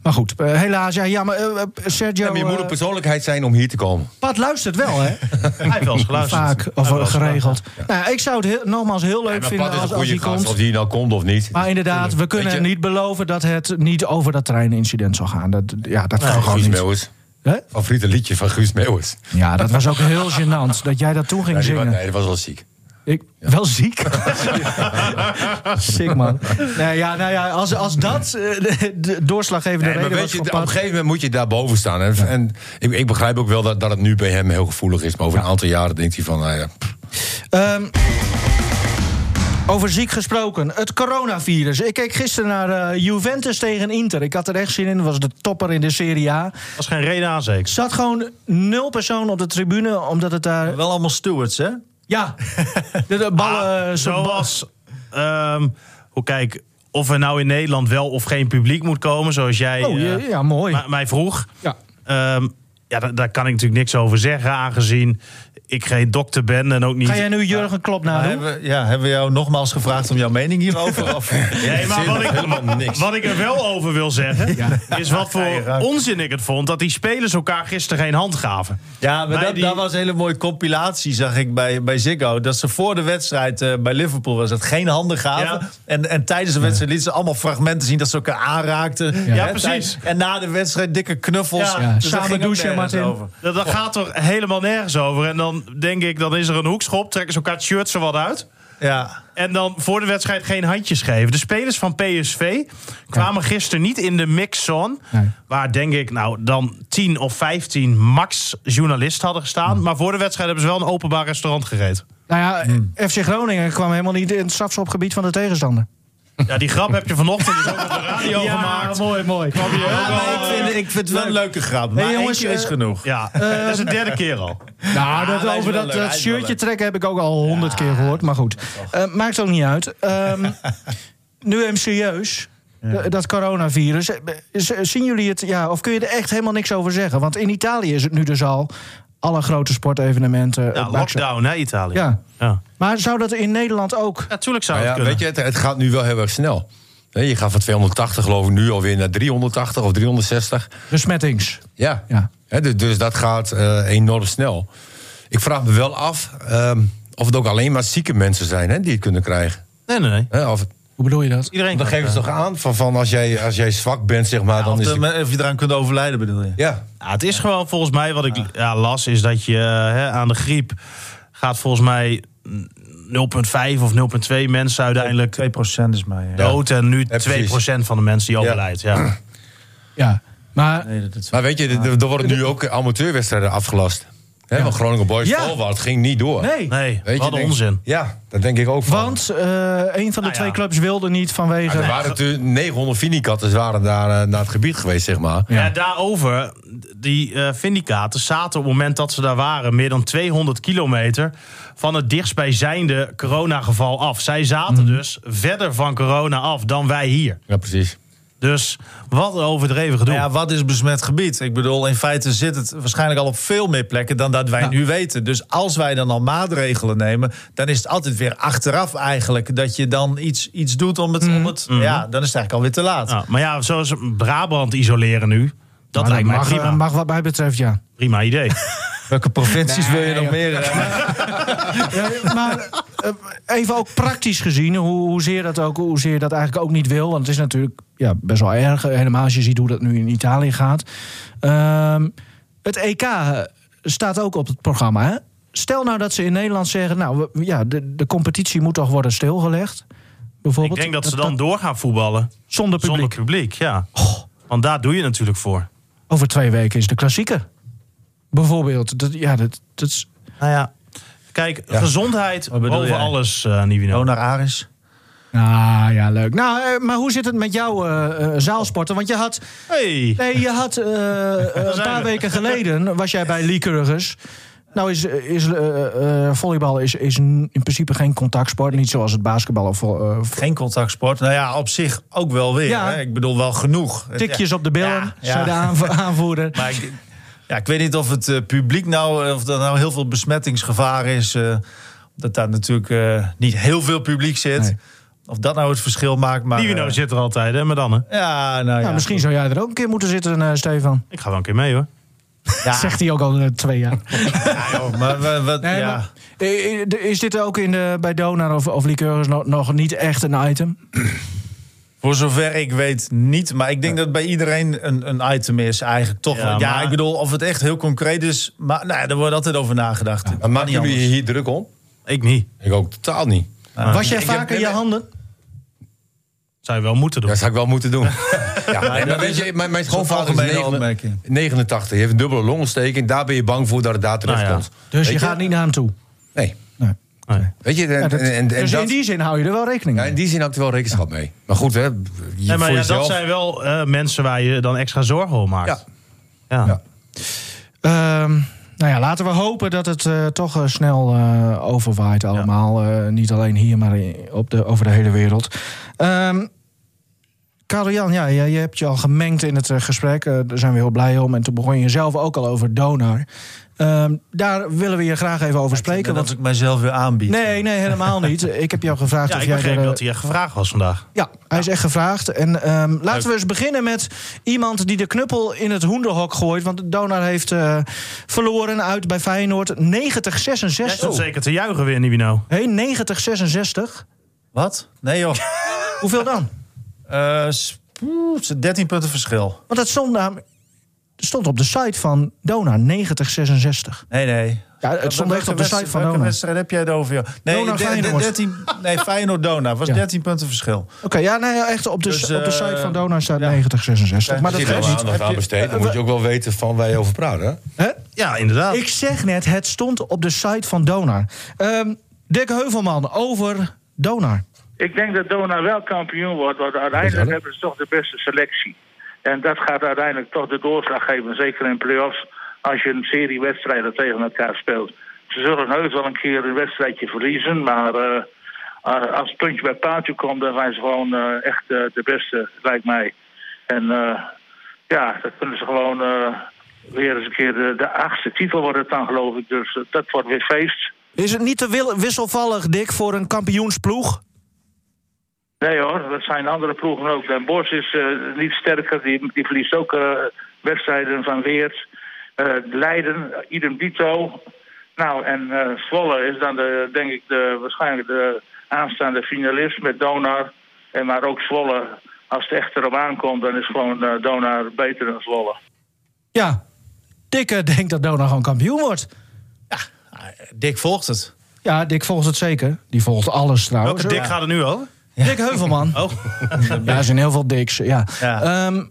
[SPEAKER 3] Maar goed, eh, helaas. Ja, ja maar eh, eh, Sergio...
[SPEAKER 1] Ja, maar je moet
[SPEAKER 3] eh,
[SPEAKER 1] een persoonlijkheid zijn om hier te komen.
[SPEAKER 3] Pat luistert wel, hè?
[SPEAKER 4] Hij heeft wel eens geluisterd.
[SPEAKER 3] Vaak,
[SPEAKER 4] Hij
[SPEAKER 3] of
[SPEAKER 4] heeft wel eens
[SPEAKER 3] geregeld. Nou, ja, ik zou het heel- nogmaals heel leuk
[SPEAKER 1] Maar
[SPEAKER 3] vinden
[SPEAKER 1] Pat is een
[SPEAKER 3] als, als hij
[SPEAKER 1] goede gast,
[SPEAKER 3] komt.
[SPEAKER 1] of die nou komt of niet.
[SPEAKER 3] Maar inderdaad, we kunnen
[SPEAKER 1] Weet
[SPEAKER 3] hem
[SPEAKER 1] je-
[SPEAKER 3] niet beloven dat het niet over dat treinincident zal gaan. Dat, ja, dat kan gewoon
[SPEAKER 1] Guus
[SPEAKER 3] niet.
[SPEAKER 1] Meeuwis.
[SPEAKER 3] Hè?
[SPEAKER 1] Favoriete liedje van Guus Meeuwis.
[SPEAKER 3] Ja, dat was ook heel gênant dat jij dat toen ging
[SPEAKER 1] Nee, die wa-
[SPEAKER 3] zingen.
[SPEAKER 1] nee, dat was wel ziek.
[SPEAKER 3] Ik, Wel ziek. Sick man. Nee, ja, nou ja, als, als dat eh, de, de doorslaggevende
[SPEAKER 1] Nee, maar
[SPEAKER 3] reden
[SPEAKER 1] weet
[SPEAKER 3] was
[SPEAKER 1] je,
[SPEAKER 3] voor
[SPEAKER 1] op een
[SPEAKER 3] Pat-
[SPEAKER 1] gegeven moment moet je daarboven staan. En, en ik, ik begrijp ook wel dat, dat het nu bij hem heel gevoelig is. Maar over een aantal jaren denkt hij van, nou ja, pff,
[SPEAKER 3] Ehm, over ziek gesproken, het coronavirus. Ik keek gisteren naar eh, Juventus tegen Inter. Ik had er echt zin in, was de topper in de Serie A.
[SPEAKER 4] Dat is geen reden aan, zeker.
[SPEAKER 3] Zat gewoon nul persoon op de tribune, omdat het daar...
[SPEAKER 5] Wel allemaal stewards, hè?
[SPEAKER 3] Ja, de, de ballen... eh,
[SPEAKER 4] Ah,
[SPEAKER 3] soort
[SPEAKER 4] zoals, ehm, hoe kijk, of er nou in Nederland wel of geen publiek moet komen, zoals jij
[SPEAKER 3] bal- Oh, ja,
[SPEAKER 4] eh,
[SPEAKER 3] ja, mooi.
[SPEAKER 4] ma- mij vroeg.
[SPEAKER 3] ja.
[SPEAKER 4] Ehm, ja, daar, daar kan ik natuurlijk niks over zeggen, aangezien ik geen dokter ben en ook niet.
[SPEAKER 3] Ga jij nu Jurgen Klopp
[SPEAKER 5] Maar
[SPEAKER 3] nadoen?
[SPEAKER 5] hebben, we- ja, hebben we jou nogmaals gevraagd om jouw mening hierover? Of,
[SPEAKER 4] Nee, maar wat ik,
[SPEAKER 1] helemaal niks.
[SPEAKER 4] wat ik er wel over wil zeggen, is wat voor onzin ik het vond dat die spelers elkaar gisteren geen hand gaven.
[SPEAKER 5] Ja, maar
[SPEAKER 4] Bij
[SPEAKER 5] dat,
[SPEAKER 4] die-
[SPEAKER 5] dat was een hele mooie compilatie, zag ik bij, bij Ziggo. Dat ze voor de wedstrijd eh, bij Liverpool was dat geen handen gaven.
[SPEAKER 4] Ja.
[SPEAKER 5] En, en tijdens de wedstrijd lieten ze allemaal fragmenten zien dat ze elkaar aanraakten. Ja,
[SPEAKER 4] precies.
[SPEAKER 5] tijdens- En na de wedstrijd dikke knuffels.
[SPEAKER 4] Ja.
[SPEAKER 5] Ja.
[SPEAKER 4] Ja,
[SPEAKER 3] samen douchen, Martin.
[SPEAKER 4] Dat, dat gaat er helemaal nergens over. En dan denk ik, dan is er een hoekschop, trekken ze elkaar het shirt zo wat uit.
[SPEAKER 5] Ja.
[SPEAKER 4] En dan voor de wedstrijd geen handjes geven. De spelers van PSV kwamen gisteren niet in de mixzone.
[SPEAKER 3] Nee.
[SPEAKER 4] Waar denk ik nou dan 10 of 15 max journalisten hadden gestaan. Maar voor de wedstrijd hebben ze wel een openbaar restaurant gereed.
[SPEAKER 3] Nou ja, FC Groningen kwam helemaal niet in het strafschopgebied van de tegenstander.
[SPEAKER 4] Ja, die grap heb je vanochtend dus ook op de radio gemaakt.
[SPEAKER 3] mooi, mooi.
[SPEAKER 4] Kwam je ook
[SPEAKER 5] maar
[SPEAKER 4] al,
[SPEAKER 5] ik, vind, ik vind het wel een leuke grap. Maar
[SPEAKER 3] Nee, jongens,
[SPEAKER 5] jongens, is
[SPEAKER 3] eh,
[SPEAKER 5] genoeg.
[SPEAKER 4] Ja, dat is de derde keer al.
[SPEAKER 3] Nou, dat
[SPEAKER 5] hij is
[SPEAKER 3] over dat,
[SPEAKER 5] wel leuk,
[SPEAKER 3] dat
[SPEAKER 5] hij is wel
[SPEAKER 3] shirtje
[SPEAKER 5] leuk.
[SPEAKER 3] trekken heb ik ook al honderd keer gehoord. Maar goed, Eh, maakt ook niet uit. Ehm, nu even serieus. D- Dat coronavirus. Eh, z- Zien jullie het? Ja, of kun je er echt helemaal niks over zeggen? Want in Italië is het nu dus al alle grote sportevenementen. eh,
[SPEAKER 4] Ja,
[SPEAKER 3] max-
[SPEAKER 4] lockdown, hè, Italië.
[SPEAKER 3] Ja.
[SPEAKER 4] ja.
[SPEAKER 3] Maar zou dat in Nederland ook?
[SPEAKER 4] Natuurlijk zou
[SPEAKER 1] nou
[SPEAKER 4] het
[SPEAKER 1] ja,
[SPEAKER 4] kunnen.
[SPEAKER 1] weet je, het, het gaat nu wel heel erg snel. Hè, Je gaat van 280 geloof ik nu alweer naar 380 of 360.
[SPEAKER 3] Besmettings.
[SPEAKER 1] Ja.
[SPEAKER 3] Ja.
[SPEAKER 1] Hè, dus, dus dat gaat eh, enorm snel. Ik vraag me wel af ehm, of het ook alleen maar zieke mensen zijn hè, die het kunnen krijgen.
[SPEAKER 4] Nee, nee, nee.
[SPEAKER 1] Hè, of,
[SPEAKER 3] Hoe bedoel je dat?
[SPEAKER 4] Iedereen
[SPEAKER 1] dan
[SPEAKER 4] kan-
[SPEAKER 1] geven ze toch aan van, van als, jij, als jij zwak bent, zeg maar,
[SPEAKER 5] Of,
[SPEAKER 1] dan is
[SPEAKER 5] de-
[SPEAKER 1] het...
[SPEAKER 5] of dus- je eraan kunt overlijden, bedoel je?
[SPEAKER 1] Ja,
[SPEAKER 4] Ja, het is gewoon volgens mij wat ik ja, las, is dat je eh, hè, aan de griep gaat volgens mij mm, 0,5 of 0,2 mensen uiteindelijk
[SPEAKER 5] 2% is mij. eh, Ja.
[SPEAKER 4] dood. En nu
[SPEAKER 1] precies.
[SPEAKER 4] 2% van de mensen die overlijdt. Ja.
[SPEAKER 3] Ja. Maar
[SPEAKER 5] Nee, dat is...
[SPEAKER 1] Maar weet je, er, er worden nu ook amateurwedstrijden afgelast. Hè, Want Groningen Boys
[SPEAKER 3] Ja.
[SPEAKER 1] Volwaard ging niet door.
[SPEAKER 3] nee.
[SPEAKER 4] Nee,
[SPEAKER 1] Weet je,
[SPEAKER 4] wat een
[SPEAKER 1] denk-
[SPEAKER 4] onzin.
[SPEAKER 1] Ja, dat denk ik ook. van.
[SPEAKER 3] Want eh, een van de
[SPEAKER 4] Nou ja.
[SPEAKER 3] twee clubs wilde niet vanwege.
[SPEAKER 1] Ja, er waren natuurlijk 900 Finikatters waren daar eh, naar het gebied geweest, zeg maar.
[SPEAKER 4] Ja. daarover, die eh vindicaten zaten op het moment dat ze daar waren... meer dan 200 kilometer van het dichtstbijzijnde coronageval af. Zij
[SPEAKER 5] Mhm.
[SPEAKER 4] zaten dus verder van corona af dan wij hier.
[SPEAKER 1] Ja, precies.
[SPEAKER 4] Dus wat een overdreven gedoe.
[SPEAKER 5] Nou ja, wat is besmet gebied? Ik bedoel, in feite zit het waarschijnlijk al op veel meer plekken dan dat wij nu weten. Dus als wij dan al maatregelen nemen, dan is het altijd weer achteraf eigenlijk dat je dan iets, iets doet om het. Om het Ja, dan is het eigenlijk alweer te laat.
[SPEAKER 4] Ja, maar ja, zoals Brabant isoleren nu... Dat
[SPEAKER 3] Maar
[SPEAKER 4] lijkt mij
[SPEAKER 3] mag, eh,
[SPEAKER 4] prima.
[SPEAKER 3] mag wat mij betreft, ja.
[SPEAKER 4] Prima idee.
[SPEAKER 5] Welke provincies wil je nog meer? eh?
[SPEAKER 3] Ja, maar eh, even ook praktisch gezien, hoe, hoezeer, dat ook, hoezeer dat eigenlijk ook niet wil. Want het is natuurlijk ja, best wel erg, eh, helemaal als je ziet hoe dat nu in Italië gaat. Ehm, het EK eh, staat ook op het programma. Hè? Stel nou dat ze in Nederland zeggen, nou we- ja, de, de competitie moet toch worden stilgelegd.
[SPEAKER 4] Ik
[SPEAKER 3] Bijvoorbeeld.
[SPEAKER 4] denk dat ze dan door gaan voetballen.
[SPEAKER 3] zonder publiek.
[SPEAKER 4] Zonder publiek, ja. Want daar doe je het natuurlijk voor.
[SPEAKER 3] Over twee weken is de klassieker. Bijvoorbeeld. Dat, ja, dat, dat is...
[SPEAKER 4] Nou ja, kijk, gezondheid
[SPEAKER 5] Wat bedoel
[SPEAKER 4] over
[SPEAKER 5] jij? Oh.
[SPEAKER 4] alles, eh Nivino.
[SPEAKER 5] Donar Aris.
[SPEAKER 3] Ah, ja, leuk. Nou, eh, maar hoe zit het met jouw eh, eh, zaalsporten? Want je had
[SPEAKER 4] Hey.
[SPEAKER 3] Nee, je had eh, eh, een
[SPEAKER 4] zijn
[SPEAKER 3] paar
[SPEAKER 4] we.
[SPEAKER 3] weken geleden was jij bij Liekeurigers. Nou is, is eh, eh, volleybal is, is in principe geen contactsport. Niet zoals het basketbal of vo- eh, vo-
[SPEAKER 5] Geen contactsport. Nou ja, op zich ook wel weer.
[SPEAKER 3] Ja.
[SPEAKER 5] Hè? Ik bedoel, wel genoeg.
[SPEAKER 3] tikjes op de billen,
[SPEAKER 5] Ja, ja.
[SPEAKER 3] zei de aanv- aanvoerder.
[SPEAKER 5] Maar ik, ja, ik weet niet of het eh, publiek nou, eh, of er nou heel veel besmettingsgevaar is. eh, dat daar natuurlijk eh, niet heel veel publiek zit.
[SPEAKER 3] Nee.
[SPEAKER 5] Of dat nou het verschil maakt. Maar,
[SPEAKER 4] Nivino
[SPEAKER 5] eh,
[SPEAKER 4] zit er altijd, hè, maar dan, hè.
[SPEAKER 5] ja, nou ja.
[SPEAKER 3] nou, misschien zou jij er ook een keer moeten zitten, eh, Stefan.
[SPEAKER 4] Ik ga wel een keer mee, hoor.
[SPEAKER 5] Ja,
[SPEAKER 3] Zegt hij ook al eh, twee jaar.
[SPEAKER 5] ja, joh, maar wat, wat-
[SPEAKER 3] Nee,
[SPEAKER 5] ja.
[SPEAKER 3] maar, eh, eh, de- is dit ook in de, bij Donar of, of Liekeurigers nog, nog niet echt een item?
[SPEAKER 5] Voor zover ik weet niet. Maar ik denk dat bij iedereen een, een item is eigenlijk toch.
[SPEAKER 4] Ja,
[SPEAKER 5] wel. Ja,
[SPEAKER 4] maar-
[SPEAKER 5] ik bedoel, of het echt heel concreet is. Maar nou, ja, daar wordt altijd over nagedacht.
[SPEAKER 1] Maar
[SPEAKER 5] Kan
[SPEAKER 1] maken
[SPEAKER 5] niet
[SPEAKER 1] jullie
[SPEAKER 5] anders.
[SPEAKER 1] je hier druk om?
[SPEAKER 4] Ik niet.
[SPEAKER 1] Ik ook totaal niet.
[SPEAKER 3] Was jij
[SPEAKER 5] Ik heb-
[SPEAKER 3] vaker je handen?
[SPEAKER 4] Zou je wel moeten doen.
[SPEAKER 1] Dat zou ik wel moeten doen. ja, nee, maar
[SPEAKER 5] dat
[SPEAKER 1] weet
[SPEAKER 5] is-
[SPEAKER 1] je, mijn, mijn
[SPEAKER 5] is een
[SPEAKER 1] schoonvader is
[SPEAKER 5] algemene
[SPEAKER 1] 89.
[SPEAKER 5] opmerking.
[SPEAKER 1] 89. Hij heeft een dubbele longontsteking. Daar ben je bang voor dat het daar terecht
[SPEAKER 4] Nou ja.
[SPEAKER 1] komt.
[SPEAKER 3] Dus
[SPEAKER 1] Weet
[SPEAKER 3] je gaat niet naar hem toe.
[SPEAKER 1] Nee.
[SPEAKER 3] Nee.
[SPEAKER 4] Nee.
[SPEAKER 1] Weet je, en,
[SPEAKER 3] Ja, dat-
[SPEAKER 1] en, en,
[SPEAKER 3] dus
[SPEAKER 1] dat-
[SPEAKER 3] in die zin hou je er wel rekening
[SPEAKER 1] ja,
[SPEAKER 3] mee.
[SPEAKER 1] in die zin had ik er wel rekenschap mee. Maar goed, hè. Je,
[SPEAKER 4] Nee, maar
[SPEAKER 1] voor
[SPEAKER 4] ja,
[SPEAKER 1] jezelf,
[SPEAKER 4] dat zijn wel eh, mensen waar je dan extra zorgen om maakt.
[SPEAKER 1] Ja.
[SPEAKER 4] Ja.
[SPEAKER 1] Ja.
[SPEAKER 3] Ehm, nou ja, laten we hopen dat het eh, toch eh, snel eh, overwaait allemaal. Eh, niet alleen hier, maar in- op de, over de hele wereld. Ehm Karel-Jan, ja, je, je hebt je al gemengd in het eh, gesprek. Eh, daar zijn we heel blij om. En toen begon je zelf ook al over Donar. Ehm, daar willen we je graag even over spreken.
[SPEAKER 5] dat
[SPEAKER 3] Want...
[SPEAKER 5] ik mijzelf weer aanbied.
[SPEAKER 3] Nee, nee, helemaal niet. Ik heb jou gevraagd
[SPEAKER 4] eh. Ja,
[SPEAKER 3] of
[SPEAKER 4] ik
[SPEAKER 3] jij...
[SPEAKER 4] begreep
[SPEAKER 3] er, eh,
[SPEAKER 4] dat hij echt gevraagd was vandaag.
[SPEAKER 3] ja, hij is echt gevraagd. En ehm, laten we eens beginnen met iemand die de knuppel in het hoenderhok gooit. Want Donar heeft eh, verloren uit bij Feyenoord 90-66.
[SPEAKER 4] Jij stond
[SPEAKER 3] Hé,
[SPEAKER 4] zeker te juichen weer, Nivino.
[SPEAKER 3] 90-66.
[SPEAKER 5] Wat? Nee joh.
[SPEAKER 3] Hoeveel dan?
[SPEAKER 5] Eh, s- poeh, het is 13 punten verschil.
[SPEAKER 3] Want dat stond, namelijk- stond op de site van Donar, 90-66.
[SPEAKER 5] Nee, nee.
[SPEAKER 3] Ja, het stond
[SPEAKER 5] Welke
[SPEAKER 3] echt op de
[SPEAKER 5] wedstrijd-
[SPEAKER 3] site van
[SPEAKER 5] Welke
[SPEAKER 3] Donar.
[SPEAKER 5] wedstrijd heb jij het over? Joh? Nee,
[SPEAKER 3] Donar,
[SPEAKER 5] de- de-
[SPEAKER 3] Feyenoord.
[SPEAKER 5] 13, nee, Feyenoord Dona. was
[SPEAKER 3] Ja.
[SPEAKER 5] 13 punten verschil.
[SPEAKER 3] Oké, ja, nee, echt op de,
[SPEAKER 5] Dus,
[SPEAKER 3] op de site
[SPEAKER 5] eh,
[SPEAKER 3] van Donar staat
[SPEAKER 5] ja.
[SPEAKER 3] 90-66. Maar
[SPEAKER 1] Als
[SPEAKER 3] dat
[SPEAKER 1] je er
[SPEAKER 3] geeft
[SPEAKER 1] wel
[SPEAKER 3] niet.
[SPEAKER 1] aandacht aan besteedt, dan moet je ook wel weten van waar je over praat. Hè?
[SPEAKER 3] Hè?
[SPEAKER 4] Ja, inderdaad.
[SPEAKER 3] Ik zeg net, het stond op de site van Donar. Ehm Dick Heuvelman over Donar.
[SPEAKER 6] Ik denk dat Dona wel kampioen wordt, want uiteindelijk hebben ze toch de beste selectie. En dat gaat uiteindelijk toch de doorslag geven, zeker in play-offs, als je een serie wedstrijden tegen elkaar speelt. Ze zullen heus wel een keer een wedstrijdje verliezen, maar eh, a- als het puntje bij paaltje komt, dan zijn ze gewoon eh, echt eh, de beste, lijkt mij. En eh, ja, dan kunnen ze gewoon eh, weer eens een keer de, de achtste titel wordt het dan, geloof ik. Dus eh, dat wordt weer feest.
[SPEAKER 3] Is het niet te wil- wisselvallig, Dick, voor een kampioensploeg?
[SPEAKER 6] Nee hoor, dat zijn andere ploegen ook. Den Bosch is eh, niet sterker, die, die verliest ook eh, wedstrijden van Weert. Eh, Leiden, idem dito. Nou, en eh Zwolle is dan de, denk ik de, waarschijnlijk de aanstaande finalist met Donar. En maar ook Zwolle, als het echt erop aankomt, dan is gewoon eh, Donar beter dan Zwolle.
[SPEAKER 3] Ja. Dick eh, denkt dat Dona gewoon kampioen wordt.
[SPEAKER 5] Dick volgt het.
[SPEAKER 3] Ja, Dick volgt het zeker. Die volgt alles trouwens.
[SPEAKER 4] Welke dik gaat er nu over?
[SPEAKER 3] Dick Heuvelman.
[SPEAKER 4] Oh,
[SPEAKER 3] Ja, er zijn heel veel Dicks. Ja.
[SPEAKER 5] Ja.
[SPEAKER 3] Ehm,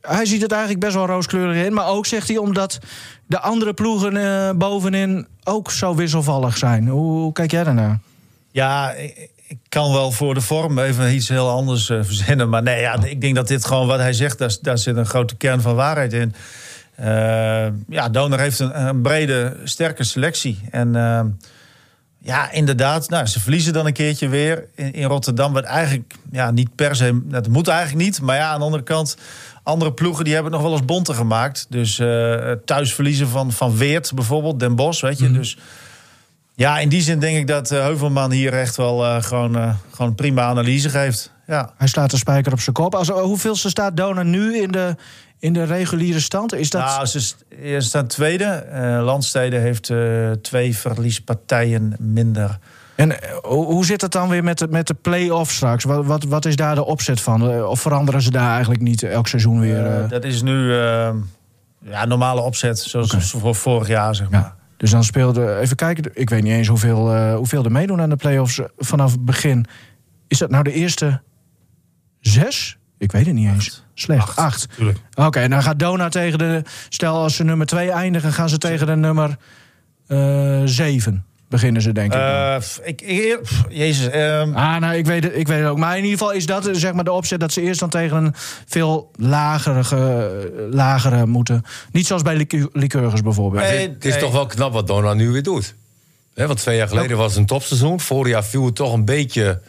[SPEAKER 3] hij ziet het eigenlijk best wel rooskleurig in. Maar ook zegt hij omdat de andere ploegen eh, bovenin ook zo wisselvallig zijn. Hoe, hoe kijk jij daarnaar?
[SPEAKER 5] Ja, ik, ik kan wel voor de vorm even iets heel anders eh, verzinnen. Maar nee, ja, ik denk dat dit gewoon wat hij zegt, daar, daar zit een grote kern van waarheid in. Eh, ja, Donor heeft een, een brede, sterke selectie. En eh, ja, inderdaad, nou, ze verliezen dan een keertje weer in, in Rotterdam. Wat eigenlijk ja, niet per se, dat moet eigenlijk niet. Maar ja, aan de andere kant, andere ploegen die hebben het nog wel eens bonter gemaakt. Dus eh, thuis verliezen van, van Weert bijvoorbeeld, Den Bosch, weet je. Dus ja, in die zin denk ik dat eh, Heuvelman hier echt wel eh, gewoon, eh, gewoon een prima analyse geeft. Ja.
[SPEAKER 3] Hij slaat de spijker op zijn kop. Als, hoeveelste staat Dona nu in de, in de reguliere stand? Is dat...
[SPEAKER 5] Nou, ze, st- ze staan tweede. Eh Landstede heeft eh, twee verliespartijen minder.
[SPEAKER 3] En eh, hoe hoe zit het dan weer met de, met de play-off straks? Wat, wat, wat is daar de opzet van? Eh, Of veranderen ze daar eigenlijk niet elk seizoen weer? eh?
[SPEAKER 5] Eh, dat is nu eh, ja, normale opzet, zoals voor vorig jaar, zeg maar.
[SPEAKER 3] ja. Dus dan speelde, even kijken, ik weet niet eens hoeveel, eh, hoeveel er meedoen aan de play-offs eh, vanaf het begin. Is dat nou de eerste zes? Ik weet het niet eens. Slecht. Acht.
[SPEAKER 4] tuurlijk.
[SPEAKER 3] Oké, en dan gaat Dona tegen de. Stel als ze nummer twee eindigen, gaan ze tegen de nummer eh, zeven. Beginnen ze, denk ik.
[SPEAKER 5] Eh, pff, ik, ik- pff, jezus, ehm,
[SPEAKER 3] Ah, nou, ik weet, het, ik weet het ook. Maar in ieder geval is dat eh, zeg maar, de opzet dat ze eerst dan tegen een veel lagere, ge- lagere moeten. Niet zoals bij liqueu- liqueurs bijvoorbeeld.
[SPEAKER 5] Nee.
[SPEAKER 1] Het is- het is
[SPEAKER 5] nee.
[SPEAKER 1] toch wel knap wat Dona nu weer doet. Hè, want twee jaar geleden was het een topseizoen. Vorig jaar viel het toch een beetje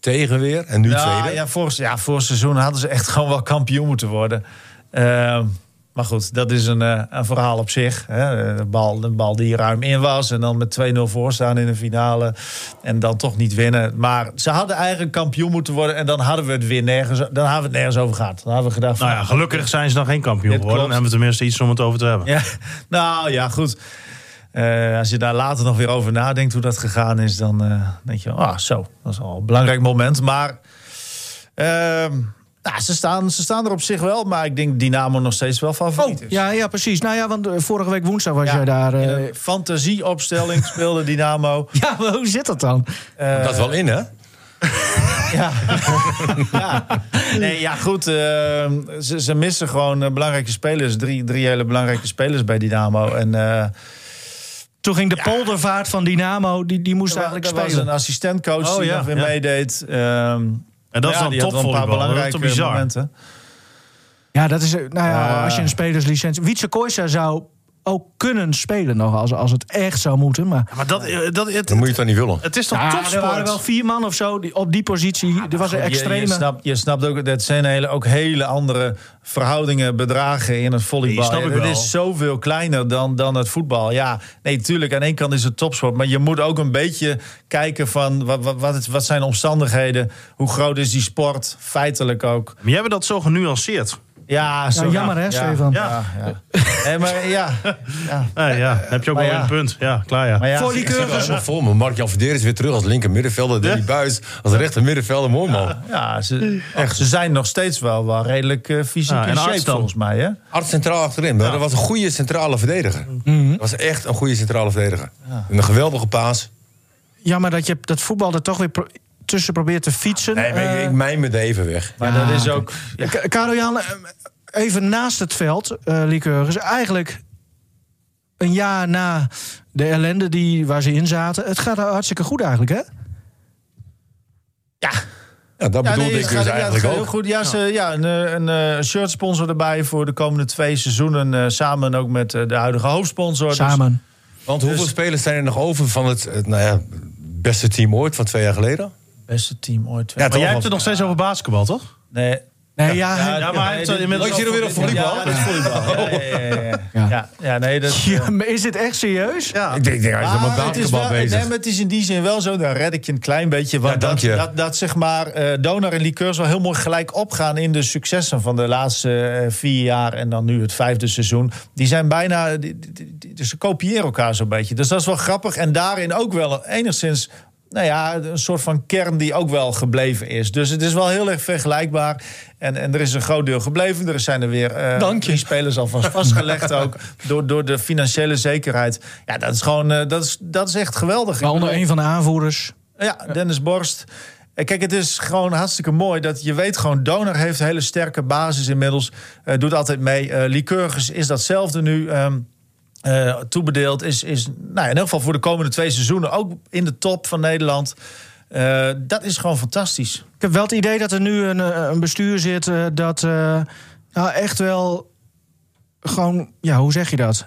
[SPEAKER 1] tegen weer. En nu
[SPEAKER 5] ja,
[SPEAKER 1] tweede.
[SPEAKER 5] Nou, ja, vorig, ja, vorig seizoen hadden ze echt gewoon wel kampioen moeten worden. Ehm, maar goed, dat is een, eh, een verhaal op zich. Hè. De, bal, de bal die ruim in was en dan met 2-0 voor staan in de finale. En dan toch niet winnen. Maar ze hadden eigenlijk kampioen moeten worden. En dan hadden we het weer nergens, dan hadden we het nergens over gehad. Dan hadden we gedacht van,
[SPEAKER 4] nou ja, gelukkig zijn ze dan geen kampioen
[SPEAKER 5] Dit
[SPEAKER 4] geworden. Dan
[SPEAKER 5] klopt.
[SPEAKER 4] hebben we tenminste iets om het over te hebben.
[SPEAKER 5] ja, nou ja, goed. Eh, als je daar later nog weer over nadenkt hoe dat gegaan is, dan eh, denk je, ah, zo, dat is al een belangrijk moment. Maar ehm, Nou, ze, staan, ze staan er op zich wel, maar ik denk Dynamo nog steeds wel favoriet is.
[SPEAKER 3] Oh, Ja, ja, precies. Nou ja, want eh, vorige week woensdag was
[SPEAKER 5] Ja,
[SPEAKER 3] jij daar. eh,
[SPEAKER 5] in een fantasieopstelling speelde Dynamo.
[SPEAKER 3] Ja, maar hoe zit dat dan?
[SPEAKER 1] dat is wel in, hè?
[SPEAKER 5] Ja. ja. Nee, ja, goed. eh, ze, ze missen gewoon eh, belangrijke spelers. Drie, drie hele belangrijke spelers bij Dynamo. En eh,
[SPEAKER 3] Toen ging de poldervaart van Dynamo, die, die moest
[SPEAKER 5] er wa-
[SPEAKER 3] eigenlijk
[SPEAKER 5] er was
[SPEAKER 3] spelen.
[SPEAKER 5] een assistentcoach
[SPEAKER 4] Oh,
[SPEAKER 5] die
[SPEAKER 4] ja,
[SPEAKER 5] nog weer
[SPEAKER 4] ja.
[SPEAKER 5] meedeed. Ehm,
[SPEAKER 4] En dat
[SPEAKER 5] ja,
[SPEAKER 4] is dan
[SPEAKER 5] die had wel een paar
[SPEAKER 4] topvolleybal. Dat is
[SPEAKER 5] belangrijke
[SPEAKER 4] toch bizar?
[SPEAKER 5] momenten.
[SPEAKER 3] Ja, dat is. eh, Nou ja,
[SPEAKER 5] Ja.
[SPEAKER 3] als je een spelerslicentie. Wietse Koysa zou ook kunnen spelen nog als, als het echt zou moeten. Maar
[SPEAKER 4] Maar dat, eh, dat, het,
[SPEAKER 1] Dan moet je het dan niet willen.
[SPEAKER 4] het is toch
[SPEAKER 3] Ja, er
[SPEAKER 4] topsport?
[SPEAKER 3] waren wel vier man of zo die, op die positie. er was een
[SPEAKER 5] Je-
[SPEAKER 3] extreme.
[SPEAKER 5] Je, snapt, je snapt ook, dat zijn hele, ook hele andere verhoudingen, bedragen in het volleybal.
[SPEAKER 4] Die snap ik
[SPEAKER 5] het
[SPEAKER 4] wel.
[SPEAKER 5] is zoveel kleiner dan, dan het voetbal. Ja, nee, tuurlijk, aan één kant is het topsport. Maar je moet ook een beetje kijken van wat, wat, wat, is- wat zijn de omstandigheden? Hoe groot is die sport? Feitelijk ook.
[SPEAKER 4] Maar jij hebt dat zo genuanceerd.
[SPEAKER 5] Ja, zo,
[SPEAKER 3] jammer, hè, Stefan?
[SPEAKER 5] Ja, ja. Hé, maar ja, ja.
[SPEAKER 4] Eh, ja, heb je ook
[SPEAKER 5] Maar
[SPEAKER 4] wel
[SPEAKER 5] ja.
[SPEAKER 4] een punt. Ja, klaar ja.
[SPEAKER 5] Maar ja
[SPEAKER 3] Voor die
[SPEAKER 5] ik zie wel-
[SPEAKER 1] Dat is helemaal vol, man. Mark-Jan Verdeer is weer terug als linker middenvelder. Danny Buis als rechter middenvelder. Mooi, man.
[SPEAKER 5] Ja, ze, echt, ze zijn nog steeds wel, wel redelijk eh, fysiek
[SPEAKER 4] Ja, en
[SPEAKER 5] in shape
[SPEAKER 4] arts dan.
[SPEAKER 5] volgens mij. Hè?
[SPEAKER 1] Arts centraal achterin. Maar dat was een goede centrale verdediger. Dat was echt een goede centrale verdediger. Een geweldige paas.
[SPEAKER 3] Jammer dat je dat voetbal er toch weer pro- tussen probeert te fietsen.
[SPEAKER 1] Nee, maar ik-
[SPEAKER 3] Eh,
[SPEAKER 1] ik mijn me de even weg.
[SPEAKER 5] Maar dat is ook... Ja,
[SPEAKER 3] K- Karel Jan, eh, even naast het veld, eh Lycurgus. Eigenlijk een jaar na de ellende die, waar ze in zaten. Het gaat hartstikke goed eigenlijk, hè?
[SPEAKER 1] Ja, dat
[SPEAKER 5] Ja,
[SPEAKER 1] bedoelde
[SPEAKER 5] nee,
[SPEAKER 1] ik dus
[SPEAKER 5] het gaat- ja, het
[SPEAKER 1] eigenlijk
[SPEAKER 5] gaat
[SPEAKER 1] ook.
[SPEAKER 5] heel Goed. Ja, ze, ja een, eh, een eh, shirtsponsor erbij voor de komende twee seizoenen. eh, samen ook met eh, de huidige hoofdsponsor. Dus-
[SPEAKER 3] Samen.
[SPEAKER 1] Want hoeveel spelers zijn er nog over van het eh, nou ja, beste team ooit van twee jaar geleden?
[SPEAKER 5] beste team ooit.
[SPEAKER 1] Ja,
[SPEAKER 4] Maar
[SPEAKER 1] toch
[SPEAKER 4] jij
[SPEAKER 1] wel.
[SPEAKER 4] hebt het nog steeds over basketbal, toch?
[SPEAKER 5] Nee.
[SPEAKER 3] Nee, ja, hij-
[SPEAKER 4] ja, maar hij heeft
[SPEAKER 5] dit-
[SPEAKER 4] inmiddels
[SPEAKER 1] Oh, ik zit alweer op volleybal.
[SPEAKER 5] Ja, dit is volleybal. Ja, ja, ja, ja,
[SPEAKER 3] Ja.
[SPEAKER 5] ja. Ja, ja, nee, dat...
[SPEAKER 3] Ja, maar is dit echt serieus?
[SPEAKER 1] Ik denk, ik denk hij is nog met
[SPEAKER 5] Maar Ah, het is, wel,
[SPEAKER 1] basketbal bezig.
[SPEAKER 5] nee, maar het is in die zin wel zo, daar red ik je een klein beetje. Want
[SPEAKER 1] Ja, dank je.
[SPEAKER 5] Dat, dat, dat, zeg maar, eh Donar en Liqueurs wel heel mooi gelijk opgaan in de successen van de laatste eh, vier jaar en dan nu het vijfde seizoen. Die zijn bijna, die, die- die- die- dus ze kopiëren elkaar zo'n beetje. Dus dat is wel grappig en daarin ook wel enigszins. Nou ja, een soort van kern die ook wel gebleven is. Dus het is wel heel erg vergelijkbaar. En, en er is een groot deel gebleven. Er zijn er weer eh, drie spelers alvast vastgelegd ook. Door, door de financiële zekerheid. Ja, dat is gewoon, eh, dat, is, dat is echt geweldig.
[SPEAKER 3] Maar onder een van de aanvoerders.
[SPEAKER 5] Ja, Dennis Borst. Eh, Kijk, het is gewoon hartstikke mooi dat je weet gewoon... Donor heeft een hele sterke basis inmiddels. eh, doet altijd mee. Eh Lycurgus is datzelfde nu ehm, eh, toebedeeld. Is, is nou, in elk geval voor de komende twee seizoenen ook in de top van Nederland. Eh, dat is gewoon fantastisch.
[SPEAKER 3] Ik heb wel het idee dat er nu een, eh, een bestuur zit eh, dat eh, nou echt wel gewoon, ja, hoe zeg je dat?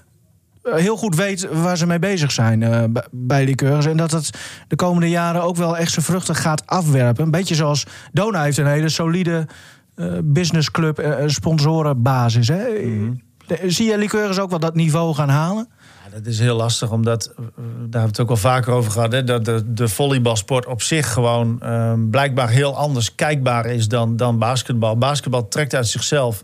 [SPEAKER 3] Eh, Heel goed weet waar ze mee bezig zijn eh, b- bij Liqueurs. En dat het de komende jaren ook wel echt zijn vruchten gaat afwerpen. Een beetje zoals Dona heeft een hele solide eh, businessclub, eh, eh, sponsorenbasis. Hè?
[SPEAKER 5] Mhm.
[SPEAKER 3] De- Zie je Liqueurs ook wel dat niveau gaan halen?
[SPEAKER 5] Ja, dat is heel lastig, omdat eh, daar hebben we het ook al vaker over gehad. Hè, dat de, de volleybalsport op zich gewoon eh, blijkbaar heel anders kijkbaar is dan, dan basketbal. Basketbal trekt uit zichzelf.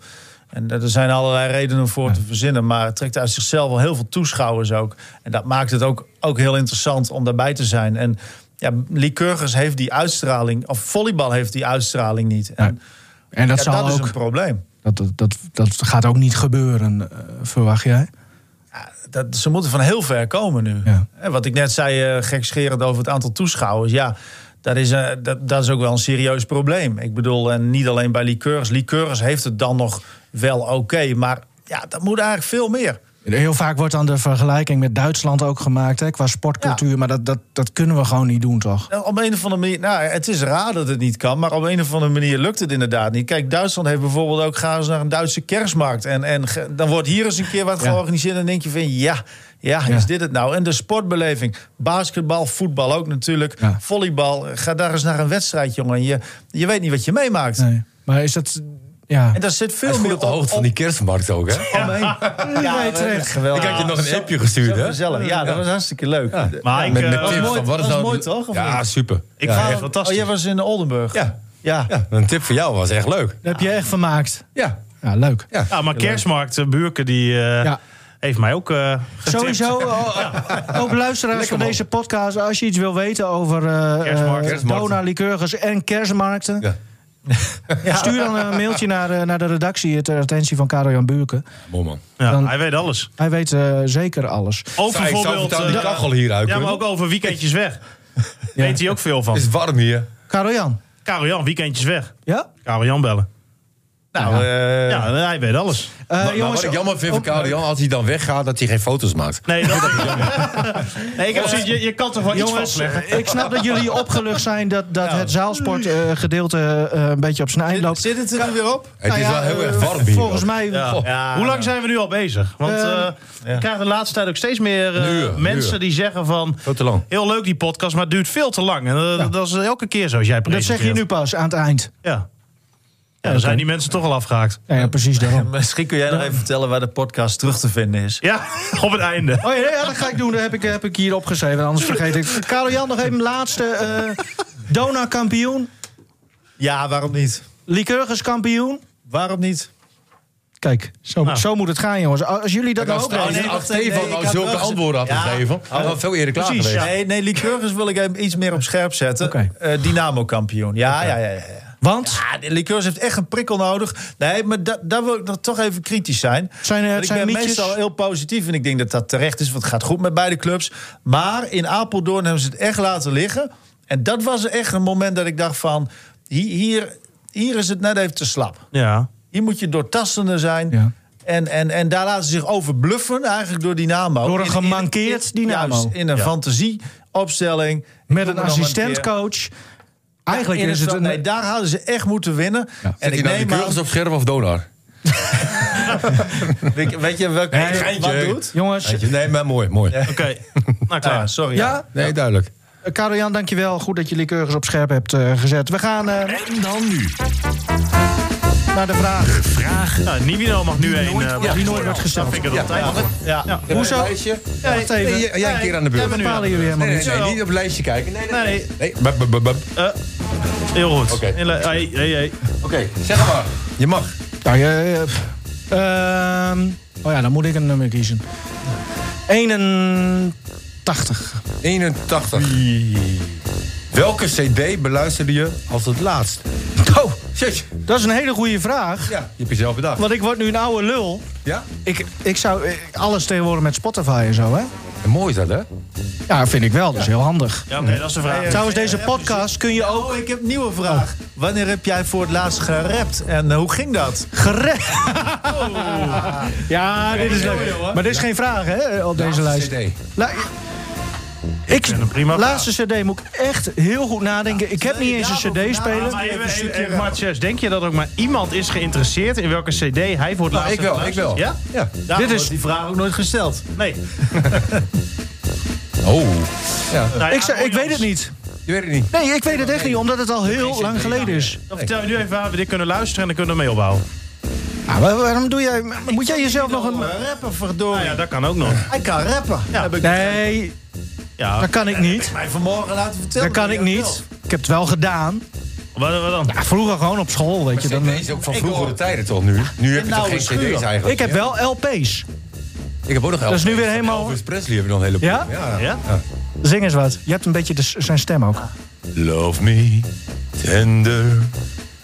[SPEAKER 5] En er zijn allerlei redenen voor te verzinnen. Maar het trekt uit zichzelf wel heel veel toeschouwers ook. En dat maakt het ook, ook heel interessant om daarbij te zijn. En ja, Lycurgus heeft die uitstraling. Of volleybal heeft die uitstraling niet. En
[SPEAKER 3] Nee, En dat,
[SPEAKER 5] ja,
[SPEAKER 3] zal
[SPEAKER 5] dat is
[SPEAKER 3] ook,
[SPEAKER 5] een probleem.
[SPEAKER 3] dat, dat, dat, dat gaat ook niet gebeuren, eh, verwacht jij?
[SPEAKER 5] dat, ze moeten van heel ver komen nu.
[SPEAKER 3] Ja.
[SPEAKER 5] En Wat ik net zei, eh gekscherend over het aantal toeschouwers. Ja, dat is, eh, dat, dat is ook wel een serieus probleem. Ik bedoel, en niet alleen bij Liqueurs. Liqueurs heeft het dan nog wel oké. maar ja, dat moet eigenlijk veel meer.
[SPEAKER 3] Heel vaak wordt dan de vergelijking met Duitsland ook gemaakt hè, qua sportcultuur. Maar dat, dat, dat kunnen we gewoon niet doen, toch?
[SPEAKER 5] Nou, Op een of andere manier, nou, het is raar dat het niet kan, maar op een of andere manier lukt het inderdaad niet. Kijk, Duitsland heeft bijvoorbeeld ook gaan eens naar een Duitse kerstmarkt. En, en ge- dan wordt hier eens een keer wat
[SPEAKER 3] Ja.
[SPEAKER 5] georganiseerd. En dan denk je van ja, ja,
[SPEAKER 3] Ja.
[SPEAKER 5] is dit het nou? En de sportbeleving, basketbal, voetbal ook natuurlijk,
[SPEAKER 3] Ja.
[SPEAKER 5] volleybal. Ga daar eens naar een wedstrijd, jongen. Je, je weet niet wat je meemaakt.
[SPEAKER 3] Nee. Maar is dat. Ja.
[SPEAKER 5] En daar zit
[SPEAKER 1] Hij
[SPEAKER 5] veel
[SPEAKER 1] is goed
[SPEAKER 5] meer
[SPEAKER 1] op de hoogte van die kerstmarkt ook, hè?
[SPEAKER 5] omheen. Ja,
[SPEAKER 3] Nee,
[SPEAKER 5] dat-
[SPEAKER 3] terecht.
[SPEAKER 5] geweldig.
[SPEAKER 1] Ik had je nog een
[SPEAKER 5] Zo-
[SPEAKER 1] appje gestuurd,
[SPEAKER 5] zo
[SPEAKER 1] hè?
[SPEAKER 5] gezellig. Ja, dat was hartstikke leuk.
[SPEAKER 4] Maar ik,
[SPEAKER 1] Met, met
[SPEAKER 4] eh,
[SPEAKER 1] tips
[SPEAKER 5] mooi-
[SPEAKER 1] van wat is
[SPEAKER 5] dat
[SPEAKER 1] nou...
[SPEAKER 5] was mooi, toch, of
[SPEAKER 1] Ja,
[SPEAKER 5] niet?
[SPEAKER 1] super.
[SPEAKER 4] ik
[SPEAKER 1] ja,
[SPEAKER 4] vind het
[SPEAKER 1] echt.
[SPEAKER 4] fantastisch.
[SPEAKER 5] Oh, jij was in Oldenburg.
[SPEAKER 1] Ja.
[SPEAKER 5] Ja.
[SPEAKER 1] Ja, een tip voor jou was echt leuk.
[SPEAKER 3] Dat heb je echt vermaakt.
[SPEAKER 1] Ja.
[SPEAKER 3] Ja, leuk.
[SPEAKER 1] Ja.
[SPEAKER 4] Ja, maar kerstmarkt, eh, Buurke, die eh,
[SPEAKER 3] Ja.
[SPEAKER 4] heeft mij ook eh, getipt.
[SPEAKER 3] Sowieso, eh, ook luisteraars van deze podcast, als je iets wil weten over eh
[SPEAKER 4] Kerstmarkt.
[SPEAKER 3] eh,
[SPEAKER 1] Kerstmarkten.
[SPEAKER 3] Dona, Lycurgus en kerstmarkten,
[SPEAKER 1] Ja.
[SPEAKER 3] Stuur dan een mailtje naar, eh, naar de redactie ter attentie van Karel Jan Buurken.
[SPEAKER 1] Bon, man.
[SPEAKER 4] Ja,
[SPEAKER 3] Dan-
[SPEAKER 4] hij weet alles.
[SPEAKER 3] Hij weet eh, zeker alles.
[SPEAKER 4] Ook
[SPEAKER 1] Zou- ik zou
[SPEAKER 4] bijvoorbeeld...
[SPEAKER 1] vertellen die
[SPEAKER 4] eh,
[SPEAKER 1] kachel hieruit
[SPEAKER 4] ja, maar
[SPEAKER 1] kunnen.
[SPEAKER 4] ook over weekendjes weg. Weet hij ook veel van.
[SPEAKER 1] Het is warm
[SPEAKER 5] Eh,
[SPEAKER 1] hier.
[SPEAKER 3] Karel Jan,
[SPEAKER 4] Karel Jan, weekendjes weg.
[SPEAKER 3] ja?
[SPEAKER 4] Karel Jan bellen.
[SPEAKER 5] Nou, eh,
[SPEAKER 4] Ja, hij weet alles.
[SPEAKER 3] Eh,
[SPEAKER 1] Maar- maar wat ik jammer vind van
[SPEAKER 3] op-
[SPEAKER 1] Karel Jan, als hij dan weggaat, dat hij geen foto's maakt.
[SPEAKER 5] Nou
[SPEAKER 4] Nee, dat is Nee, ik heb zoiets, je, je kan toch wel iets
[SPEAKER 3] Jongens,
[SPEAKER 4] vastleggen.
[SPEAKER 3] ik snap dat jullie opgelucht zijn dat, dat het zaalsportgedeelte eh, een beetje op zijn eind loopt.
[SPEAKER 5] zit het er nu weer op?
[SPEAKER 1] Het is
[SPEAKER 3] Nou
[SPEAKER 1] wel
[SPEAKER 3] ja,
[SPEAKER 1] heel
[SPEAKER 3] eh,
[SPEAKER 1] erg warm hier.
[SPEAKER 3] Volgens
[SPEAKER 1] ook.
[SPEAKER 3] mij
[SPEAKER 4] Ja.
[SPEAKER 1] Goh.
[SPEAKER 5] Ja,
[SPEAKER 4] Hoe
[SPEAKER 5] nou.
[SPEAKER 4] lang zijn we nu al bezig? Want
[SPEAKER 3] Ehm,
[SPEAKER 4] eh ik krijg de laatste tijd ook steeds meer eh,
[SPEAKER 1] Uren,
[SPEAKER 4] mensen
[SPEAKER 1] uren.
[SPEAKER 4] die zeggen van...
[SPEAKER 1] Veel te lang.
[SPEAKER 4] Heel leuk die podcast, maar het duurt veel te lang. En, eh, Dat is elke keer zo als jij
[SPEAKER 3] dat zeg
[SPEAKER 4] presenteert.
[SPEAKER 3] je nu pas aan het eind.
[SPEAKER 4] Ja. ja, dan zijn die mensen toch al afgehaakt.
[SPEAKER 3] Ja, ja, precies daarom.
[SPEAKER 5] Misschien kun jij nog even vertellen waar de podcast terug te vinden is.
[SPEAKER 4] Ja, op het einde.
[SPEAKER 3] Oh ja, ja, dat ga ik doen. Dat heb ik, heb ik hier opgeschreven. Anders vergeet ik. Karel Jan, nog even laatste. eh Dona kampioen.
[SPEAKER 5] Ja, waarom niet?
[SPEAKER 3] Lycurgus kampioen.
[SPEAKER 5] Waarom niet?
[SPEAKER 3] Kijk, zo,
[SPEAKER 4] Nou.
[SPEAKER 3] zo moet het gaan, jongens. Als jullie dat
[SPEAKER 1] Kijk,
[SPEAKER 3] nou
[SPEAKER 1] als,
[SPEAKER 3] ook
[SPEAKER 1] als,
[SPEAKER 3] weten-
[SPEAKER 5] nee,
[SPEAKER 1] als
[SPEAKER 5] wacht, nee,
[SPEAKER 1] Stefan
[SPEAKER 5] nee,
[SPEAKER 1] nou
[SPEAKER 5] ik had
[SPEAKER 1] zulke
[SPEAKER 5] wel gezien.
[SPEAKER 1] antwoorden had
[SPEAKER 5] Ja.
[SPEAKER 1] gegeven, hij had veel eerder klaar
[SPEAKER 4] Precies,
[SPEAKER 1] geweest.
[SPEAKER 4] ja.
[SPEAKER 5] Nee, nee, Lycurgus wil ik even iets meer op scherp zetten.
[SPEAKER 3] Oké.
[SPEAKER 5] Eh, Dynamo kampioen. Ja, ja, ja, ja, ja.
[SPEAKER 3] Want
[SPEAKER 5] Ah, de Lycurgus heeft echt een prikkel nodig. Nee, maar da- daar wil ik nog toch even kritisch zijn.
[SPEAKER 3] Zijn er-
[SPEAKER 5] Want ik
[SPEAKER 3] zijn
[SPEAKER 5] ben
[SPEAKER 3] mietjes-
[SPEAKER 5] meestal heel positief en ik denk dat dat terecht is. Want het gaat goed met beide clubs. Maar in Apeldoorn hebben ze het echt laten liggen. En dat was echt een moment dat ik dacht van... Hier, hier, hier is het net even te slap.
[SPEAKER 4] Ja.
[SPEAKER 5] Hier moet je doortastender zijn.
[SPEAKER 3] Ja.
[SPEAKER 5] En, en, en daar laten ze zich over bluffen eigenlijk door Dynamo.
[SPEAKER 3] Door een
[SPEAKER 5] In- in- in-
[SPEAKER 3] gemankeerd Dynamo.
[SPEAKER 5] Juist, in een fantasieopstelling.
[SPEAKER 3] met een
[SPEAKER 5] Noem maar nog een keer.
[SPEAKER 3] assistentcoach. Eigenlijk
[SPEAKER 5] In
[SPEAKER 3] is het
[SPEAKER 5] veld- Nee,
[SPEAKER 3] een.
[SPEAKER 5] daar hadden ze echt moeten winnen.
[SPEAKER 1] En
[SPEAKER 5] En
[SPEAKER 1] ik
[SPEAKER 5] ik
[SPEAKER 1] nou de
[SPEAKER 5] neem
[SPEAKER 1] Kurgus
[SPEAKER 5] aan...
[SPEAKER 1] op scherm of Donar?
[SPEAKER 5] Weet- Weet je welke
[SPEAKER 1] Nee, geintje.
[SPEAKER 5] wat doet?
[SPEAKER 3] Jongens,
[SPEAKER 1] Weet je, Nee, maar mooi, mooi.
[SPEAKER 4] Oké, nou klaar.
[SPEAKER 5] Ah, sorry.
[SPEAKER 3] ja?
[SPEAKER 1] Nee, duidelijk.
[SPEAKER 3] Eh, Karel Jan, dankjewel. Goed dat je Lycurgus op scherp hebt eh, gezet. We gaan eh,
[SPEAKER 2] En dan nu.
[SPEAKER 3] naar de vraag.
[SPEAKER 2] Vragen.
[SPEAKER 4] Nou, Nivino mag nu één. eh,
[SPEAKER 3] die nooit wordt
[SPEAKER 4] Dat
[SPEAKER 3] gesteld.
[SPEAKER 4] vind ik er nog tijd voor.
[SPEAKER 5] Ja.
[SPEAKER 3] Hoezo?
[SPEAKER 1] Lijstje?
[SPEAKER 3] Wacht even.
[SPEAKER 1] Nee, jij- jij een keer aan de beurt.
[SPEAKER 3] Daar bepalen jullie helemaal
[SPEAKER 1] Nee,
[SPEAKER 3] niet.
[SPEAKER 1] nee, nee, niet op het lijstje kijken. Nee, nee,
[SPEAKER 4] Nee,
[SPEAKER 1] nee. Bap, bap, bap, bap.
[SPEAKER 4] heel goed.
[SPEAKER 1] Oké.
[SPEAKER 4] Hele- hey, hey, hey.
[SPEAKER 1] Oké, zeg maar. Je mag.
[SPEAKER 3] Nou, je, je- Ehm, oh ja, dan moet ik een nummer kiezen. 81.
[SPEAKER 1] 81. Welke cd beluisterde je als het laatst?
[SPEAKER 3] Oh,
[SPEAKER 1] Shit.
[SPEAKER 3] dat is een hele goede vraag.
[SPEAKER 1] Ja, je hebt jezelf bedacht.
[SPEAKER 3] Want ik word nu een oude lul.
[SPEAKER 1] Ja?
[SPEAKER 3] Ik, ik zou eh, alles tegenwoordig met Spotify en zo, hè?
[SPEAKER 1] En mooi is dat, hè?
[SPEAKER 3] Ja, vind ik wel. Dat is heel handig.
[SPEAKER 4] Ja, oké, dat is de vraag.
[SPEAKER 3] Trouwens, deze podcast kun je ook
[SPEAKER 5] Oh, ik heb een nieuwe vraag. Wanneer heb jij voor het laatst gerapt en eh, hoe ging dat?
[SPEAKER 3] gered.
[SPEAKER 2] Oh.
[SPEAKER 3] Ja, dit is leuk. Maar dit is geen vraag, hè, op deze lijst.
[SPEAKER 1] CD.
[SPEAKER 3] La- ik,
[SPEAKER 4] vind hem prima.
[SPEAKER 3] laatste cd moet ik echt heel goed nadenken. Ik heb niet eens een
[SPEAKER 5] daarover
[SPEAKER 3] cd
[SPEAKER 5] nadenken.
[SPEAKER 3] spelen.
[SPEAKER 4] Maar even, even, even, Mathias, denk je dat ook maar iemand is geïnteresseerd in welke CD hij voor
[SPEAKER 1] Nou,
[SPEAKER 4] het laatst
[SPEAKER 1] ik wel, ik
[SPEAKER 4] heeft
[SPEAKER 1] wel.
[SPEAKER 4] geluisterd? Ja?
[SPEAKER 1] Ja.
[SPEAKER 4] Daarom
[SPEAKER 3] Dit is-
[SPEAKER 4] wordt
[SPEAKER 5] Die vraag ook nooit gesteld.
[SPEAKER 4] die- Nee.
[SPEAKER 1] Oh. Ja,
[SPEAKER 4] Nou ja,
[SPEAKER 3] Ik, zei, ik weet het niet.
[SPEAKER 1] je weet het niet.
[SPEAKER 3] Nee, ik weet het echt niet, omdat het al heel lang geleden is.
[SPEAKER 4] Dan vertel je nu even waar we dit kunnen luisteren en dan kunnen we mee opbouwen.
[SPEAKER 3] Ah, waar- waarom doe jij... Moet jij jezelf nog een...
[SPEAKER 5] Rappen, verdorie.
[SPEAKER 4] Nou ja, dat kan ook nog.
[SPEAKER 5] Hij kan rappen. Heb ik
[SPEAKER 3] Nee,
[SPEAKER 4] Ja.
[SPEAKER 3] dat kan ik niet.
[SPEAKER 5] mij vanmorgen laten vertellen.
[SPEAKER 3] Dat kan ik
[SPEAKER 5] Ja, wel.
[SPEAKER 3] niet. Ik heb het wel gedaan.
[SPEAKER 4] Wat, wat dan?
[SPEAKER 3] Ja, vroeger gewoon op school, weet je. Dan, eh,
[SPEAKER 1] CD is ook van vroegere tijden toch nu? Nu heb je toch
[SPEAKER 5] nou
[SPEAKER 1] geen
[SPEAKER 5] een schuur.
[SPEAKER 1] cd's eigenlijk?
[SPEAKER 3] ik heb
[SPEAKER 1] meer?
[SPEAKER 3] wel LP's.
[SPEAKER 1] Ik heb ook nog
[SPEAKER 3] Dat is nu
[SPEAKER 1] LP's
[SPEAKER 3] weer
[SPEAKER 1] van
[SPEAKER 3] helemaal-
[SPEAKER 1] Elvis Presley hebben we nog een hele...
[SPEAKER 3] Ja?
[SPEAKER 4] Ja?
[SPEAKER 3] Zing eens wat. Je hebt een beetje de, s- zijn stem ook.
[SPEAKER 1] Love me, tender.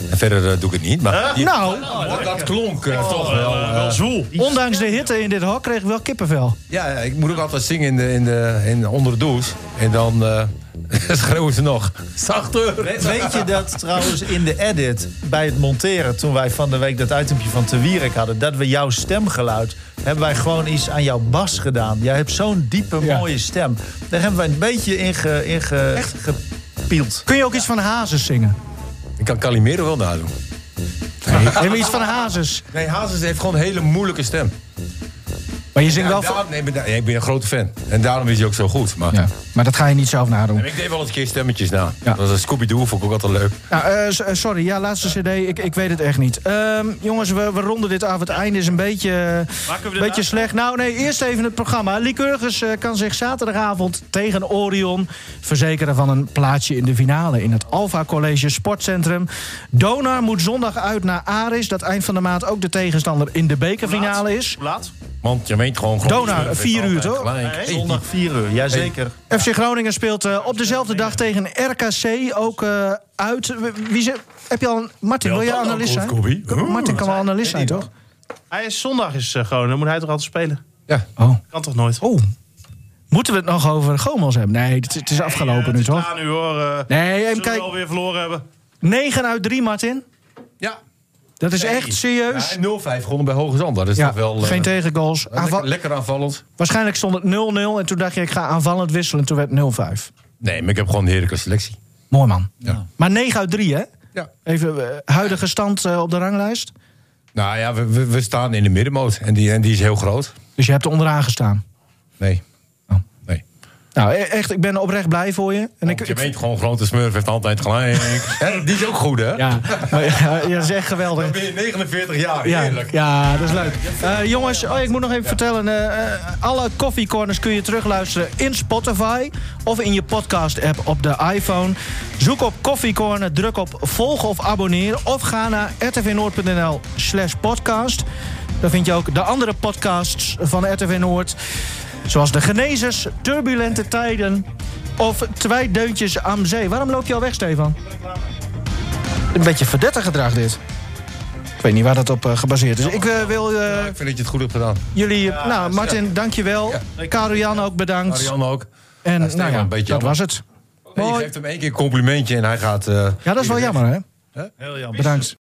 [SPEAKER 1] En verder eh, doe ik het niet, maar... je-
[SPEAKER 3] Nou, Oh,
[SPEAKER 1] dat, dat klonk eh, toch wel...
[SPEAKER 4] Eh,
[SPEAKER 1] eh,
[SPEAKER 4] wel zwoel.
[SPEAKER 3] ondanks de hitte in dit hok kreeg ik wel kippenvel.
[SPEAKER 1] Ja, ja, ik moet ook altijd zingen in de, in de, in, onder de douche. En dan eh schreeuwen ze nog. Zachter!
[SPEAKER 5] We- Weet je dat trouwens in de edit bij het monteren, toen wij van de week dat itempje van Te Wierik hadden, dat we jouw stemgeluid, hebben wij gewoon iets aan jouw bas gedaan. Jij hebt zo'n diepe,
[SPEAKER 3] Ja.
[SPEAKER 5] mooie stem. Daar hebben wij een beetje in, ge, in ge- gepield.
[SPEAKER 3] Kun je ook iets van Hazes zingen?
[SPEAKER 1] Ik kan Calimero wel nadoen.
[SPEAKER 3] Neem iets van Hazes.
[SPEAKER 1] Nee, Hazes heeft gewoon een hele moeilijke stem.
[SPEAKER 3] Maar je zingt
[SPEAKER 1] Ja,
[SPEAKER 3] wel van...
[SPEAKER 1] daarom- nee, maar daar- ik ben een grote fan. En daarom is hij ook zo goed. Maar
[SPEAKER 3] Ja, maar dat ga je niet zelf nadoen.
[SPEAKER 1] ik deed wel eens een keer stemmetjes na.
[SPEAKER 3] Ja.
[SPEAKER 1] Dat was Scooby-Doo, vond ik ook altijd leuk.
[SPEAKER 3] Nou, eh, s- eh, sorry, ja, laatste cd, ik, ik weet het echt niet. Ehm, jongens, we, we ronden dit af. Het einde is een beetje,
[SPEAKER 4] Maken we dit
[SPEAKER 3] beetje
[SPEAKER 4] af?
[SPEAKER 3] slecht. Nou nee, eerst even het programma. Lycurgus eh, kan zich zaterdagavond tegen Orion verzekeren van een plaatsje in de finale... in het Alfa College Sportcentrum. Donar moet zondag uit naar Aris, dat eind van de maand ook de tegenstander in de bekerfinale is.
[SPEAKER 4] Hoe laat?
[SPEAKER 1] Want je meent gewoon... gewoon
[SPEAKER 3] Donar,
[SPEAKER 1] eh,
[SPEAKER 3] vier uur,
[SPEAKER 1] altijd
[SPEAKER 3] toch?
[SPEAKER 1] gelijk. Hey,
[SPEAKER 5] Zondag 4 uur, jazeker.
[SPEAKER 3] FC Groningen speelt eh, op dezelfde dag tegen RKC. Ook eh, uit. Wie- Wie ze, heb je al een, Martin, wil je
[SPEAKER 1] dan
[SPEAKER 3] analist
[SPEAKER 1] ook,
[SPEAKER 3] zijn?
[SPEAKER 1] Kobbie. Oeh,
[SPEAKER 3] Martin kan wel analist zijn, toch?
[SPEAKER 4] Hij is zondag is eh, Groningen, dan moet hij toch altijd spelen?
[SPEAKER 1] Ja.
[SPEAKER 3] Oh.
[SPEAKER 4] Kan toch nooit?
[SPEAKER 3] oh. Moeten we het nog over Gomels hebben? Nee, het, het is afgelopen nu,
[SPEAKER 4] Het is
[SPEAKER 3] toch?
[SPEAKER 4] klaar nu hoor. eh.
[SPEAKER 3] Nee,
[SPEAKER 4] Zullen
[SPEAKER 3] hem,
[SPEAKER 4] we
[SPEAKER 3] kijk,
[SPEAKER 4] alweer verloren hebben?
[SPEAKER 3] 9 uit 3, Martin.
[SPEAKER 1] Ja.
[SPEAKER 3] Dat is
[SPEAKER 1] Nee.
[SPEAKER 3] echt serieus.
[SPEAKER 1] Ja, en 0-5 gewonnen bij Hoge Zand. Dat is
[SPEAKER 3] Ja,
[SPEAKER 1] toch wel... eh,
[SPEAKER 3] geen tegengoals. Aanva-
[SPEAKER 1] lekker, lekker aanvallend.
[SPEAKER 3] Waarschijnlijk stond het 0-0 en toen dacht je ik ga aanvallend wisselen. Toen werd het 0-5.
[SPEAKER 1] Nee, maar ik heb gewoon een heerlijke selectie.
[SPEAKER 3] Mooi man.
[SPEAKER 1] Ja.
[SPEAKER 3] Maar 9 uit 3 hè?
[SPEAKER 1] Ja.
[SPEAKER 3] Even eh, huidige stand eh, op de ranglijst.
[SPEAKER 1] Nou ja, we, we, we staan in de middenmoot. En die, en die is heel groot.
[SPEAKER 3] Dus je hebt er onderaan gestaan.
[SPEAKER 1] Nee.
[SPEAKER 3] Oh.
[SPEAKER 1] Nee.
[SPEAKER 3] Nou e- echt, ik ben oprecht blij voor je. En ik,
[SPEAKER 1] Want je
[SPEAKER 3] ik-
[SPEAKER 1] weet gewoon, grote smurf heeft altijd gelijk. Hè, die is ook goed, hè?
[SPEAKER 3] ja, maar, ja, ja, dat is echt geweldig.
[SPEAKER 1] Dan ben je 49 jaar,
[SPEAKER 3] Ja,
[SPEAKER 1] heerlijk.
[SPEAKER 3] ja, dat is leuk. Eh, jongens, oh, ik moet nog even vertellen. eh, eh, alle koffiecorners kun je terugluisteren in Spotify of in je podcast-app op de iPhone. Zoek op koffiecorner, druk op volgen of abonneren of ga naar rtvnoord.nl slash podcast. Daar vind je ook de andere podcasts van RTV Noord. Zoals de genezers, turbulente tijden of twee deuntjes aan zee. Waarom loop je al weg, Stefan? Een beetje verdetter gedrag dit. Ik weet niet waar dat op eh, gebaseerd is. Ik eh, wil eh,
[SPEAKER 1] Ik vind dat je het goed hebt gedaan.
[SPEAKER 3] jullie... nou, Martin, dankjewel. Karel Jan ook bedankt.
[SPEAKER 1] Marianne ook.
[SPEAKER 3] en
[SPEAKER 1] Stefan,
[SPEAKER 3] nou ja,
[SPEAKER 1] een beetje
[SPEAKER 3] dat
[SPEAKER 1] jammer.
[SPEAKER 3] was het.
[SPEAKER 1] Nee, je
[SPEAKER 3] Mooi.
[SPEAKER 1] geeft hem één keer een complimentje en hij gaat... eh,
[SPEAKER 3] Ja, dat is wel jammer, hè?
[SPEAKER 5] Heel jammer.
[SPEAKER 3] Bedankt.